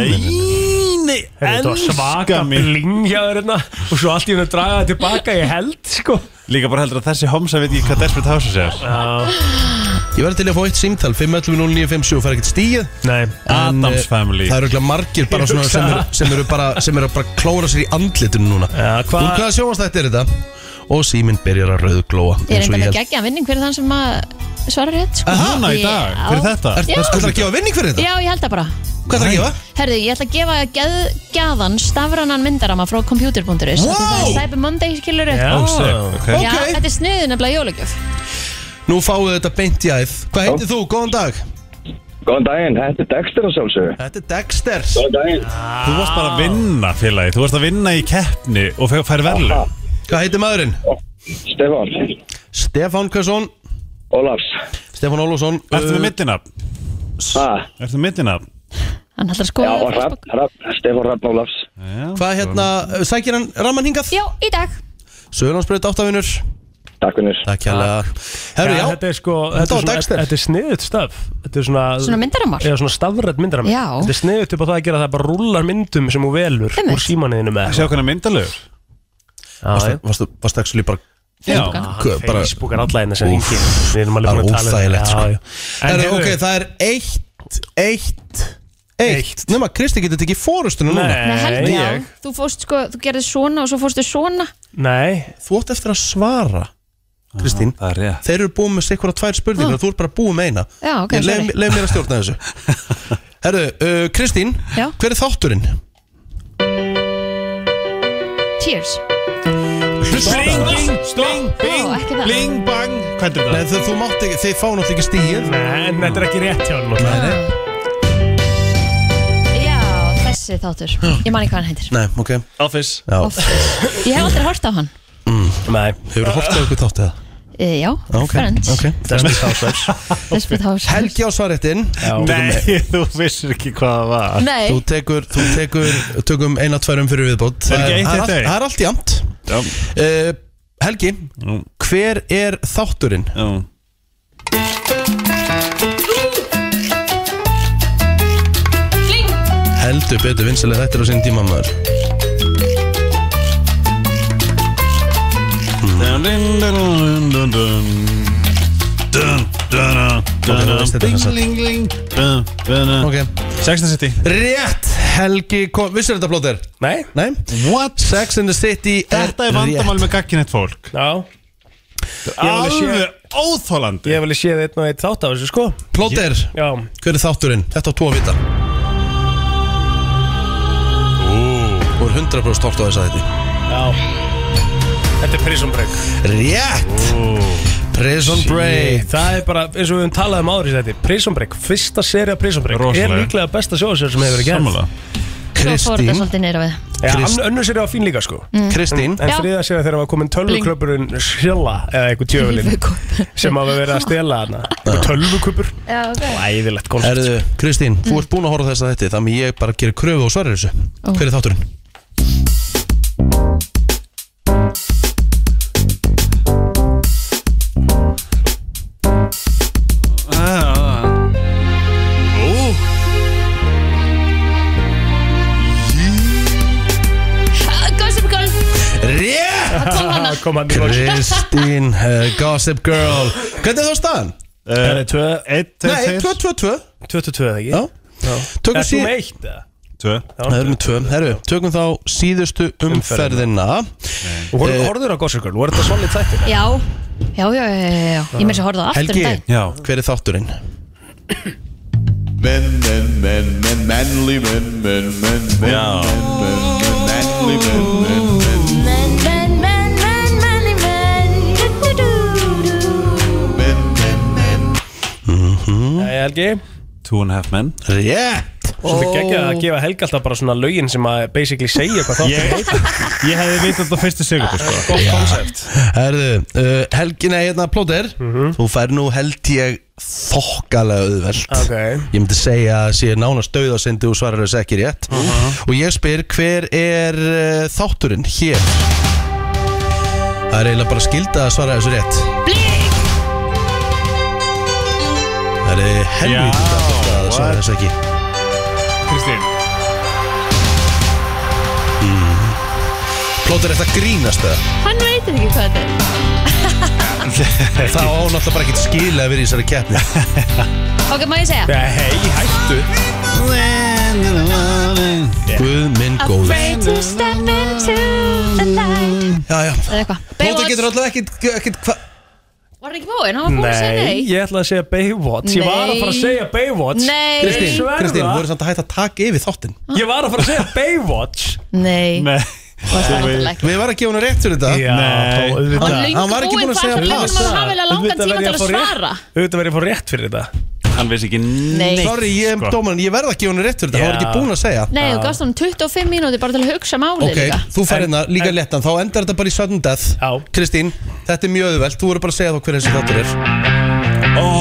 Speaker 7: nei,
Speaker 2: Þetta var svaka bling hjá þér hérna og svo allt í hennu að draga það tilbaka, ég held sko.
Speaker 7: Líka bara heldur að þessi homsa veit ekki hvað Desperate Houses er
Speaker 1: Ég verði til að fá eitt símtal 511-0957 og fara ekkert stíð
Speaker 2: Nei,
Speaker 7: Addams Family.
Speaker 1: eh, Það eru ekki margir bara
Speaker 7: Ég
Speaker 1: svona
Speaker 7: hugsa
Speaker 1: sem eru,
Speaker 7: það.
Speaker 1: sem eru bara sem eru að bara klóra sér í andlitinu núna ja,
Speaker 2: hva-
Speaker 1: Úr hvaða sjónvastætti er þetta? Og síminn byrjar að rauðglóa
Speaker 3: Ég er
Speaker 1: eins og
Speaker 3: enda
Speaker 1: ég
Speaker 3: með
Speaker 1: held.
Speaker 3: geggja vinning fyrir þann sem að svara rétt sko.
Speaker 1: Aha,
Speaker 7: Hanna í dag,
Speaker 3: Já.
Speaker 7: fyrir þetta
Speaker 1: Ert-
Speaker 3: Já.
Speaker 1: ert- ætlarðu að gefa vinning fyrir þetta?
Speaker 3: Já, ég held það bara
Speaker 1: Hvað er það að gefa?
Speaker 3: Herðu, ég ætla að gefa geðgjaðan stafranan myndarama frá computer.is
Speaker 1: Wow!
Speaker 3: Af því Það er Cyber Monday, skilur
Speaker 1: Já,
Speaker 7: Oh,
Speaker 1: sick, ok.
Speaker 3: Já,
Speaker 1: Ok.
Speaker 3: þetta er sniðin nefnilega jólagjöf
Speaker 1: Nú fáið þetta beint í æð Hvað heitir þú? Góðan dag
Speaker 12: Góðan daginn, þetta er Dexter að sjálfsögðu
Speaker 1: Þetta er Dexter
Speaker 12: Góðan daginn
Speaker 7: Þú varst bara að vinna, félagi Þú varst að vinna í keppni og fe- fær verðlu
Speaker 1: Hvað heitir maðurinn?
Speaker 12: Stefán
Speaker 1: Stefán Kvæsson
Speaker 12: Ólafs
Speaker 1: Stefán Ólafsson Uh,
Speaker 7: Ertu með mittinab?
Speaker 12: Ah.
Speaker 7: Ertu með mittinab?
Speaker 3: Hann ætlar að
Speaker 12: Já,
Speaker 3: skoða
Speaker 12: og Rapp, Rapp, Stefán Rapp Ólafs
Speaker 1: Hvað hérna, uh, sækir hann ramman hingað?
Speaker 3: Já, í dag
Speaker 1: Söðurlandsbreyt áttafinur
Speaker 12: Takk vinnur
Speaker 1: Takk hérlega Herru, já
Speaker 2: Þetta er sko,
Speaker 1: Þetta
Speaker 2: þetta
Speaker 1: var
Speaker 2: er,
Speaker 1: Dexter.
Speaker 2: svona, þetta er sniðut stöf. Þetta er svona...
Speaker 3: Svona myndaramar?
Speaker 2: Já, svona stafrætt myndaramar.
Speaker 3: Já.
Speaker 2: Þetta er sniðut upp á það að gera það bara rúlar myndum sem hún velur
Speaker 3: Einmitt.
Speaker 2: úr símanniðinu með.
Speaker 7: Sjá hvernig myndalögur
Speaker 2: Já,
Speaker 1: Varstu, varstu ekki líka bara
Speaker 2: já. Ah,
Speaker 1: bara-
Speaker 2: Facebook er alla eina sem
Speaker 1: Úff,
Speaker 2: hingir. Við erum alveg
Speaker 1: það
Speaker 2: búin að
Speaker 1: er
Speaker 2: tala um
Speaker 1: óþægilegt, sko.
Speaker 2: það. Já, já. En
Speaker 1: Herru,
Speaker 2: hefur-
Speaker 1: ok, það er eitt, eitt, eitt Nefna, Kristi getur tekið fórustuna núna
Speaker 3: Nei,
Speaker 2: Nei,
Speaker 3: Helgi,
Speaker 2: ég.
Speaker 3: já, þú fórst sko, þú gerðið svona og svo fórstu svona
Speaker 2: Nei
Speaker 1: Þú átt eftir að svara Kristín,
Speaker 7: Ah, Það er rétt
Speaker 1: þeir eru búið með sikkur á tvær spurningar og þú ert bara búið með eina
Speaker 3: Ah. Já, ok,
Speaker 1: Ég leið
Speaker 3: sorry
Speaker 1: leið mér að stjórna þessu Herru, uh, Kristín,
Speaker 3: Já.
Speaker 1: hver er þátturinn?
Speaker 3: Cheers
Speaker 7: Bling, sting, bing,
Speaker 3: Ó, ekki það.
Speaker 7: bling, bang Hvað er
Speaker 1: Nei,
Speaker 7: þetta?
Speaker 1: þú, þú mátt ekki, þeir fá náttúrulega ekki stíð
Speaker 2: Nei, en þetta er ekki rétt hjá hann
Speaker 1: Nei, nei,
Speaker 3: Já, þessi þáttur Ég man ekki hvað hann heitir
Speaker 1: nei, ok
Speaker 7: Office
Speaker 1: Já, Mm.
Speaker 3: Ég hef aldrei hort á hann
Speaker 2: Nei
Speaker 1: hefur þú hortið okkur þátt eða?
Speaker 3: e, Já,
Speaker 1: Já, ok,
Speaker 3: Friends
Speaker 1: ok.
Speaker 2: Desperate Housewives
Speaker 3: Desperate House
Speaker 1: Helgi á svarréttin
Speaker 7: Nei, þú vissir ekki hvað það var
Speaker 3: Nei,
Speaker 1: Þú tekur, þú tekur, tökum eina tværum fyrir viðbót
Speaker 7: Er ekki eitt eitt
Speaker 1: það allt-
Speaker 7: eitt?
Speaker 1: það er allt jæmt
Speaker 7: Já,
Speaker 1: uh, Helgi,
Speaker 7: Mm.
Speaker 1: hver er þátturinn?
Speaker 7: já
Speaker 1: Heldur betur vinsalega þetta er á sinn tíma maður
Speaker 7: Dun, dun, dun, dun, dun. Dun, dun, dun,
Speaker 1: Ok, nú
Speaker 7: dun,
Speaker 1: veist þetta
Speaker 7: Bling,
Speaker 1: þessa.
Speaker 7: bling, bling Dun, dun, dun.
Speaker 1: Ok,
Speaker 7: Sex and the City
Speaker 1: rétt Helgi, kom, vissir þetta blóðir?
Speaker 2: Nei
Speaker 1: Nei?
Speaker 7: What?
Speaker 1: Sex and the City er
Speaker 7: Þetta er vandamál með gagginett fólk
Speaker 2: Já alveg séð-
Speaker 7: Alveg óþólandi
Speaker 2: Ég hef alveg séð einn og einn þátt af þessu sko
Speaker 1: Plóter,
Speaker 2: Já
Speaker 1: hver er þátturinn? Þetta á tvo að vita Þú er 100% hort á þess að þetta
Speaker 2: Já Þetta er Prison Break
Speaker 1: Rétt Prison Break
Speaker 2: Það er bara eins og við höfum talað um áður í þetta Prison Break, fyrsta serið af Prison Break
Speaker 7: Rosalega.
Speaker 2: Er líklega besta sjóðsjóð sem hefur verið gerð
Speaker 3: svo
Speaker 7: Sammála
Speaker 3: fór þetta
Speaker 1: Kristín
Speaker 3: svolítið neyra við
Speaker 2: Já,
Speaker 1: Krist-
Speaker 2: ann- önnur serið var fín líka sko
Speaker 1: Kristín
Speaker 2: En
Speaker 3: Já.
Speaker 2: þriða serið þegar var komin tölvuklöpurinn Sjölla eða einhver tjöfulinn Sem hafa verið að stela hana Einhver tölvuklöpur
Speaker 3: Já, ok
Speaker 2: Æðilegt koncept
Speaker 1: Erðu, Ah. Kristín, þú ert búin að horfa á þess að þetta Þannig ég bara gerir kröfu og svarir þessu Hver er þátturinn?
Speaker 3: Hvað hana.
Speaker 6: kom hann í lokin.
Speaker 1: Kristín, uh, Gossip Girl Hvernig er það staðan?
Speaker 2: Það er 2 1,
Speaker 1: Nei, 2, 2, 2
Speaker 2: 2, 2, 2 ekki?
Speaker 1: Já Tökum
Speaker 2: Er þú
Speaker 1: síð-
Speaker 2: með eitt eða?
Speaker 7: Tvö
Speaker 1: Það erum við tvö Herru, tökum þá síðustu umferðina
Speaker 2: Og horf-
Speaker 7: Eh,
Speaker 2: horfðurðu á Gossip Girl, voru þetta solid þættir?
Speaker 3: Já, já, já, já, já, já. Ég með þess að horfa á það aftur um
Speaker 1: Helgi,
Speaker 3: dag
Speaker 1: já. hver er þátturinn?
Speaker 4: Men, men, men, men, manly men, men, men, men, men, men, men, manly men, men, men,
Speaker 9: Men, men, men, men, men, men
Speaker 4: men, men, men.
Speaker 2: Nei, Helgi
Speaker 7: Two and a half men
Speaker 1: Rétt
Speaker 2: Svolítið geggjað að gefa Helgi alltaf bara svona lögin sem að basically segja hvað það
Speaker 7: Ég- Ég hefði vitað þetta á fyrstu segundu sko
Speaker 2: Gott koncept
Speaker 1: Herðu, uh, Helgina hérna plóter Þú fær nú held ég þokkalega auðvelt
Speaker 2: Ok.
Speaker 1: Ég myndi segja að sé nánast döðasindi og svarar þess ekki rétt Og ég spyr hver er uh, þátturinn hér? Það er eiginlega bara skilda að svara þessu rétt Það er helvítið gott að svara þessu ekki
Speaker 6: Kristín
Speaker 1: Mhm. Plóter er þetta grínast það
Speaker 3: Hann veit ekki hvað þetta er
Speaker 1: Það á náttúrulega bara ekkert skil að vera í þessari keppni
Speaker 3: Ok, má ég segja?
Speaker 1: Nei, hættu Guð minn góður
Speaker 3: Afraid to step into the light
Speaker 1: Já, já
Speaker 3: Eða eitthvað
Speaker 1: Plóter
Speaker 3: Baywatch.
Speaker 1: getur alltaf ekkert, ekkert hva...
Speaker 3: Var hann ekki búinn? Hann var búinn að segja nei
Speaker 2: ég ætlaði að segja Baywatch Ég var að fara að segja Baywatch
Speaker 3: Nei.
Speaker 2: Ég
Speaker 1: Kristín,
Speaker 2: sverða.
Speaker 1: Kristín, voru samt að hætta að taka yfir þáttinn
Speaker 2: Ég var að fara að segja Baywatch
Speaker 3: Nei
Speaker 7: Nei
Speaker 1: Við varum að gefa hún rétt fyrir þetta
Speaker 2: Já,
Speaker 7: Nei.
Speaker 2: þá auðvitað.
Speaker 3: Hann löngu
Speaker 1: Hann var ekki
Speaker 3: búinn,
Speaker 1: búinn að
Speaker 3: hvað
Speaker 1: segja
Speaker 3: ætlar
Speaker 1: pass.
Speaker 3: Hann var hafilega langan
Speaker 2: Auðvitað
Speaker 3: tíma til
Speaker 2: verð
Speaker 3: að
Speaker 2: ég að fá rétt.
Speaker 3: svara
Speaker 2: Auðvitað verið að fá rétt fyrir þetta
Speaker 7: Hann veist ekki
Speaker 3: Nei.
Speaker 7: neitt
Speaker 1: Sorry, ég er
Speaker 7: sko.
Speaker 1: dómarinn, ég verð að gefa hún rétt fyrir þetta Hann var ekki
Speaker 2: Já.
Speaker 1: búinn að segja
Speaker 3: Nei, þú gafst hann 25 mínúti bara til að hugsa málið
Speaker 1: Ok,
Speaker 3: líka
Speaker 1: þú fær hérna líka léttan, þá endar þetta bara í sudden death
Speaker 2: Já.
Speaker 1: Kristín, þetta er mjög auðvelt, þú voru bara að segja þá hver þessi þáttur er
Speaker 7: Ó,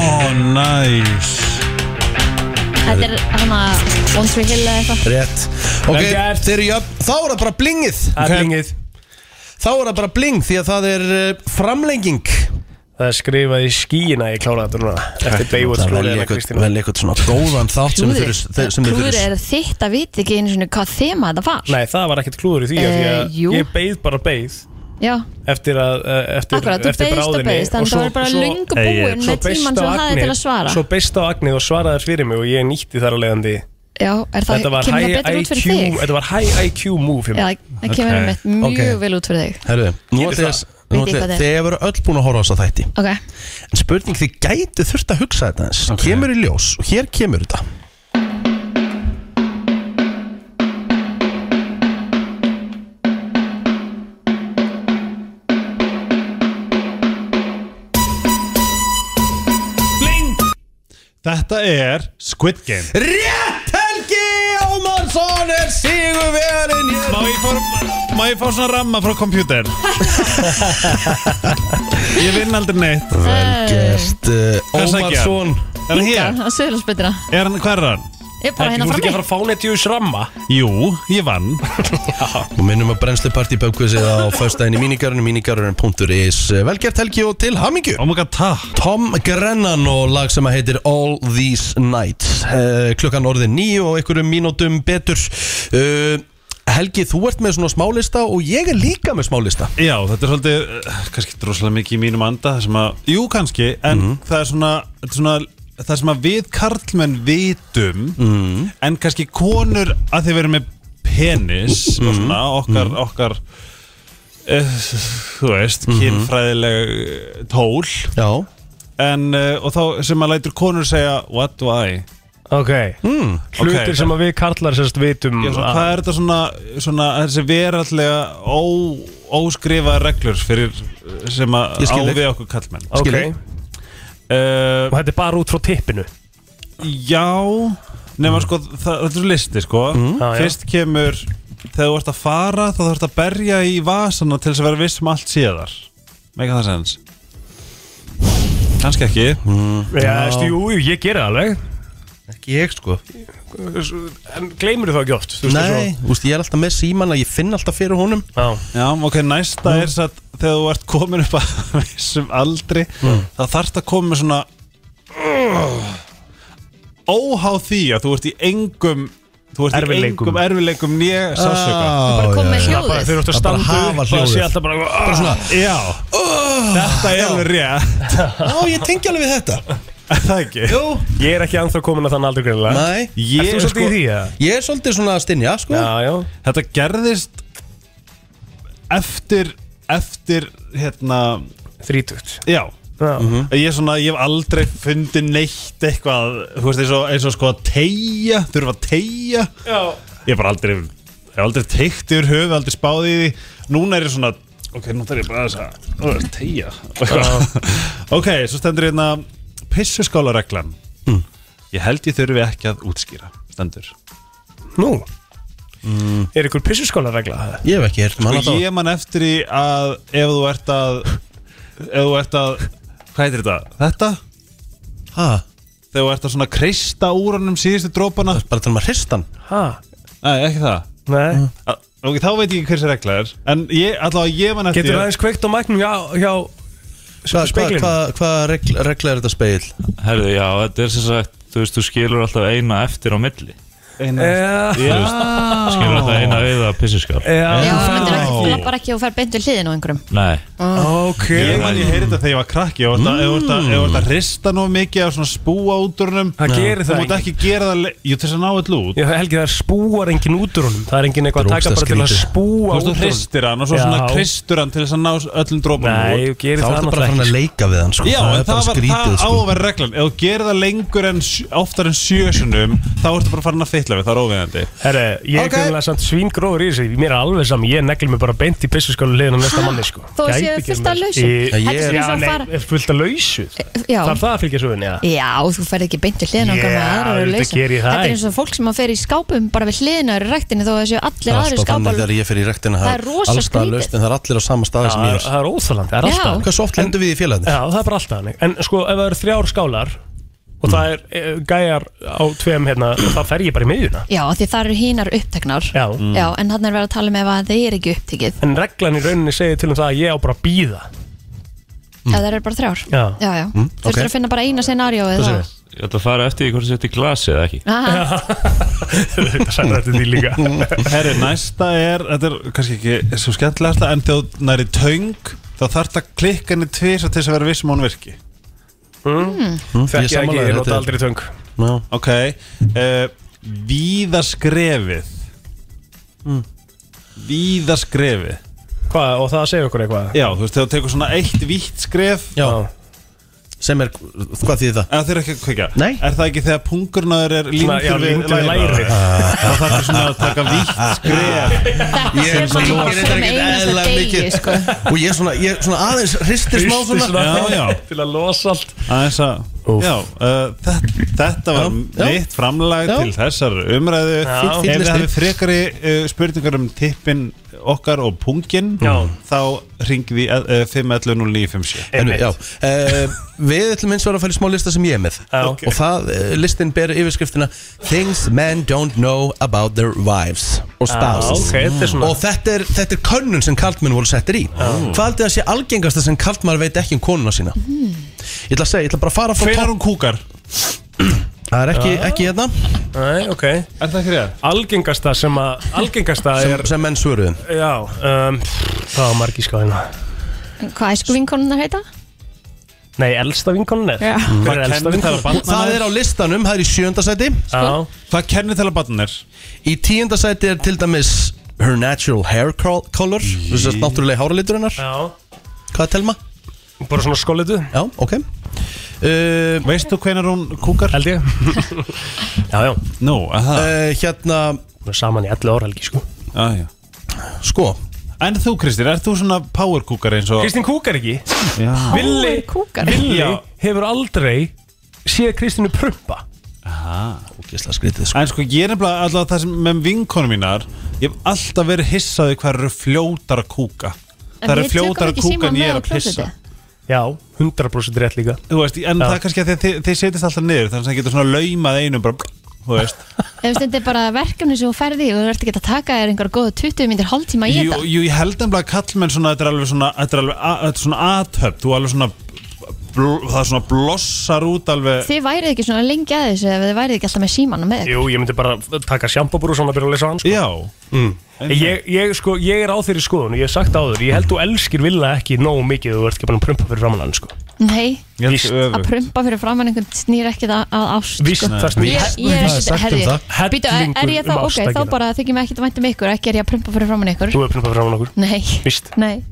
Speaker 7: næs
Speaker 3: Þetta er hann að One Tree Hill eða eitthvað
Speaker 1: Rétt Ok,
Speaker 2: Vel gert.
Speaker 1: þeir eru jöfn, þá er það bara blingið
Speaker 2: Það er blingið
Speaker 1: Þá er það bara bling því að það er uh, framlenging
Speaker 2: Það er skrifað í skíina Ég kláraði þetta núna Eftir hérna, Baywatch
Speaker 1: Það
Speaker 2: klúðrið
Speaker 1: velja
Speaker 2: hennar
Speaker 1: eitthvað,
Speaker 2: Kristínu.
Speaker 1: velja eitthvað svona góðan þátt sem þeir
Speaker 3: Klúður er þitt að vita ekki einu svona hvað þema þetta var
Speaker 2: Nei, það var ekkert klúður í því af Því
Speaker 3: Eh, jú.
Speaker 2: að ég beið bara beið
Speaker 3: Já,
Speaker 2: Eftir að eh, Eftir,
Speaker 3: Akkurat, þú
Speaker 2: eftir
Speaker 3: beiðst og
Speaker 2: bráðinni
Speaker 3: beiðst, en
Speaker 2: og
Speaker 3: það
Speaker 2: svo-
Speaker 3: var bara
Speaker 2: svo-
Speaker 3: löngu
Speaker 7: Nei, ég-
Speaker 3: búinn
Speaker 2: svo
Speaker 3: með tímann
Speaker 2: beist
Speaker 3: sem
Speaker 2: á
Speaker 3: þú hafði til
Speaker 2: agnið-
Speaker 3: að svara
Speaker 2: Svo beist á agnið og svaraði fyrir mig Og ég nýtti þar að leiðandi
Speaker 3: Já, er það,
Speaker 2: Þetta var
Speaker 3: kemur það
Speaker 2: high
Speaker 3: betur út
Speaker 2: IQ
Speaker 3: fyrir þig?
Speaker 2: Þetta var high IQ move hjá
Speaker 3: Já,
Speaker 2: mér.
Speaker 3: það kemur
Speaker 7: Ok,
Speaker 3: okay. mjög
Speaker 1: ok.
Speaker 3: vel út fyrir þig
Speaker 1: Herðu, nú
Speaker 2: Getur
Speaker 1: ætla ég
Speaker 2: það.
Speaker 1: að-
Speaker 3: Veit ég
Speaker 1: nú ætla
Speaker 3: hvað
Speaker 1: ég-
Speaker 3: það er.
Speaker 1: þið hefur öll búin að horfa á þessa þætti
Speaker 3: Ok,
Speaker 1: En spurning þið gætu þurft að hugsa þetta eins Kemur í ljós og hér kemur þetta
Speaker 7: Þetta er Squid Game
Speaker 1: Rétt Helgi Ómarsson er sigurvegarinn
Speaker 7: Má ég fá, má ég fá svona ramma frá kompjúter? ég vinn aldrei neitt
Speaker 1: Velgert
Speaker 7: Hvað sagði ég?
Speaker 1: Ómarsson
Speaker 7: Er hann
Speaker 3: já,
Speaker 7: hér?
Speaker 3: það er sögurlagsbyttina
Speaker 7: Er hann, hvað er hann?
Speaker 3: Ég er bara
Speaker 2: Helgi,
Speaker 3: hérna
Speaker 2: Þú ert
Speaker 3: frammi
Speaker 2: ekki að fara að fá neitt í úr sramma
Speaker 7: Jú, ég vann
Speaker 1: Og minnum að brennsluparti bækvösið á föstæðin í mínigarunum mínigarunum.is Velgert Eh, Helgi og til hamingju
Speaker 7: Oh my god, takk
Speaker 1: Tom Grennan og lag sem að heitir All These Nights uh, klukkan orðið nýju og einhverjum mínútum betur uh, Helgi, þú ert með svona smálista og ég er líka með smálista
Speaker 7: Já, þetta er svolítið, eh, kannski ekki rosalega mikið í mínum anda það sem að, Jú, kannski, en það er svona, þetta er svona það sem að við karlmenn vitum en kannski konur að þið verðum með penis og svona, okkar, okkar uh, þú veist, kynfræðileg eh, tól
Speaker 1: Já,
Speaker 7: en, uh, og þá sem að lætur konur segja what do I?
Speaker 2: Ok
Speaker 1: Hmm.
Speaker 2: Hlutir
Speaker 7: Ok,
Speaker 2: sem að við kallar sérst
Speaker 7: Já,
Speaker 2: vitum
Speaker 1: Mm,
Speaker 7: svona,
Speaker 2: að-
Speaker 7: hvað er þetta svona, svona þessi verallega ó, óskrifa reglur fyrir eh, sem að á
Speaker 1: Ég skil þig.
Speaker 7: við okkur kallmenn
Speaker 2: Ok
Speaker 1: skil ég.
Speaker 7: uh,
Speaker 2: Og þetta er bara út frá tippinu
Speaker 7: Já Nefna sko, það, þetta er listi sko
Speaker 1: Mm.
Speaker 2: Já, já.
Speaker 7: Fyrst kemur Þegar þú ert að fara þá þú ert að berja í vasana Til þess að vera viss um allt séðar Mega það sens Kannski ekki
Speaker 1: Mm.
Speaker 2: Já, veistu, jú, jú, ég gera það alveg
Speaker 1: ekki ég sko
Speaker 2: En gleymur þú það ekki oft? þú veist,
Speaker 1: Nei, þú veist, ég er alltaf með síman að ég finn alltaf fyrir honum
Speaker 2: svo-
Speaker 7: Já, ok, næsta er satt Þegar þú ert komin upp að vissum aldri þá þarft að koma með svona Óhá því að þú ert í engum Þú ert í
Speaker 2: Erfiðleikum.
Speaker 7: engum erfiðleikum né sársöka
Speaker 1: Þú bara kom með já. hljóðið.
Speaker 7: Það bara þurft að
Speaker 1: Það bara
Speaker 7: standa
Speaker 1: hafa
Speaker 7: upp og sé
Speaker 1: hljóðið.
Speaker 7: alltaf bara
Speaker 1: Bara svona,
Speaker 7: Já Þetta er alveg rétt
Speaker 1: Já, ég tengi alveg við þetta
Speaker 7: Það ekki
Speaker 1: Jú
Speaker 2: Ég er ekki anþá komin að þann aldrei greinlega
Speaker 1: Nei
Speaker 2: Ég er svolítið í því að
Speaker 1: Ég er svolítið svona að stinja, sko
Speaker 2: Já, já
Speaker 7: Þetta gerðist Eftir Eftir hérna
Speaker 2: Þrítugt
Speaker 7: Já
Speaker 2: Mhm.
Speaker 7: Ég er svona, ég hef aldrei fundið neitt eitthvað, þú veist, eins og, eins og sko að tegja, þurfa að tegja
Speaker 2: Já
Speaker 7: Ég hef bara aldrei, ég hef aldrei teikt yfir höfu, aldrei spáð í því Núna er ég svona, ok, nú þarf ég bara þess að, nú er þetta tegja Ok, svo stendur hérna pissuskálareglan
Speaker 2: Mm.
Speaker 7: Ég held ég þurfi ekki að útskýra, stendur
Speaker 2: Nú
Speaker 7: Mm.
Speaker 2: Er ykkur pissuskólaregla?
Speaker 1: Ég hef ekki um hert
Speaker 7: Sko ég man eftir í að ef þú ert að ef þú ert að, hvað heitir þetta? Þetta?
Speaker 1: Hæ?
Speaker 7: Þegar þú ert að svona kreista úr honum síðustu drópana
Speaker 1: Bara um til maður hristan
Speaker 2: Hæ?
Speaker 7: Nei, ekki það
Speaker 1: Mm.
Speaker 2: Nei
Speaker 7: Að- Ok, þá veit ég ekki hversi regla er En ég, allavega ég man eftir
Speaker 2: Getur aðeins kveikt á mæknum hjá, hjá
Speaker 1: Hvað hva, hva, hva regl, regla er þetta speil?
Speaker 13: Herðu, já, þetta er sem sagt Þú veist, þú skilur alltaf eina eftir á milli
Speaker 7: Eina
Speaker 13: Þú veist, skilur alltaf eina við að pissuskál
Speaker 3: Já, þú myndir ekki, þú lappar ekki og fer beint við hliðin á einhverjum
Speaker 13: Nei
Speaker 2: Ok
Speaker 7: Ég man ég heyrði þetta þegar ég var krakki Ef þú ert að- ef þú ert að- ef þú ert að hrista nú mikið af svona spúa út úr honum
Speaker 2: Það gerir það
Speaker 7: Þú mátt ekki gera það le- Jú, til þess að ná allu út
Speaker 2: Já, Helgi, það spúar enginn út úr honum Það er enginn eitthvað að taka bara til að spúa
Speaker 7: Þú veist, þú hristir hann og svo svona kristur hann til þess að ná öllum drópanum
Speaker 2: Nei,
Speaker 7: út.
Speaker 2: þú gerir
Speaker 1: Þá
Speaker 2: það
Speaker 1: ertu bara farin að leika við hann, sko
Speaker 7: Já,
Speaker 1: það
Speaker 7: en
Speaker 1: er bara
Speaker 7: það, var,
Speaker 1: skrítið,
Speaker 7: það á
Speaker 1: sko
Speaker 7: að vera reglan Ef þú gerir það lengur en sj- oftar en sjösunum Þá ertu bara farin að fytla við, það er óviðandi
Speaker 2: Herre, ég er
Speaker 7: Ok.
Speaker 2: okay. samt svíngróður í þessu Mér er alveg saman, ég negli mig bara beint í pissuskólu hliðin á næsta
Speaker 3: Ha?
Speaker 2: manni sko
Speaker 3: Þó
Speaker 2: Gæti
Speaker 3: séu
Speaker 2: ekki
Speaker 3: fullt af
Speaker 2: verið
Speaker 3: lausu?
Speaker 2: meira.
Speaker 3: Þetta
Speaker 2: Ég-
Speaker 3: er svona
Speaker 2: Já,
Speaker 3: eins og að
Speaker 2: nei,
Speaker 3: fara-
Speaker 2: er fullt af lausu
Speaker 3: Já.
Speaker 2: Þarf það að fylgja sögunni, eða?
Speaker 3: Já, þú ferð ekki beint við hliðin á einhverjum
Speaker 2: Já,
Speaker 3: með aðra eru
Speaker 2: auðvitað
Speaker 3: lausar.
Speaker 2: geri ég það
Speaker 3: Þetta er
Speaker 2: ekki.
Speaker 3: eins og fólk sem að fer í skápum bara við hliðin á eru ræktinni þó að séu
Speaker 1: Það
Speaker 3: allir aðri
Speaker 2: sko,
Speaker 1: er alltaf þannig
Speaker 3: skápar
Speaker 1: þegar ég fer í rektina
Speaker 3: Það er rosa
Speaker 1: alls staðar
Speaker 3: skrítið.
Speaker 1: laust, en það er allir á sama staði sem ég er
Speaker 2: Það er óþalandi, það er
Speaker 3: Já.
Speaker 2: alltaf þannig.
Speaker 1: Hvað svo oft lendum við í félaginu?
Speaker 2: Já, það er bara alltaf þannig En sko, ef það eru þrjár skálar og það er e, gæjar á tveim hérna, þá fer ég bara í miðjuna
Speaker 3: Já, af því það eru hínar uppteknar
Speaker 2: Já.
Speaker 3: Mm. Já, en hann er verið að tala með að þeir eru ekki upptekið
Speaker 2: En reglan í rauninni segir til um það að ég á bara að býða
Speaker 3: Já, það eru bara þrjár
Speaker 2: Mm. Já.
Speaker 3: Já, já,
Speaker 13: Mm,
Speaker 3: þurftur
Speaker 13: ok.
Speaker 3: að finna bara eina scenarióið það
Speaker 13: Ég ætla að fara eftir því hvort þú settir glasi eða ekki
Speaker 3: Aha.
Speaker 2: Þetta sagði þetta því líka
Speaker 7: Herri, næsta er, þetta er kannski ekki svo skemmtilegasta En þegar þú næri töng Þá þarf það klikka henni tvisa til þess að vera viss um hún virki
Speaker 2: mm.
Speaker 7: Mm, ég
Speaker 2: Þekki ég ekki,
Speaker 7: sammála
Speaker 2: ég
Speaker 7: þér, þetta
Speaker 2: nota
Speaker 7: er-
Speaker 2: aldrei töng
Speaker 1: no.
Speaker 7: Ok uh, Víðaskrefið
Speaker 2: Mm.
Speaker 7: Víðaskrefið
Speaker 2: Hvað, og það segir okkur eitthvað
Speaker 7: Já, þú veist, þegar þú tekur svona eitt vítt skref
Speaker 1: Já Sem er, hvað þýðir það?
Speaker 7: Það þurfa ekki að kveika
Speaker 1: Nei
Speaker 7: Er það ekki þegar pungurnaður er
Speaker 1: Svona,
Speaker 7: límdur
Speaker 1: já,
Speaker 7: við,
Speaker 1: límdur við lærið.
Speaker 7: Það þarf svona að taka vítt skref
Speaker 1: Ég er
Speaker 7: Þetta
Speaker 1: svona lókin,
Speaker 7: sér maður
Speaker 1: þetta
Speaker 7: bara
Speaker 1: er
Speaker 7: á
Speaker 1: ekkert
Speaker 7: hverjum
Speaker 1: eðla
Speaker 7: einasta
Speaker 1: mikið
Speaker 7: degi, sko.
Speaker 1: Og ég er svona, ég er svona aðeins hristir smá
Speaker 7: Hristi
Speaker 1: svona
Speaker 7: svona. Já, já.
Speaker 2: Til að losa allt
Speaker 7: Aðeins að Já, uh, þetta, þetta var
Speaker 1: já.
Speaker 7: mitt framlag
Speaker 1: Já.
Speaker 7: til þessar umræðu
Speaker 1: Já.
Speaker 7: Ef
Speaker 1: Fínn
Speaker 7: þið
Speaker 1: listi.
Speaker 7: hafið frekari
Speaker 1: eh,
Speaker 7: uh, spurningar um tippin okkar og pungin já. þá ringið við uh, 511
Speaker 1: En, já, uh, við ætlum eins og að fara í smá lista sem ég er með
Speaker 7: Ok.
Speaker 1: og það, uh, listin ber yfirskriftina Things men don't know about their wives og
Speaker 2: Ah,
Speaker 1: spouses Mm.
Speaker 2: ok, þetta er svona- Ah.
Speaker 1: og þetta er, þetta er könnun sem kaltmenn voru settir í hvað haldið að sé algengasta sem kaltmann veit ekki um konuna sína ég ætla að segja, ég ætla bara að fara frá
Speaker 7: Hvenær hún kúkar?
Speaker 1: það er ekki,
Speaker 2: Já.
Speaker 1: ekki hérna
Speaker 2: Nei, ok Er
Speaker 7: það ekki réð?
Speaker 2: Algengasta sem að Algengasta
Speaker 1: sem,
Speaker 2: er
Speaker 1: sem menn svöruðum
Speaker 2: Já, um, það var margi skáðina
Speaker 3: Hvað æsku vinkonunnar heita?
Speaker 2: Nei, elsta vinkonun er
Speaker 3: Já.
Speaker 2: Hver er elsta vinkonun?
Speaker 1: Það er á listanum, það er í sjönda sæti
Speaker 2: Já.
Speaker 7: Hvað kennir til að barn er?
Speaker 1: Í tíunda sæti er til dæmis Her natural hair col- color Þess að náttúrulega háralitur hennar
Speaker 2: Já.
Speaker 1: Hvað telma?
Speaker 2: Bara svona skólitu
Speaker 1: Já, ok uh,
Speaker 7: Veistu hvenar hún kúkar?
Speaker 2: Held ég Já, já
Speaker 7: Nú, aha
Speaker 1: uh, Hérna
Speaker 2: Hún er saman í 11 ára, Helgi, sko
Speaker 7: ah, já.
Speaker 1: Sko
Speaker 7: En þú Kristín, ert þú svona power kúkar eins og
Speaker 2: Kristín kúkar ekki
Speaker 7: Já.
Speaker 2: Villi,
Speaker 3: kúkar.
Speaker 2: Villi
Speaker 7: Já.
Speaker 2: hefur aldrei séð Kristínu prumpa
Speaker 1: Ógislega skrítið
Speaker 7: sko. En sko ég er nefnilega alltaf það sem með vinkonum mínar Ég hef alltaf verið hissaði hvað eru fljótar að kúka
Speaker 2: En
Speaker 7: Það eru
Speaker 2: við
Speaker 7: fljótar
Speaker 2: tökum
Speaker 7: að
Speaker 2: ekki
Speaker 7: kúka en
Speaker 2: símann
Speaker 7: ég er
Speaker 2: með á
Speaker 7: að pissa
Speaker 2: klósettið. Já, 100% rétt líka
Speaker 7: Þú veist, en
Speaker 2: Já.
Speaker 7: það er kannski að þið, þið, þið setjast alltaf niður Þannig að það getur svona laumað einum bara Þú veist
Speaker 3: Ef þetta er bara verkefni sem þú ferði og þú ert ekki að taka þér einhver góða 20 mínir hálftíma í
Speaker 7: Jú,
Speaker 3: þetta
Speaker 7: jú, ég held nefnilega að kallmenn svona Þetta er alveg svona, þetta er alveg a- þetta er svona aðtöp Þú alveg svona bl- það svona blossar út alveg
Speaker 3: Þið værið ekki svona lengi að þessu ef þið værið ekki alltaf með símanu með
Speaker 2: Jú, ég myndi bara taka sjampabúr og svona að byrja að lesa hann sko.
Speaker 7: Já
Speaker 2: mm. ég, ég, sko, ég er á þeirri skoðun og ég hef sagt áður Ég held þú elskir vilja ekki nógu mikið Þú ert ekki bara að prumpa fyrir framann hann sko.
Speaker 3: Nei,
Speaker 2: Ég held
Speaker 3: Víst.
Speaker 2: öfugt.
Speaker 3: að prumpa fyrir framann einhvern snýr ekkit að, að ást
Speaker 2: Víst,
Speaker 3: sko.
Speaker 2: það snýr-
Speaker 3: Ég-
Speaker 2: Það er
Speaker 3: ég-
Speaker 2: sagt um
Speaker 3: herði,
Speaker 2: það.
Speaker 3: býtu, er- er ég þá,
Speaker 2: Hellingur um
Speaker 3: ok,
Speaker 2: ást að
Speaker 3: þá
Speaker 2: gera.
Speaker 3: bara þykir mér ekkit vænt um ykkur Ekki er ég að prumpa fyrir framann ykkur
Speaker 2: Þú er prumpa fyrir framann okkur
Speaker 3: Nei,
Speaker 2: Víst,
Speaker 3: nei,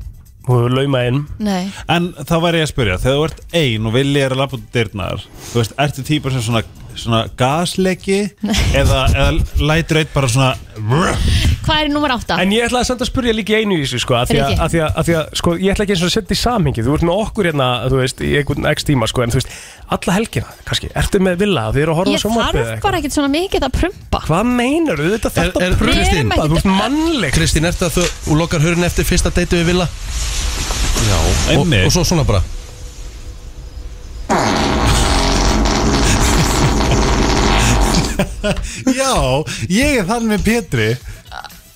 Speaker 2: þú hefur laumað inn
Speaker 3: nei
Speaker 7: En þá væri ég að spyrja, þegar þú ert ein og viljið er að lappa út dyrnar Þú veist, ertu típar sem svona, svona gasleiki eða, eða lætur eitt bara svona
Speaker 3: Hvað er nummer átta?
Speaker 2: En ég ætlaði samt að spurja líka í einu í þessu sko, að því að,
Speaker 3: Riki.
Speaker 2: að því að, að því að sko, ég ætla ekki eins og að setja í samhengi þú ert með okkur hérna, þú veist, í einhvern x tíma sko, en þú veist, alla helgina, kannski ertu með villa, þið eru að horfa
Speaker 3: Ég
Speaker 2: á sjónvarpið eða
Speaker 3: þarf
Speaker 2: eitthvað?
Speaker 3: bara ekkit svona mikið að prumpa
Speaker 2: Hvað meinar þú? Þetta
Speaker 1: Er, er,
Speaker 3: Við erum
Speaker 1: Kristín,
Speaker 3: ekki-
Speaker 1: þú
Speaker 3: ert
Speaker 2: mannleg
Speaker 1: Kristín, ert það að þú lokar hörun eftir fyrsta deytu við Villa? Já Og,
Speaker 7: einmitt.
Speaker 1: og svo svona bara
Speaker 7: Já, ég er þann með Pétri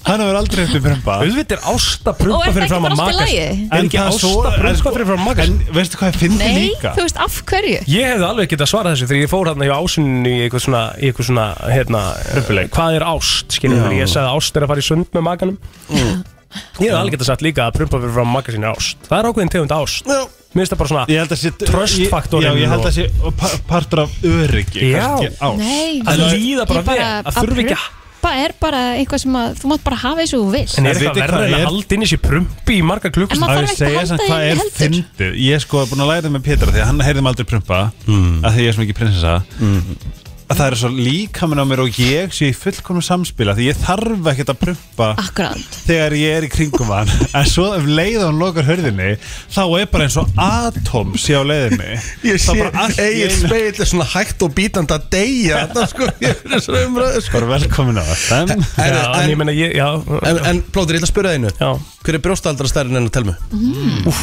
Speaker 7: Hann hefur aldrei eftir prumpa
Speaker 2: Auðvitað er ásta
Speaker 3: Og er það ekki bara allt í lagi?
Speaker 2: Er sko- ekki ásta prumpa
Speaker 7: sko-
Speaker 2: fyrir framan makas?
Speaker 7: En veistu hvað ég fyndi
Speaker 3: Nei,
Speaker 7: líka?
Speaker 3: þú veist, af hverju?
Speaker 2: Ég hefði alveg getað svarað þessu þegar ég fór hérna hjá ásuninu í eitthvað svona, í eitthvað svona hérna, Röpuleik. hvað er ást, skiljum við,
Speaker 7: Já.
Speaker 2: ég sagði að ást er að fara í sund með makanum.
Speaker 1: Mm.
Speaker 2: Ég hefði alveg getað sagt líka að prumpa fyrir frá makasin er ást. Það er ákveðin tegund ást.
Speaker 1: Já.
Speaker 2: Mér finnst það bara
Speaker 7: Ég held að sé
Speaker 2: svona tröstfaktorinn.
Speaker 7: Já, ég held að sé pa- partur af öryggi
Speaker 2: Já.
Speaker 7: kannski, ást.
Speaker 3: Nei,
Speaker 2: Að
Speaker 3: ég-
Speaker 2: líða bara
Speaker 3: ég
Speaker 2: vel, að þurfa ekki að-
Speaker 3: prumpa er bara eitthvað sem að þú mátt bara hafa eins og þú vilt
Speaker 2: En er eitthvað verður en að halda inn í sér prumpi í marga
Speaker 3: En
Speaker 2: klukkustund?
Speaker 3: maður þarf
Speaker 7: Ég
Speaker 3: ekki að
Speaker 7: segja
Speaker 3: halda
Speaker 7: samt
Speaker 3: í
Speaker 7: hvað
Speaker 3: henni
Speaker 7: er
Speaker 3: heldur.
Speaker 7: fyndið Ég er sko búin að læra það með Pétra Því að hann heyrði mig aldrei prumpa mm. Því ég er svo mikið prinsessa
Speaker 2: Mm.
Speaker 7: Að það er svo líkaminn á mér og ég sé í fullkomum samspila Því ég þarf ekkert að prumpa
Speaker 3: Akkurát
Speaker 7: Þegar ég er í kringum hann En svo ef leið og hann lokar hörðinni Þá er bara eins og atóm sé á leiðinni
Speaker 1: Ég
Speaker 7: Þá
Speaker 1: sé
Speaker 7: bara allt í
Speaker 1: eigin
Speaker 7: einu-
Speaker 1: speil er svona hægt og bítandi að deyja Það sko, ég er svo umræðu sko
Speaker 7: Bara velkomin á það
Speaker 1: En,
Speaker 2: Já, en ég
Speaker 1: en,
Speaker 2: meina, ég, já,
Speaker 1: en, en Plóður, ég ætla að spyrja það einu
Speaker 2: Já.
Speaker 1: Hver er brjóstaldra stærri en að telmu?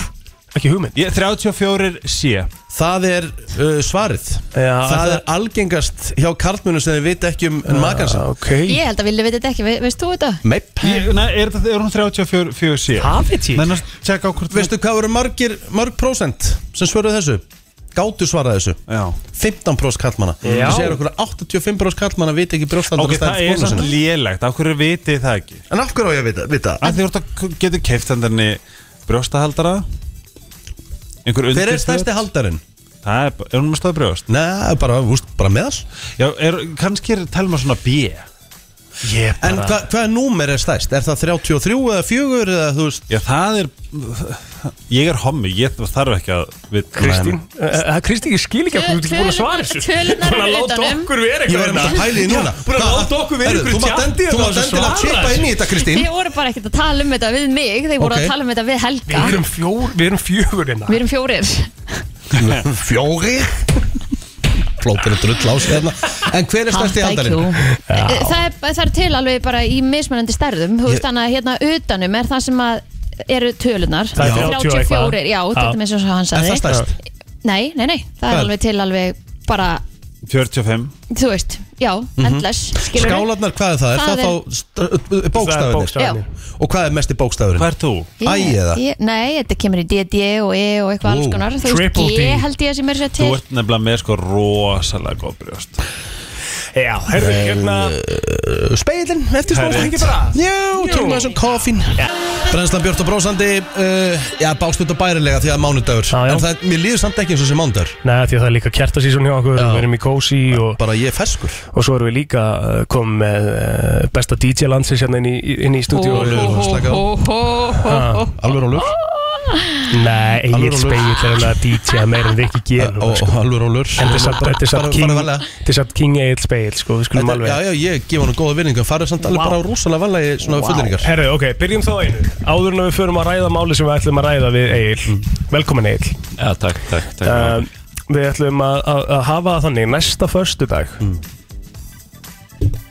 Speaker 2: ekki hugmynd.
Speaker 7: Ég 34 sé
Speaker 1: Það er uh, svarið
Speaker 2: Já,
Speaker 1: Það er algengast hjá karlmunum sem þið vita ekki um makansa
Speaker 2: Ok.
Speaker 3: Ég held að vilja veit þetta ekki, ve- veist þú þetta?
Speaker 1: Meip
Speaker 7: Ah, Ég- Nei, er, það- er hún 34 sé?
Speaker 2: Það veit ég.
Speaker 7: Þannig að tjekka á hvort
Speaker 1: Veistu hvað voru margir, marg prósent sem svöruðu þessu? Gátu svaraði þessu
Speaker 7: Já
Speaker 1: 15 próst kallmanna
Speaker 2: Já.
Speaker 1: Það segir okkur að 85 próst kallmanna vita ekki brjóstaldra
Speaker 7: Ok, það er samt lélegt, af hverju vitið þið það ekki?
Speaker 1: En af hverju á ég að vita, vita?
Speaker 7: Af því þú ert að k- getur keift hendarni brjóstahaldara Einhver
Speaker 1: Hver er
Speaker 7: undirföt?
Speaker 1: stærsti haldarinn?
Speaker 7: Það er, ba- er hún með stóð brjóst?
Speaker 1: Nei, bara, úst, bara meðal
Speaker 7: Já, er, kannski er telma svona B Ég
Speaker 1: En hva, hvaða númer er stærst? Er það 33 eða 4 eða þú veist?
Speaker 7: Já, það er Ég er hommi, ég þarf ekki að við,
Speaker 2: Kristín, eh, eh, Kristín, ég skil ekki að þú ert ekki búin að svara þessu.
Speaker 3: Tölunar
Speaker 2: Búin að
Speaker 3: eru
Speaker 2: láta
Speaker 3: utanum.
Speaker 2: okkur vera hérna.
Speaker 1: Ég var einmitt að pæla í því núna
Speaker 2: Búin að
Speaker 1: Hvað-
Speaker 2: láta okkur vera hérna
Speaker 1: Herru,
Speaker 2: ykkur
Speaker 1: þú mátt endi- Þú mátt endilega að chipa inn í þetta Kristín
Speaker 3: Þið voru bara ekkert að tala um þetta við mig Þeir voru
Speaker 1: Ok.
Speaker 3: að tala um þetta við Helga
Speaker 2: Við erum fjór, við erum fjögur hérna
Speaker 3: Við erum fjórir
Speaker 1: Fjóri Flópir og drull á sig hérna En hver er stærsti
Speaker 3: Ha,
Speaker 1: haldarinn?
Speaker 3: IQ. Eh, Það er, það er til alveg bara í mismunandi stærðum Þú veist þannig að hérna utanum er það sem að eru tölunar
Speaker 2: Það er 30 og eitthvað.
Speaker 3: 34, já, þetta
Speaker 2: Já.
Speaker 3: með sem hann
Speaker 1: Er
Speaker 3: sagði
Speaker 1: það stærst?
Speaker 3: Nei, nei, nei, það
Speaker 1: Hvað
Speaker 3: er
Speaker 1: er?
Speaker 3: alveg til alveg bara,
Speaker 7: 45
Speaker 3: þú veist, já,
Speaker 2: Mhm.
Speaker 3: endless skilurðu?
Speaker 1: Skálarnar, hvað er það? Er
Speaker 3: Það
Speaker 1: það
Speaker 3: er-
Speaker 1: þá st- bókstafirnir?
Speaker 3: Já.
Speaker 1: Og hvað er mesti bókstafurinn?
Speaker 7: Hvað er þú?
Speaker 3: Ég-
Speaker 1: Æ, eða?
Speaker 3: ég- Nei, þetta kemur í D, D og E og eitthvað
Speaker 1: Ó,
Speaker 3: alls konar Þú veist,
Speaker 2: triple D.
Speaker 3: G held ég að sem er sér
Speaker 7: Þú
Speaker 3: til
Speaker 7: ert nefnilega með sko rosalega góð brjóst
Speaker 2: Já, herru, hérna
Speaker 1: Speilin, eftir
Speaker 7: Það er
Speaker 1: smá
Speaker 7: rétt.
Speaker 1: Já, tökum við þessum koffín Brennslan Björn og Brósandi uh, Já, bástund og bærilega því að mánudagur
Speaker 2: Já, já.
Speaker 1: En það, mér líður samt ekki eins og sem mánudagur
Speaker 2: Nei, því að það er líka kjartasísun hjá okkur
Speaker 1: Já.
Speaker 2: Við erum í kósi og,
Speaker 1: Bara ég er ferskur
Speaker 2: og svo erum við líka uh, komið með uh, besta DJ landsins hérna inn í, inn í stúdíu
Speaker 1: Ó, ó, ó. slaka á.
Speaker 3: Hó, hó, hó, hó.
Speaker 1: Alveg rólur
Speaker 2: Nei, Egil
Speaker 1: Alveg rólegur.
Speaker 2: Spegil er alveg að DJ meira en við ekki gerum
Speaker 1: Og
Speaker 2: sko.
Speaker 1: alveg rólur
Speaker 2: En þetta er samt- þetta er samt King-
Speaker 1: varlega.
Speaker 2: þetta er samt King Egil Spegil sko, Við skulum
Speaker 1: Þetta, já,
Speaker 2: alveg
Speaker 1: já, ég gef hann góða vinningu Farðu samt alveg
Speaker 2: Vá.
Speaker 1: bara rosalega valega í svona wow. fullinningar
Speaker 2: Herru, ok, byrjum þá einu Áður en við förum að ræða máli sem við ætlum að ræða við Egil
Speaker 1: Mm.
Speaker 2: Velkomin Egil
Speaker 13: Já, takk, takk, takk
Speaker 2: um, Við ætlum að, að, að hafa það þannig Næsta föstudag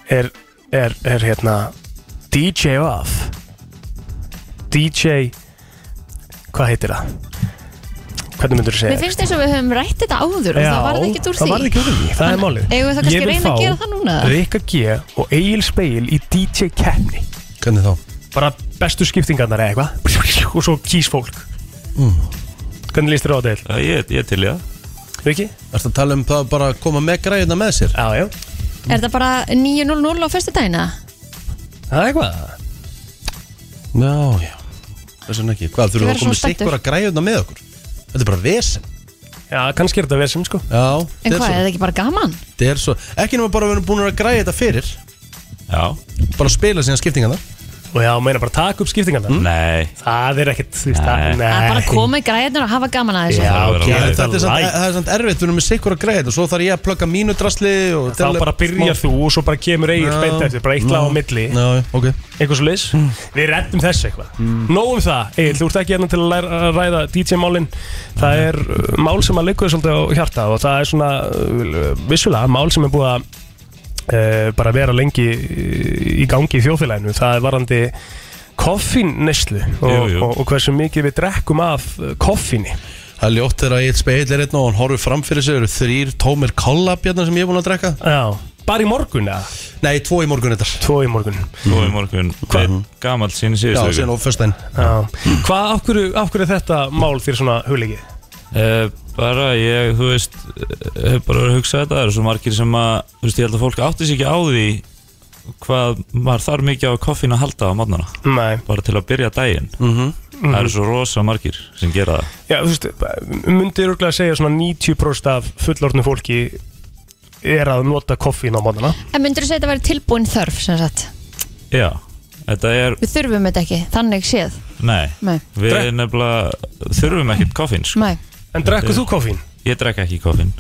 Speaker 2: er, er, er hérna DJ of DJ Hvað heitir það? Hvernig myndur þú segja?
Speaker 3: Mér finnst eins og við höfum rætt þetta áður og það varði ekkert úr því
Speaker 2: Það varði ekki úr því, það er málið
Speaker 3: eigum við þá kannski að reyna að gera það núna?
Speaker 2: Rikka G og Egil Speil í DJ keppni
Speaker 1: Hvernig þá? Mm.
Speaker 2: Bara bestu skiptingarnar eða eitthvað Og svo kýs fólk Hvernig líst þér á þetta heil?
Speaker 13: Ég, ég til, já
Speaker 2: Viki?
Speaker 1: Ertu að tala um það bara að koma með græðina með sér?
Speaker 2: Já, já
Speaker 3: Er þetta bara 9.00 á fyrstu dagina?
Speaker 2: Það er eitthvað
Speaker 1: Já, já Þess vegna ekki Hvað, þurfum
Speaker 3: Ég verð
Speaker 1: við að
Speaker 3: svo
Speaker 1: koma með
Speaker 3: spenntur.
Speaker 1: sikkur að græðina með okkur? Þetta er bara vesen
Speaker 2: Já, kannski er þetta vesen, sko
Speaker 1: Já
Speaker 3: En hvað, er þetta ekki bara gaman?
Speaker 1: Þetta er svo Ekki nema bara að við erum búin að græða þetta fyrir
Speaker 13: Já
Speaker 1: Bara að spila síðan skiptingana
Speaker 2: Og já, meina bara taka upp skiptingarna mm?
Speaker 13: Nei
Speaker 2: Það er ekkert, þú veist það Nei
Speaker 3: Það er bara að koma í græðinu og hafa gaman að þessu
Speaker 2: Já,
Speaker 1: Já,
Speaker 2: gerðu
Speaker 1: þetta er
Speaker 2: þetta
Speaker 1: samt,
Speaker 2: live
Speaker 1: það er samt erfitt, við erum með sikkur að græða þetta Svo þarf ég að plugga mínu drasli og
Speaker 2: Þá bara byrjar þú og svo bara kemur eigin
Speaker 1: Já, Mm.
Speaker 2: beint eftir Bara eitt
Speaker 1: já,
Speaker 2: lag á milli
Speaker 1: Já, já, ok Mm.
Speaker 2: Eitthvað svo leys Við reddum þessu eitthvað Nóg um það, Egil, þú ert ekki hérna til að læra, að ræða DJ-málin Það er uh, mál sem að liggur þér svolítið á hjarta og það er svona uh, vissulega mál sem er búið að uh, bara vera lengi uh, í í gangi í þjóðfélaginu Það er varandi koffínneslu og,
Speaker 1: Jú, jú.
Speaker 2: og, og hversu mikið við drekkum af uh, koffíni
Speaker 1: Það er ljótt þegar að eitt speil er einn og hann horfir fram fyrir sig Það eru þrýr tómir kollabjarnar sem ég er búin að drekka
Speaker 2: Já, bara í morgun eða?
Speaker 1: Nei, tvo í morgun Mm. þetta
Speaker 2: Tvo í morgun
Speaker 13: Nú í morgun Einn gamall sín í
Speaker 1: Já,
Speaker 13: síðustu viku.
Speaker 1: síðan á föstudaginn
Speaker 2: Já. Hvað, af hverju, af hverju er þetta mál þér svona hugleikið?
Speaker 13: Eh, bara ég, þú veist eh, hef bara verið að hugsa þetta, það eru svo margir sem að þú veist, ég held að fólk átti sér ekki á því hvað maður þarf mikið á koffín að halda á morgnana
Speaker 2: Nei.
Speaker 13: bara til að byrja daginn
Speaker 2: Mhm.
Speaker 13: það eru svo rosa margir sem gera það
Speaker 2: Já, þú veist, myndir örgulega að segja svona 90% af fullorðnu fólki er að nota koffín á mótana
Speaker 3: En myndur þú segja að þetta væri tilbúin þörf sem sagt?
Speaker 13: já, þetta er,
Speaker 3: Við þurfum þetta ekki, þannig séð
Speaker 13: nei,
Speaker 3: Nei.
Speaker 13: við nefnilega þurfum ekkert koffín sko.
Speaker 3: Nei.
Speaker 2: En drekkur þú koffín?
Speaker 13: ég drekka ekki koffín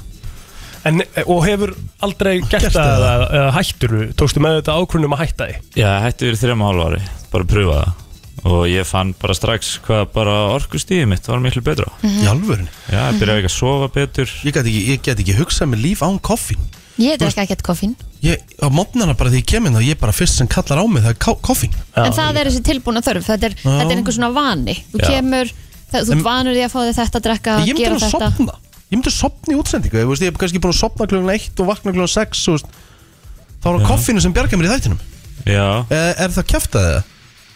Speaker 2: En, og hefur aldrei gert það eða eða hættur þú, tókstu með þetta ákvörnum að hætta því
Speaker 13: Já, hætti fyrir þrema hálf ári, bara að pröfa það og ég fann bara strax hvað bara orkustíði mitt var miklu betra
Speaker 1: Mhm. Í alvörinu?
Speaker 13: Já, ég byrjaði ekki að sofa betur
Speaker 1: Ég get ekki, ég get ekki hugsað með líf án koffín
Speaker 3: Ég drekka ekkert koffín
Speaker 1: Ég, á mótnana bara því ég kemur þá Ég er bara fyrst sem kallar á mig það er ko- koffín
Speaker 3: En það er þessi tilbúna þörf, þetta er,
Speaker 1: Já.
Speaker 3: þetta er einhver svona vani Þú
Speaker 1: Já.
Speaker 3: kemur, það, þú
Speaker 1: En-
Speaker 3: en, vanur því að fá þig þetta að drekka,
Speaker 1: Ég myndi
Speaker 3: gera
Speaker 1: að
Speaker 3: þetta
Speaker 1: sopna Ég myndi að sopna í útsendingu Ég, veist, ég er kannski búin að sopna klugan 1 og vakna klugan 6 og, veist, Þá er það koffínu sem bjarga mér í þættinum E,
Speaker 13: Já
Speaker 1: Er, er það kæftað eða?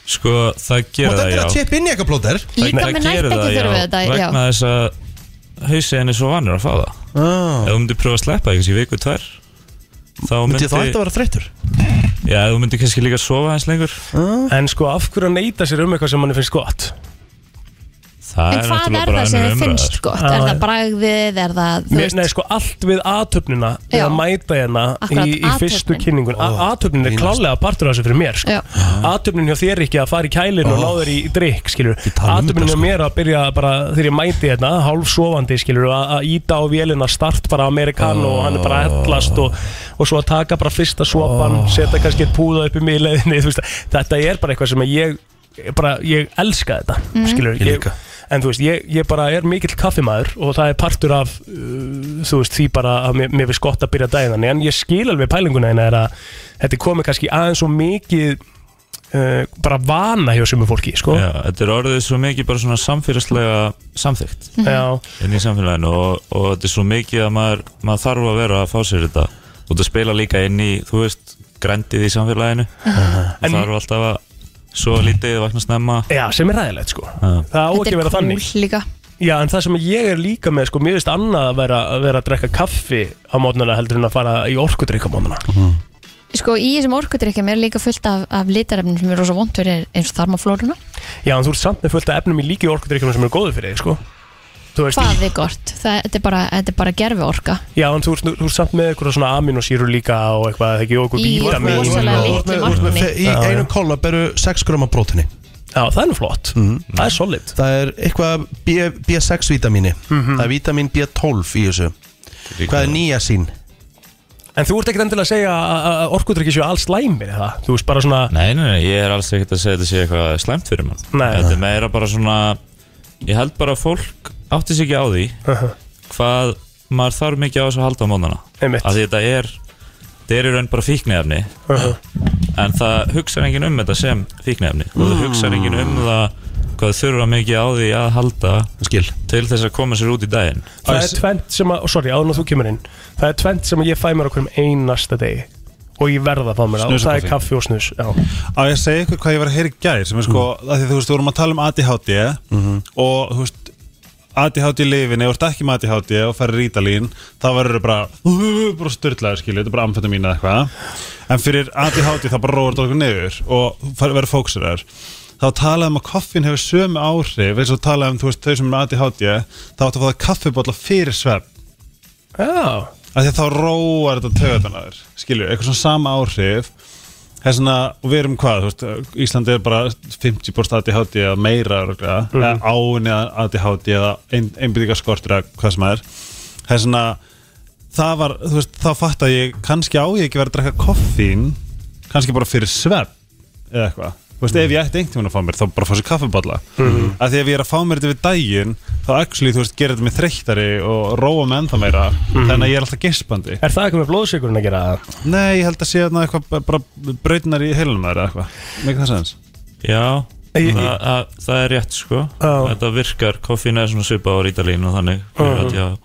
Speaker 13: Sko, það gerir
Speaker 1: Máttu
Speaker 13: það,
Speaker 1: endilega
Speaker 13: já
Speaker 1: tippa inn í eitthvað plóter
Speaker 13: Vegna-
Speaker 3: Líkaminn
Speaker 13: það gerir
Speaker 3: ætti ekki
Speaker 13: það,
Speaker 3: þurfa
Speaker 13: já,
Speaker 3: þetta, já.
Speaker 13: Vegna þess að hausin er svo vanur að fá það Ef þú myndir pröfa að sleppa því, kannski viku tvær Þá
Speaker 1: Ah. Myndi ég þá ætti að vera þreyttur
Speaker 13: Já, ef þú myndir kannski líka að sofa hans lengur
Speaker 2: En sko, af hverju að neyta sér um eitthvað sem manni finnst gott?
Speaker 13: Það
Speaker 3: En hvað er það sem þið
Speaker 2: sko.
Speaker 3: finnst gott? Er það bragðið, er það, þú
Speaker 2: Mér,
Speaker 3: veist
Speaker 2: nei, sko, allt við aðtöfnuna við
Speaker 3: Já.
Speaker 2: að mæta hérna
Speaker 3: Akkurat,
Speaker 2: í, í fyrstu
Speaker 3: athöfnin.
Speaker 2: kynningun aðtöfnin er klálega partur af þessu fyrir mér sko.
Speaker 3: Já.
Speaker 2: aðtöfnin hjá þér ekki að fara í kælinu og
Speaker 1: Ó.
Speaker 2: náður í drikk skilur
Speaker 1: um
Speaker 2: aðtöfnin
Speaker 1: þetta,
Speaker 2: hjá
Speaker 1: sko.
Speaker 2: mér að byrja bara þegar ég mæti hérna hálf sofandi skilur að að íta á vélina start bara amerikan og hann er bara að hellast og, og svo að taka bara fyrsta sopan setja kannski eitt púða upp í mig í leiðinni þú veist, þetta er bara eitthvað sem að ég bara, ég elska þetta
Speaker 1: Mhm.
Speaker 2: skilur,
Speaker 1: Ég
Speaker 2: ég, en þú veist, ég, ég bara er mikill kaffimæður og það er partur af uh, þú veist, því bara að mér, mér finnst gott að byrja daginn þannig, en ég skil alveg pælinguna en er að þetta er komið kannski aðeins og mikið uh, bara vana hjá sumu fólki, sko
Speaker 13: Já, þetta er orðið svo mikið bara svona samfélagslega samþygt
Speaker 2: Mhm. Já.
Speaker 13: inn í samfélaginu og, og þetta er svo mikið að maður, maður þarf að vera að fá sér þetta og þetta spila líka inn í, þú veist, grændið í samfélaginu
Speaker 2: Uh-huh. En-
Speaker 13: en, þarf alltaf að svo lítið vakna snemma
Speaker 2: Já, sem er ræðilegt sko það á
Speaker 3: Þetta
Speaker 2: ekki
Speaker 3: er
Speaker 2: að vera þannig
Speaker 3: kúl líka
Speaker 2: Já, en það sem ég er líka með, sko, mér finnst annað að vera að, vera að drekka kaffi á mótnana heldur en að fara í orkudrykk á mótnana
Speaker 1: Mm.
Speaker 3: Sko, í þessum orkudrykkjum er líka fullt af, af litarefnum sem er rosa vond fyrir eins og þarmaflóruna
Speaker 2: Já, en þú ert samt með fullt af efnum í líki orkudrykkjum sem eru góðu fyrir þig, sko Þú veist,
Speaker 3: Hvað er gott? Það, þetta er bara, þetta er bara gerfi orka
Speaker 2: Já, en þú ert, þú ert samt með eitthvað svona aminosýru líka og eitthvað, ekki, og eitthvað
Speaker 3: Í
Speaker 2: vítamín
Speaker 3: rosalega
Speaker 2: og-
Speaker 3: litlu
Speaker 1: Þú veist, með fe- Í
Speaker 2: Já, já.
Speaker 1: einum kolla beru 6 gröma prótini
Speaker 2: Já, það er nú flott Það er solid
Speaker 1: Mhm.
Speaker 2: Mhm.
Speaker 1: Það er eitthvað B- B6-vítamíni Það er vítamín B12 í þessu Hvað er nýja sín?
Speaker 2: En þú ert ekkert endilega að segja að- að orkudrykki séu alls læmir, eða? Þú veist bara svona
Speaker 13: Nei, nei, nei, ég er alls ekkert að segja þetta sé eitthvað slæmt fyrir mann
Speaker 2: Nei.
Speaker 13: Þetta er meira bara svona Ég held bara að fólk átti sig ekki á því
Speaker 2: Uh-huh.
Speaker 13: Hvað maður þarf mikið á þessu að halda á mónana
Speaker 2: Einmitt. Uh-huh.
Speaker 13: Af því þetta er Þetta er í raun bara fíknefni
Speaker 1: Uh-huh.
Speaker 13: En það hugsar enginn um þetta sem fíknefni Og það hugsar enginn um það Hvað þau þurfa mikið á því að halda
Speaker 1: Skil.
Speaker 13: Til þess að koma sér út í daginn
Speaker 2: Það er tvent sem að, sorry, áðun og þú kemur inn Það er tvent sem að ég fæ mér okkur um einasta degi Og ég verða að fá mér það Og
Speaker 7: Snus og
Speaker 2: það er
Speaker 7: kaffi.
Speaker 2: kaffi og snus Já,
Speaker 7: Á ég að segja ykkur
Speaker 2: Mhm.
Speaker 7: hvað ég var að heyra í gær sem er sko, mm. að því þú veist, við vorum að tala um ADHD og þú veist ADHD lifin, ef þú ert ekki með ADHD og ferð rítalín, þá verður þú bara uh, bara styrlaður skilju, þetta er bara amfættu mín eða eitthvað, en fyrir ADHD þá bara róður þetta okkur niður og fer- verður fókseraður þá talaði um að koffin hefur sömu áhrif eins og talaði um þú veist, þau sem er með ADHD þá áttu að fá það kaffibólla fyrir svefn Já Af því að þá róar þetta töðan að þér Skilju, eitthvað svona sama áhrif Það er svona, og við erum hvað, þú veist Íslandi er bara 50% ADHD eða meira örgulega, mm
Speaker 2: Mhm.
Speaker 7: -hmm. eða áinni ADHD eða ein, einbyrðingaskortur eða hvað sem það er Það er svona það var, þú veist, þá fatt að ég kannski á ég ekki verið að drekka koffín kannski bara fyrir svefn eða eitthvað Þú veist, ef ég ætti einhvern veginn að fá mér, þá bara fá sér kaffiballa
Speaker 2: Mhm.
Speaker 7: að því ef ég er að fá mér þetta við daginn þá actually, þú veist, gerir þetta mig þreyttari og róa mig ennþá meira
Speaker 2: Mhm.
Speaker 7: þannig að ég er alltaf gespandi Er það eitthvað með blóðsíkurinn að gera það? Nei, ég held að sé þarna eitthvað b- bara brautnar í heilunum þeirra eitthvað Mikið það sens
Speaker 13: Já,
Speaker 7: Ég-
Speaker 13: það, að, það er rétt sko Þetta virkar, koffín er svona svipað á rítalín og þannig
Speaker 7: Já.
Speaker 13: uh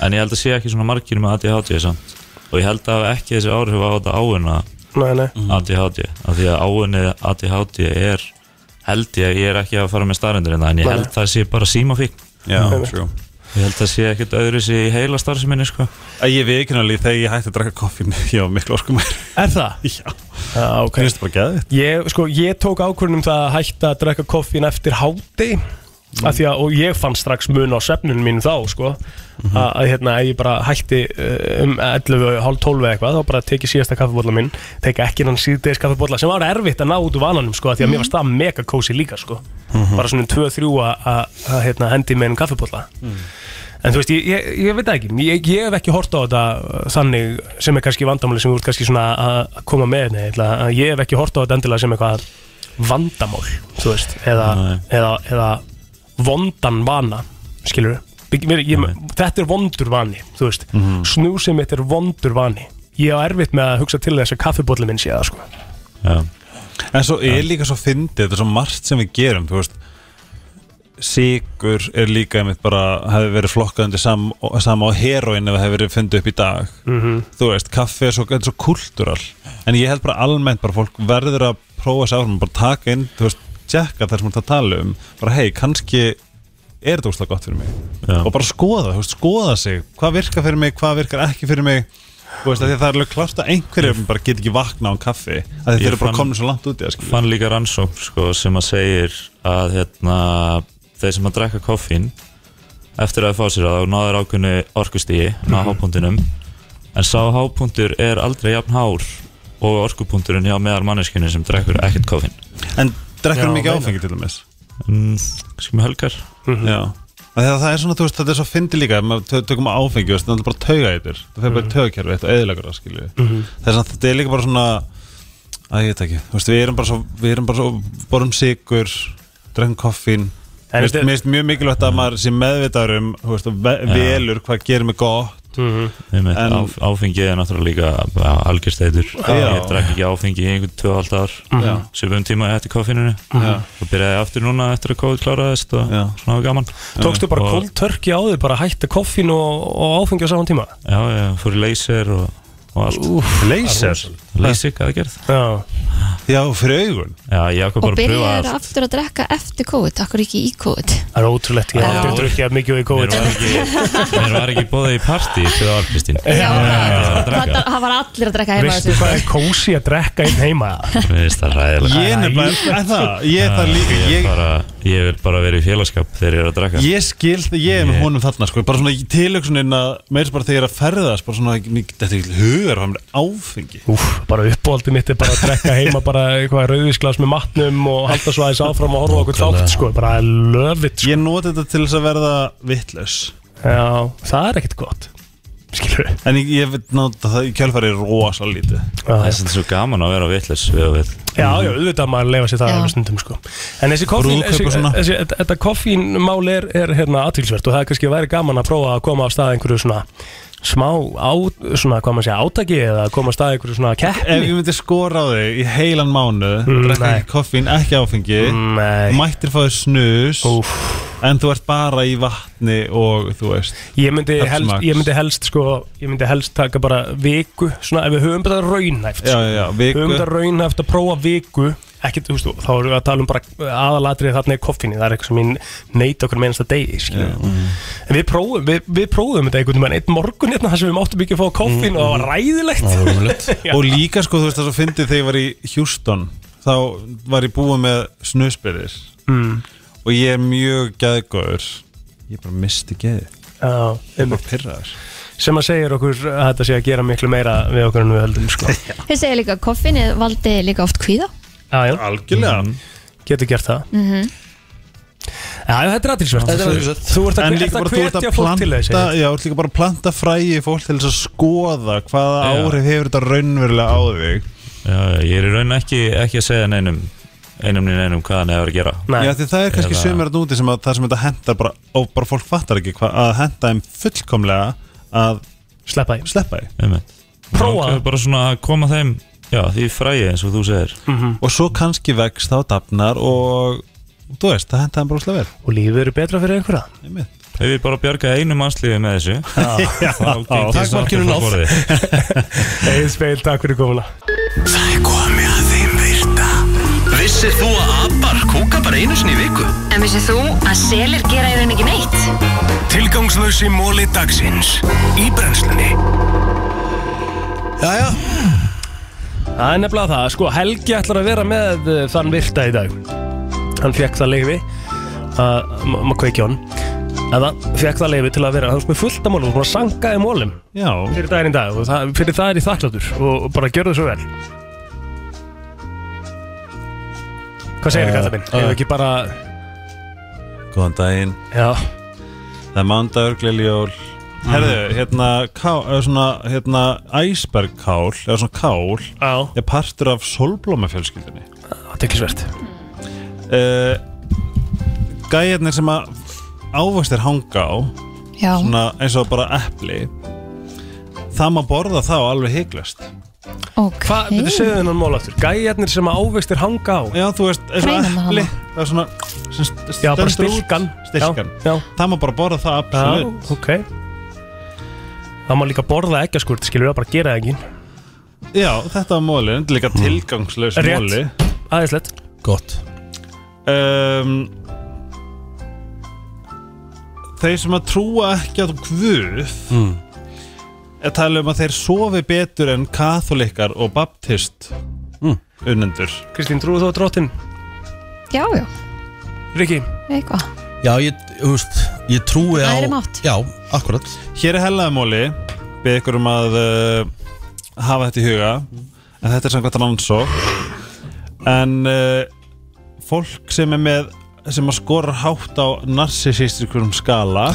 Speaker 13: En ég held að sé ekki svona margir með ADHD samt Og ég held að hafi ekki þessi áhrif á þetta áuna
Speaker 2: Nei, nei.
Speaker 7: Mhm.
Speaker 13: ADHD Af því að áunni ADHD er Held ég, ég er ekki að fara með starendur en það En ég
Speaker 2: Nei.
Speaker 13: held það sé bara símafík
Speaker 7: Já, Nei, nei. true.
Speaker 13: Ég held það sé ekkert öðru sé í heila starfseminni sko
Speaker 7: Að ég viðkynna líf þegar ég hætti að drakka koffín Já, miklu orkum
Speaker 2: Er það?
Speaker 7: Já
Speaker 2: Já, ok
Speaker 7: Finnst bara geðið
Speaker 2: Ég, sko, ég tók ákvörðunum það að hætta að drekka koffín eftir háti mm. að, og ég fann strax mun á svefnunum mínum þá sko, að, að hérna, ef ég bara hætti uh, um 11, hálf 12 eða eitthvað þá bara tekið síðasta kaffibólla minn tekið ekki hann síðdeis kaffibólla sem var erfitt að ná út úr vananum sko, að því að mér var stað mega kósi líka sko. bara svona 2-3 að- að að, hérna, hendi með einum kaffibólla En þú veist, ég, ég, ég veit það ekki, ég, ég hef ekki hort á þetta uh, þannig sem er kannski vandamáli sem þú ert kannski svona að að koma með henni, ég, ætla að- ég hef ekki hort á þetta endilega sem eitthvað vandamál, þú veist, eða, eða, eða vondan vana, skilur við, þetta er vondur vani, þú veist,
Speaker 7: Mm.
Speaker 13: Mhm.
Speaker 2: snúsið mitt er vondur vani, ég á erfitt með að hugsa til þess að kaffibólli minn sé það, sko.
Speaker 13: Já.
Speaker 7: En svo er líka svo fyndið, þetta er svo margt sem við gerum, þú veist Sigur er líka einmitt bara, hefði verið flokkaðandi sam, sama á heroin ef það hefði verið fundið upp í dag
Speaker 2: Mhm.
Speaker 7: Þú veist, kaffi er svo, þetta er svo kultúral En ég held bara almennt bara fólk verður að prófa sér áfram bara taka inn, þú veist, tjekka þar sem þú ert að tala um bara hei, kannski er þetta úrslega gott fyrir mig
Speaker 13: Já.
Speaker 7: og bara skoða, þú veist, skoða sig hvað virkar fyrir mig, hvað virkar ekki fyrir mig þú veist, af því að það er alveg klart að einhverjum bara get ekki vakna á kaffi að
Speaker 13: Ég
Speaker 7: þeir eru bara
Speaker 13: fann-
Speaker 7: komin svo langt út í það skilur.
Speaker 13: fann líka rannsókn sko, sem að segir að hérna, þeir sem að drekka koffín eftir að fá sér að þá náður ákveðnu orkustíi ná
Speaker 2: Mhm.
Speaker 13: hápunktinum en sá hápunktur er aldrei jafn hár og orkupunkturinn hjá meðal manneskinu sem drekkur ekkert koffín
Speaker 7: En drekkur mikið áfengi til dæmis?
Speaker 13: Mm, Skum helgar
Speaker 7: Já Mhm. Af því að það er svona, þú veist, þetta er svo fyndi líka ef maður tö- tökum áfengi, þú veist, það er bara tauga eitir það fer bara í taugakerfi eitt og eðilegur það skilju
Speaker 2: Mhm.
Speaker 7: það er svona, þetta er líka bara svona að ég veit ekki, þú veist, við erum bara svo við erum bara svo, borum sigur drengjum koffín
Speaker 2: En
Speaker 7: Mér finnst-
Speaker 2: þetta-
Speaker 7: mér finnst mjög mikilvægt að maður sé meðvitaður um, þú veist, og ve-
Speaker 13: Já.
Speaker 7: velur hvað gerir mig gott
Speaker 2: Mhm.
Speaker 13: Einmitt,
Speaker 7: En-
Speaker 13: áf áfengi er náttúrulega líka algjörstæður
Speaker 7: Já.
Speaker 13: ég drakk ekki áfengi í einhvern 2,5 ár
Speaker 2: Mhm.
Speaker 7: Já.
Speaker 13: svipum tíma eftir koffíninu
Speaker 7: Já.
Speaker 13: og byrjaði aftur núna eftir að COVID kláraðist og
Speaker 7: Já.
Speaker 13: svona var gaman
Speaker 2: Tókstu bara
Speaker 13: Og-
Speaker 2: cold turkey á þig, bara hætta koffín og, og áfengi á saman tíma?
Speaker 13: Já, já, fór í laser og, og allt
Speaker 2: Úff,
Speaker 7: Laser?
Speaker 13: Lasik aðgerð
Speaker 2: Já,
Speaker 7: já fyrir augun
Speaker 13: Já, ég ákvað
Speaker 3: Og
Speaker 13: bara að pröfa
Speaker 3: byrjaði
Speaker 13: allt
Speaker 3: aftur að drekka eftir COVID, akkur ekki í COVID
Speaker 2: Það er ótrúlegt, ég hef
Speaker 3: Já.
Speaker 2: aldrei drukkið jafn mikið og í COVID sko.
Speaker 13: Mér var ekki, mér var ekki bóðið í partí þegar var Kristín
Speaker 3: Já,
Speaker 13: það
Speaker 3: Það það var allir að drekka heima
Speaker 2: Veistu hvað er kósi að drekka einn heima?
Speaker 13: Veist það ræðilega
Speaker 7: Ég nefnilega, er
Speaker 2: sko.
Speaker 7: það, ég er það líka
Speaker 13: ég,
Speaker 7: ég,
Speaker 13: bara, ég vil bara vera í félagskap þegar ég er að drakka
Speaker 7: Ég skil það, ég er með honum þarna sko, bara svona tilöksunin að meira bara þegar ég er að ferðast bara svona, ég- þetta er ekki hugar hann er áfengi
Speaker 2: Úf, bara uppbóldi mitt er bara að drekka heima bara eitthvað rauðisglas með matnum og halda svo aðeins áfram og horfa á okkur þátt sko, bara löfitt sko.
Speaker 7: Ég noti þetta til þess að verða vittlaus
Speaker 2: Já, það er ekkert gott Skilur
Speaker 7: En ég, ég veit nátt að það í kjálfæri er rosa lítið
Speaker 13: Það er svolítið svo gaman að vera vitlis við og við
Speaker 2: Já, já, auðvitað maður leifa sér það alveg stundum sko. En þessi koffín,
Speaker 13: Brúðkaup
Speaker 2: þessi,
Speaker 13: og svona.
Speaker 2: þessi, þetta- þetta koffínmál er, er hérna aðtilsvert og það er kannski að væri gaman að prófa að koma á stað einhverju svona smá á, svona, hvað maður segja, átaki eða að koma á stað einhverju svona
Speaker 7: Ef
Speaker 2: keppni
Speaker 7: ég myndi skora á þig í heilan mánu mm, Drekka
Speaker 2: nei. Mm,
Speaker 7: ekki koffín, ekki áfengi
Speaker 2: nei.
Speaker 7: Mættir fáið snus Úf. En þú ert bara í vatni og þú veist
Speaker 2: Ég myndi,
Speaker 7: Pepsi
Speaker 2: helst,
Speaker 7: Max.
Speaker 2: ég myndi helst sko, ég myndi helst taka bara viku svona ef við höfum þetta raunhæft
Speaker 7: Já, já, já, viku.
Speaker 2: höfum þetta raunhæft að prófa viku ekki, þú veist, þá erum við að tala um bara aðalatrið þarna í koffinni, það er eitthvað sem ég neyti okkur með einasta degi, skiljum
Speaker 14: Já,
Speaker 7: mm.
Speaker 14: mhm.
Speaker 2: en við prófum, við, við prófum þetta einhvern veginn einn morgun hérna þar sem við máttum ekki að fá koffin og það var ræðilegt
Speaker 7: Mm, Það var og líka sko þú veist það svo fyndið þegar ég var í Houston þá var ég búið með snusbyrðir
Speaker 2: Mm.
Speaker 7: og ég er mjög gæðgóður ég bara misti gæði
Speaker 2: Já,
Speaker 7: ég er bara pyrraður
Speaker 2: sem að segja okkur að þetta sé að gera miklu meira við okkur en við höldum sko.
Speaker 3: Þeir segja líka að koffinni valdi líka oft kvíða
Speaker 2: já, já. algjörlega getur gert það
Speaker 3: mm
Speaker 2: já, já, þetta er aðtilsvert
Speaker 7: Þetta er athyglisvert.
Speaker 2: þú ert
Speaker 7: En
Speaker 2: að,
Speaker 7: líka
Speaker 2: ert að
Speaker 7: bara þú ert að
Speaker 2: hvetja fólk til þessi
Speaker 7: planta, já, þú ert líka bara að planta fræði fólk til þess að skoða hvaða áhrif hefur þetta raunverulega á þig
Speaker 13: Já, já, ég er í raun ekki, ekki að segja neinum einum niður neinum hvað hann hefur að gera
Speaker 7: Já, því það er kannski Eða... sömur að úti sem að það sem þetta hendar bara, og bara fólk fattar ekki hvað að henda þeim fullkomlega að
Speaker 2: sleppa því
Speaker 7: sleppa
Speaker 2: Prófa
Speaker 13: það Bara svona að koma þeim, já, því fræði eins og þú segir
Speaker 2: Mhm.
Speaker 7: og svo kannski vext þá dafnar og þú veist, það henda þeim bara slega vel
Speaker 2: og lífið eru betra fyrir einhverja
Speaker 13: Ef við bara bjargaði einu mannslífi með þessu
Speaker 2: Já.
Speaker 13: þá
Speaker 2: Já,
Speaker 13: gengur
Speaker 2: takk
Speaker 13: samt
Speaker 2: markinu
Speaker 13: upp á
Speaker 2: náð.
Speaker 13: borðið.
Speaker 2: Egil Speil, takk fyrir komuna
Speaker 4: Það er komið að þeim virta Vissir þú að abar kúka bara einu sinni í viku?
Speaker 15: En vissið þú að selir gera í raun ekki neitt?
Speaker 4: Tilgangslösi móli dagsins Í brennslunni
Speaker 1: Jæja
Speaker 2: Það er nefnilega það, sko, Helgi ætlar að vera með uh, þann virta í dag Hann fekk það leifi að, ma- maður kveiki hann Eða, fekk það leifi til að vera, hann er með fullt af mólum, hann sangaði mólum
Speaker 7: Já
Speaker 2: Fyrir daginn í dag og það, fyrir það er ég þakkláttur og, og bara gjörðu svo vel Hvað segir þið, kallar
Speaker 4: Uh,
Speaker 2: minn? Ef ekki bara,
Speaker 7: Góðan daginn
Speaker 2: Já
Speaker 7: Það er mándagur, gleljól
Speaker 2: Mhm.
Speaker 7: Herðu, hérna, ká, eða svona, hérna Æsbergkál, eða svona kál
Speaker 2: Já. Ah,
Speaker 7: Er partur af Mm. solblómafjölskyldinni
Speaker 2: Athyglisvert
Speaker 7: uh, Gæjarnir sem að ávastir hanga á
Speaker 3: Já.
Speaker 7: Svona eins og bara epli Það má borða þá alveg hygglast
Speaker 3: okay.
Speaker 2: Hvað, betur segðu þennan mól aftur Gæjarnir sem að ávextir hanga á
Speaker 7: Já, þú veist, eins og
Speaker 2: Hreinan
Speaker 7: epli
Speaker 2: hana.
Speaker 7: Það er svona sem st-
Speaker 2: Já, bara
Speaker 7: stendur út.
Speaker 2: stilkan.
Speaker 7: Stilkan
Speaker 2: Já, já.
Speaker 7: Það má bara borða það absolutt
Speaker 2: Já, ok Það má líka borða ekkjaskurt, skilur við að bara gera það ekki
Speaker 7: Já, þetta var móli, þetta er líka tilgangslaus
Speaker 2: Rétt.
Speaker 7: móli
Speaker 2: Æðislegt
Speaker 1: Gott
Speaker 7: um, Þeir sem að trúa ekki að guð
Speaker 1: Mm.
Speaker 7: er tala um að þeir sofi betur en katholikar og baptist mm. unnendur
Speaker 2: Kristín, trúið þú að drottin?
Speaker 3: Já, já,
Speaker 2: Riki?
Speaker 3: eitthvað
Speaker 1: Já, ég, þú veist, ég trúi á
Speaker 3: Æðri mátt.
Speaker 1: Já, akkurat
Speaker 7: Hér er hellaðamóli Beð ykkur um að uh, hafa þetta í huga En þetta er samkvæmt rannsók En uh, fólk sem er með sem að skora hátt á narsisístikum skala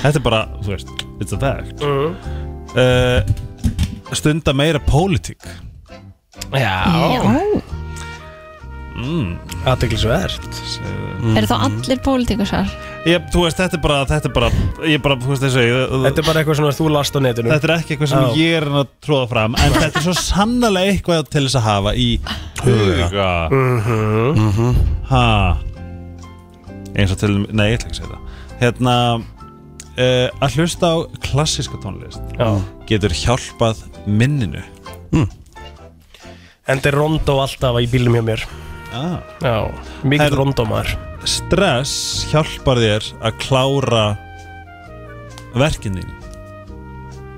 Speaker 7: Þetta er bara, þú veist, it's a fact uh, Stunda meira pólitík
Speaker 2: Já
Speaker 7: mm.
Speaker 2: Aðdeglisvert
Speaker 3: Eru
Speaker 2: Mhm.
Speaker 3: þá allir pólitíkusar?
Speaker 7: Ég, þú veist, þetta er bara, þetta er bara, ég bara, þú veist þessu Þetta
Speaker 2: er bara eitthvað svona þú last á netinu
Speaker 7: Þetta er ekki eitthvað sem
Speaker 2: Já.
Speaker 7: ég er að tróða fram En þetta er svo sannlega eitthvað til þess að hafa í huga
Speaker 2: Mhm.
Speaker 7: Ha Eins og til, nei, ég ætla ekki að segja það Hérna uh, Að hlusta á klassíska tónlist
Speaker 2: Já.
Speaker 7: Getur hjálpað minninu
Speaker 2: En þetta er rondó alltaf í bílum hjá mér
Speaker 7: ah.
Speaker 2: Já, mikið
Speaker 7: Herð-
Speaker 2: rondómaður
Speaker 7: Stress hjálpar þér að klára verkin þín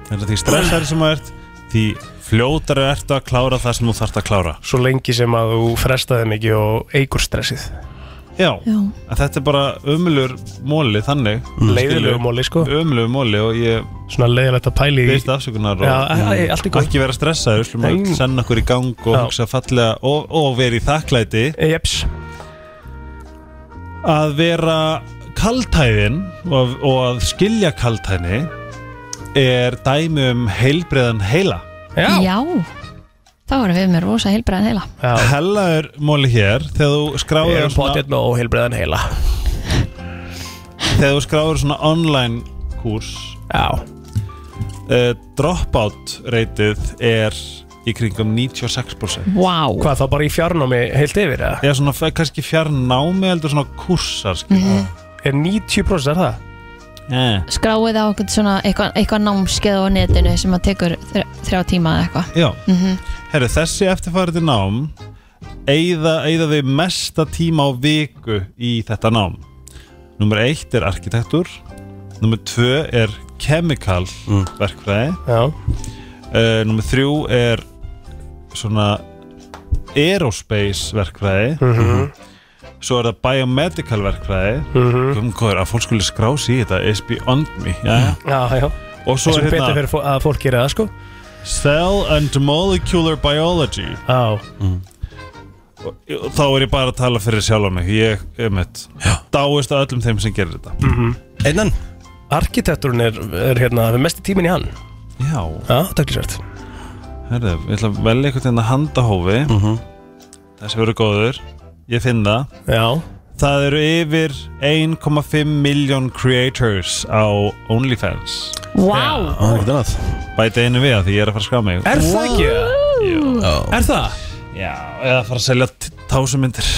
Speaker 7: Þannig að því stressar sem þú ert Því fljótari ertu að klára það sem þú þarft að klára
Speaker 2: Svo lengi sem að þú frestaði mikið og eigur stressið
Speaker 7: Já, En þetta er bara ömulur móli þannig
Speaker 2: Leiðilegur Mm. móli sko
Speaker 7: Ömulur móli og ég
Speaker 2: Svona leiðilegt að pæli í-
Speaker 7: Beist afsökunar og
Speaker 2: Já, æ, æ, allt í góð.
Speaker 7: Ekki vera stressaður, við skulum
Speaker 2: Nei.
Speaker 7: að senda okkur í gang og
Speaker 2: Já. E,
Speaker 7: hugsa fallega og, og vera í þakklæti
Speaker 2: Jeps
Speaker 7: Að vera kaltæðin og, og að skilja kaltæðni er dæmi um heilbreiðan heila
Speaker 2: Já,
Speaker 3: Þá erum við með rosa heilbræðan heila
Speaker 7: Hella er móli hér þegar þú skráður
Speaker 2: Við erum pottet með óheilbreiðan heila
Speaker 7: þegar þú skráður svona online kurs eh,
Speaker 2: Já
Speaker 7: Dropout reytið er í kringum 96%
Speaker 3: Vá
Speaker 2: Hvað þá bara í fjarnámi heilt yfir eða?
Speaker 7: Já, svona fe- kannski fjarnámi heldur svona kursar
Speaker 3: Mhm.
Speaker 2: Mm-hmm. Er 90% er það?
Speaker 7: Yeah.
Speaker 3: Skráið á okkur svona eitthvað, eitthvað námskeið á netinu sem að tekur þrjá, þrjá tíma eða eitthvað
Speaker 7: Já,
Speaker 3: Mhm.
Speaker 7: herru þessi eftirfærið nám eigða, eigða þau mesta tíma á viku í þetta nám Númer eitt er arkitektur Númer tvö er chemical verkfræði
Speaker 2: Mm.
Speaker 7: Eh,
Speaker 2: Já
Speaker 7: Númer þrjú er svona aerospace verkfræði
Speaker 2: Mhm.
Speaker 7: Svo er það biomedical verkfræði
Speaker 2: Mhm.
Speaker 7: Guðmund góður, að fólk skulle skrá sig í þetta is beyond me Já,
Speaker 2: Já, já
Speaker 7: Og svo
Speaker 2: Þessum
Speaker 7: er hérna-
Speaker 2: betur fyrir fó- að fólk gera það sko
Speaker 7: Cell and Molecular Biology
Speaker 2: Já
Speaker 7: og, og þá er ég bara að tala fyrir sjálf mig Ég, um eitt, dáist að öllum þeim sem gerir þetta
Speaker 1: Einan
Speaker 2: Mhm. Arkitekturinn er, er hérna við mesti tíminn í hann
Speaker 7: Já
Speaker 2: Já, takklisvert
Speaker 7: Herðu, ég ætla að velja eitthvað hérna handahófi Þessi verður góður Ég finn það
Speaker 2: Já
Speaker 7: Það eru yfir 1,5 million creators á OnlyFans
Speaker 3: Vá.
Speaker 1: Það er ekkert annað
Speaker 7: Bæti einu við að því ég er að fara að skrá mig
Speaker 2: Er það ekki? Er það?
Speaker 7: Já, eða fara að selja tásumindir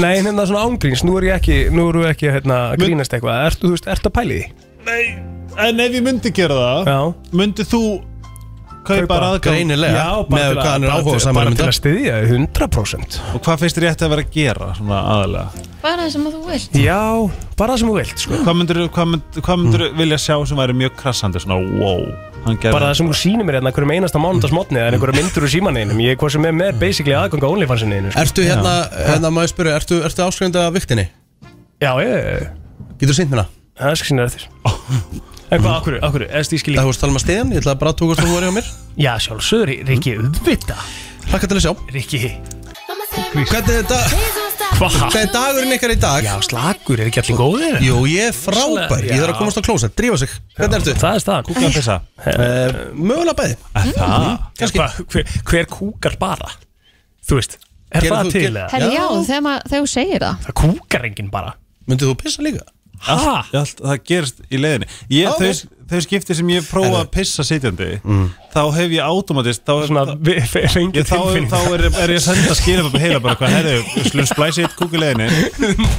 Speaker 2: Nei, hérna svona ángríns, nú er ég ekki, nú erum við ekki hérna, að grínast eitthvað Ertu, þú veist, ertu að pæli því?
Speaker 7: En ef ég myndi gera það
Speaker 2: Já.
Speaker 7: Myndi þú kaupa
Speaker 2: Kaupa.
Speaker 7: aðgang
Speaker 1: Greinilega,
Speaker 2: Já, bara
Speaker 1: með
Speaker 2: til að-
Speaker 1: hvað hann er
Speaker 2: bara til-
Speaker 1: áhugasamur um
Speaker 2: Bara til
Speaker 1: þetta.
Speaker 2: að styðja, þig, 100%
Speaker 7: Og hvað finnst þér rétt að vera að gera svona aðalega?
Speaker 3: Bara það sem að þú vilt
Speaker 2: Já, bara það sem þú vilt sko. Mm.
Speaker 7: Hvað myndur, hvað myndur, hvað myndur vilja sjá sem væri mjög krassandi svona wow hann gerði
Speaker 2: Bara það sem þú sýnir mér hérna hverjum einasta mánundarsmotni Það er einhverja myndur úr símaneinum Ég er hvað sem er með basically aðgang á OnlyFansinni sko.
Speaker 1: Ertu hérna, hérna maður spyrja, ertu, ertu áskrifandi af viktinni?
Speaker 2: Já, ég
Speaker 1: Getur þú sýnt mér það?
Speaker 2: Það skal sýna þér En hvað, akkur, akkur, eða stískil
Speaker 1: Það varst að tala um að stiðan, ég ætla bara að tókast að þú voru hjá mér
Speaker 2: Já, sjálfsögur, Rikki, auðvita
Speaker 1: Hlakka til að sjá
Speaker 2: Rikki
Speaker 1: Hvernig er þetta?
Speaker 2: Hva?
Speaker 1: Hvað er dagurinn ykkar í dag?
Speaker 2: Já, slagur, er ekki allir góðir?
Speaker 1: Jú, ég er frábær, ég þarf að komast á klóset, drífa sig Hvernig ertu?
Speaker 2: Það er staðan
Speaker 7: Kúkla að pissa
Speaker 2: Eh,
Speaker 1: Uh, mögulega bæði Mhm,
Speaker 2: Það Hva, hver, hver kúkar bara? Þú veist, er
Speaker 1: Gerir
Speaker 2: það
Speaker 1: þú-
Speaker 2: til?
Speaker 1: ger-
Speaker 2: eða?
Speaker 3: Herri já, þegar maður- þegar þú segir það
Speaker 2: Það kúkar enginn bara
Speaker 1: Myndið þú pissa líka?
Speaker 2: Ha?
Speaker 7: allt, allt, það gerist í leiðinni ég,
Speaker 1: Já,
Speaker 7: þau, þau skipti sem ég prófa að pissa sitjandi þá hef ég automatist þá,
Speaker 2: Mm. Svona, við- fe- fengið
Speaker 7: ég, þá,
Speaker 2: tilfinningu.
Speaker 7: þá er, er ég að senda skilum upp heila bara hvað herðu, við slum splæsi eitt kúk í leiðinni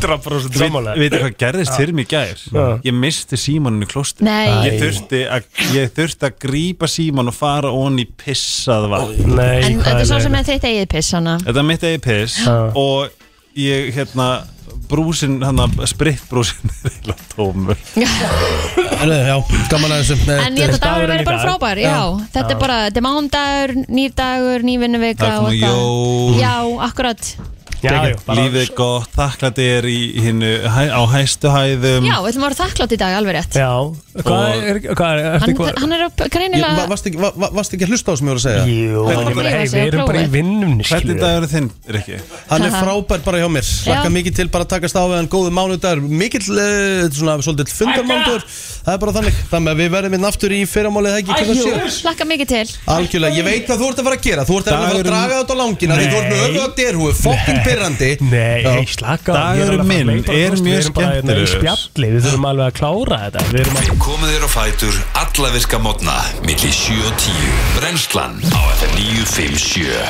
Speaker 2: 100% sammála
Speaker 7: Við veitum hvað gerðist fyrir mig í gær Ég misti símaninu í klósti
Speaker 3: Nei.
Speaker 7: ég þurfti, að, ég þurfti að grípa síman og fara onni í pissað vatn
Speaker 2: Nei,
Speaker 3: En
Speaker 2: hvað
Speaker 3: þetta er svo
Speaker 2: leiðinlegt?
Speaker 3: sem er þitt eigið piss hana
Speaker 7: Þetta er mitt eigi piss og ég hérna brúsin, hann að spritbrúsin er eiginlega tómur
Speaker 1: Herðu, Já, gaman að þessu
Speaker 3: En ég ætla
Speaker 1: Þetta-
Speaker 3: dagur að
Speaker 2: dagurinn í
Speaker 3: vera bara
Speaker 2: dag.
Speaker 3: frábær, já Þetta er bara, þetta er mándagur, nýr dagur, ný vinnuvika
Speaker 7: Það er komið jól.
Speaker 3: Já, akkurat
Speaker 2: Já, já, bara
Speaker 7: Lífið er gott, þakklæti er í hinnu hæ, á hæstu
Speaker 1: Um.
Speaker 7: hæðum
Speaker 3: Já, við ætlum að vera þakklátt í dag, alveg rétt
Speaker 2: Já, hvað er, hvað
Speaker 3: Hann,
Speaker 2: er, eftir hvað
Speaker 3: hann er að
Speaker 1: Ég- va-
Speaker 3: greinilega
Speaker 1: Varst ekki, va- va- varstu ekki að hlusta á sem ég voru að segja?
Speaker 2: Jú,
Speaker 3: Hann var
Speaker 2: ég
Speaker 3: bara
Speaker 2: meina,
Speaker 3: að
Speaker 2: hey,
Speaker 3: segja
Speaker 2: við erum bara í
Speaker 3: prófið.
Speaker 2: vinnunni, skilur
Speaker 7: Hvernig dagur er þinn, Rikki?
Speaker 1: Hann er
Speaker 3: Haha.
Speaker 1: frábær bara hjá mér Hlakka
Speaker 3: Já.
Speaker 1: mikið til bara að takast á við hann Góðu mánudagur, mikill, uh, svona, svolítið fundarmánudagur Það er bara þannig Þannig að við verðum inn aftur í fyrramálið Það ekki klukkan sjö
Speaker 3: Slakka mikið til
Speaker 1: Algjörlega, ég veit hvað þú ert að fara að gera Þú ert að, fara að
Speaker 7: Dagurinn-
Speaker 1: draga þetta á langina Því þú ert með
Speaker 2: Nei.
Speaker 1: öfuga derhúi, fokkin pyrrandi
Speaker 2: Nei,
Speaker 1: Já.
Speaker 2: hey, slaka á, ég er
Speaker 7: Dagurinn
Speaker 2: alveg að fara
Speaker 7: minn
Speaker 2: að leita á
Speaker 7: er
Speaker 2: kosti,
Speaker 7: mjög
Speaker 2: Við erum bara hérna í
Speaker 7: skemmtilegur.
Speaker 2: spjalli, við þurfum alveg að klára þetta Við erum að
Speaker 4: Komið þér á fætur alla virka mótna milli 7 og 10 Brennslan á FM 957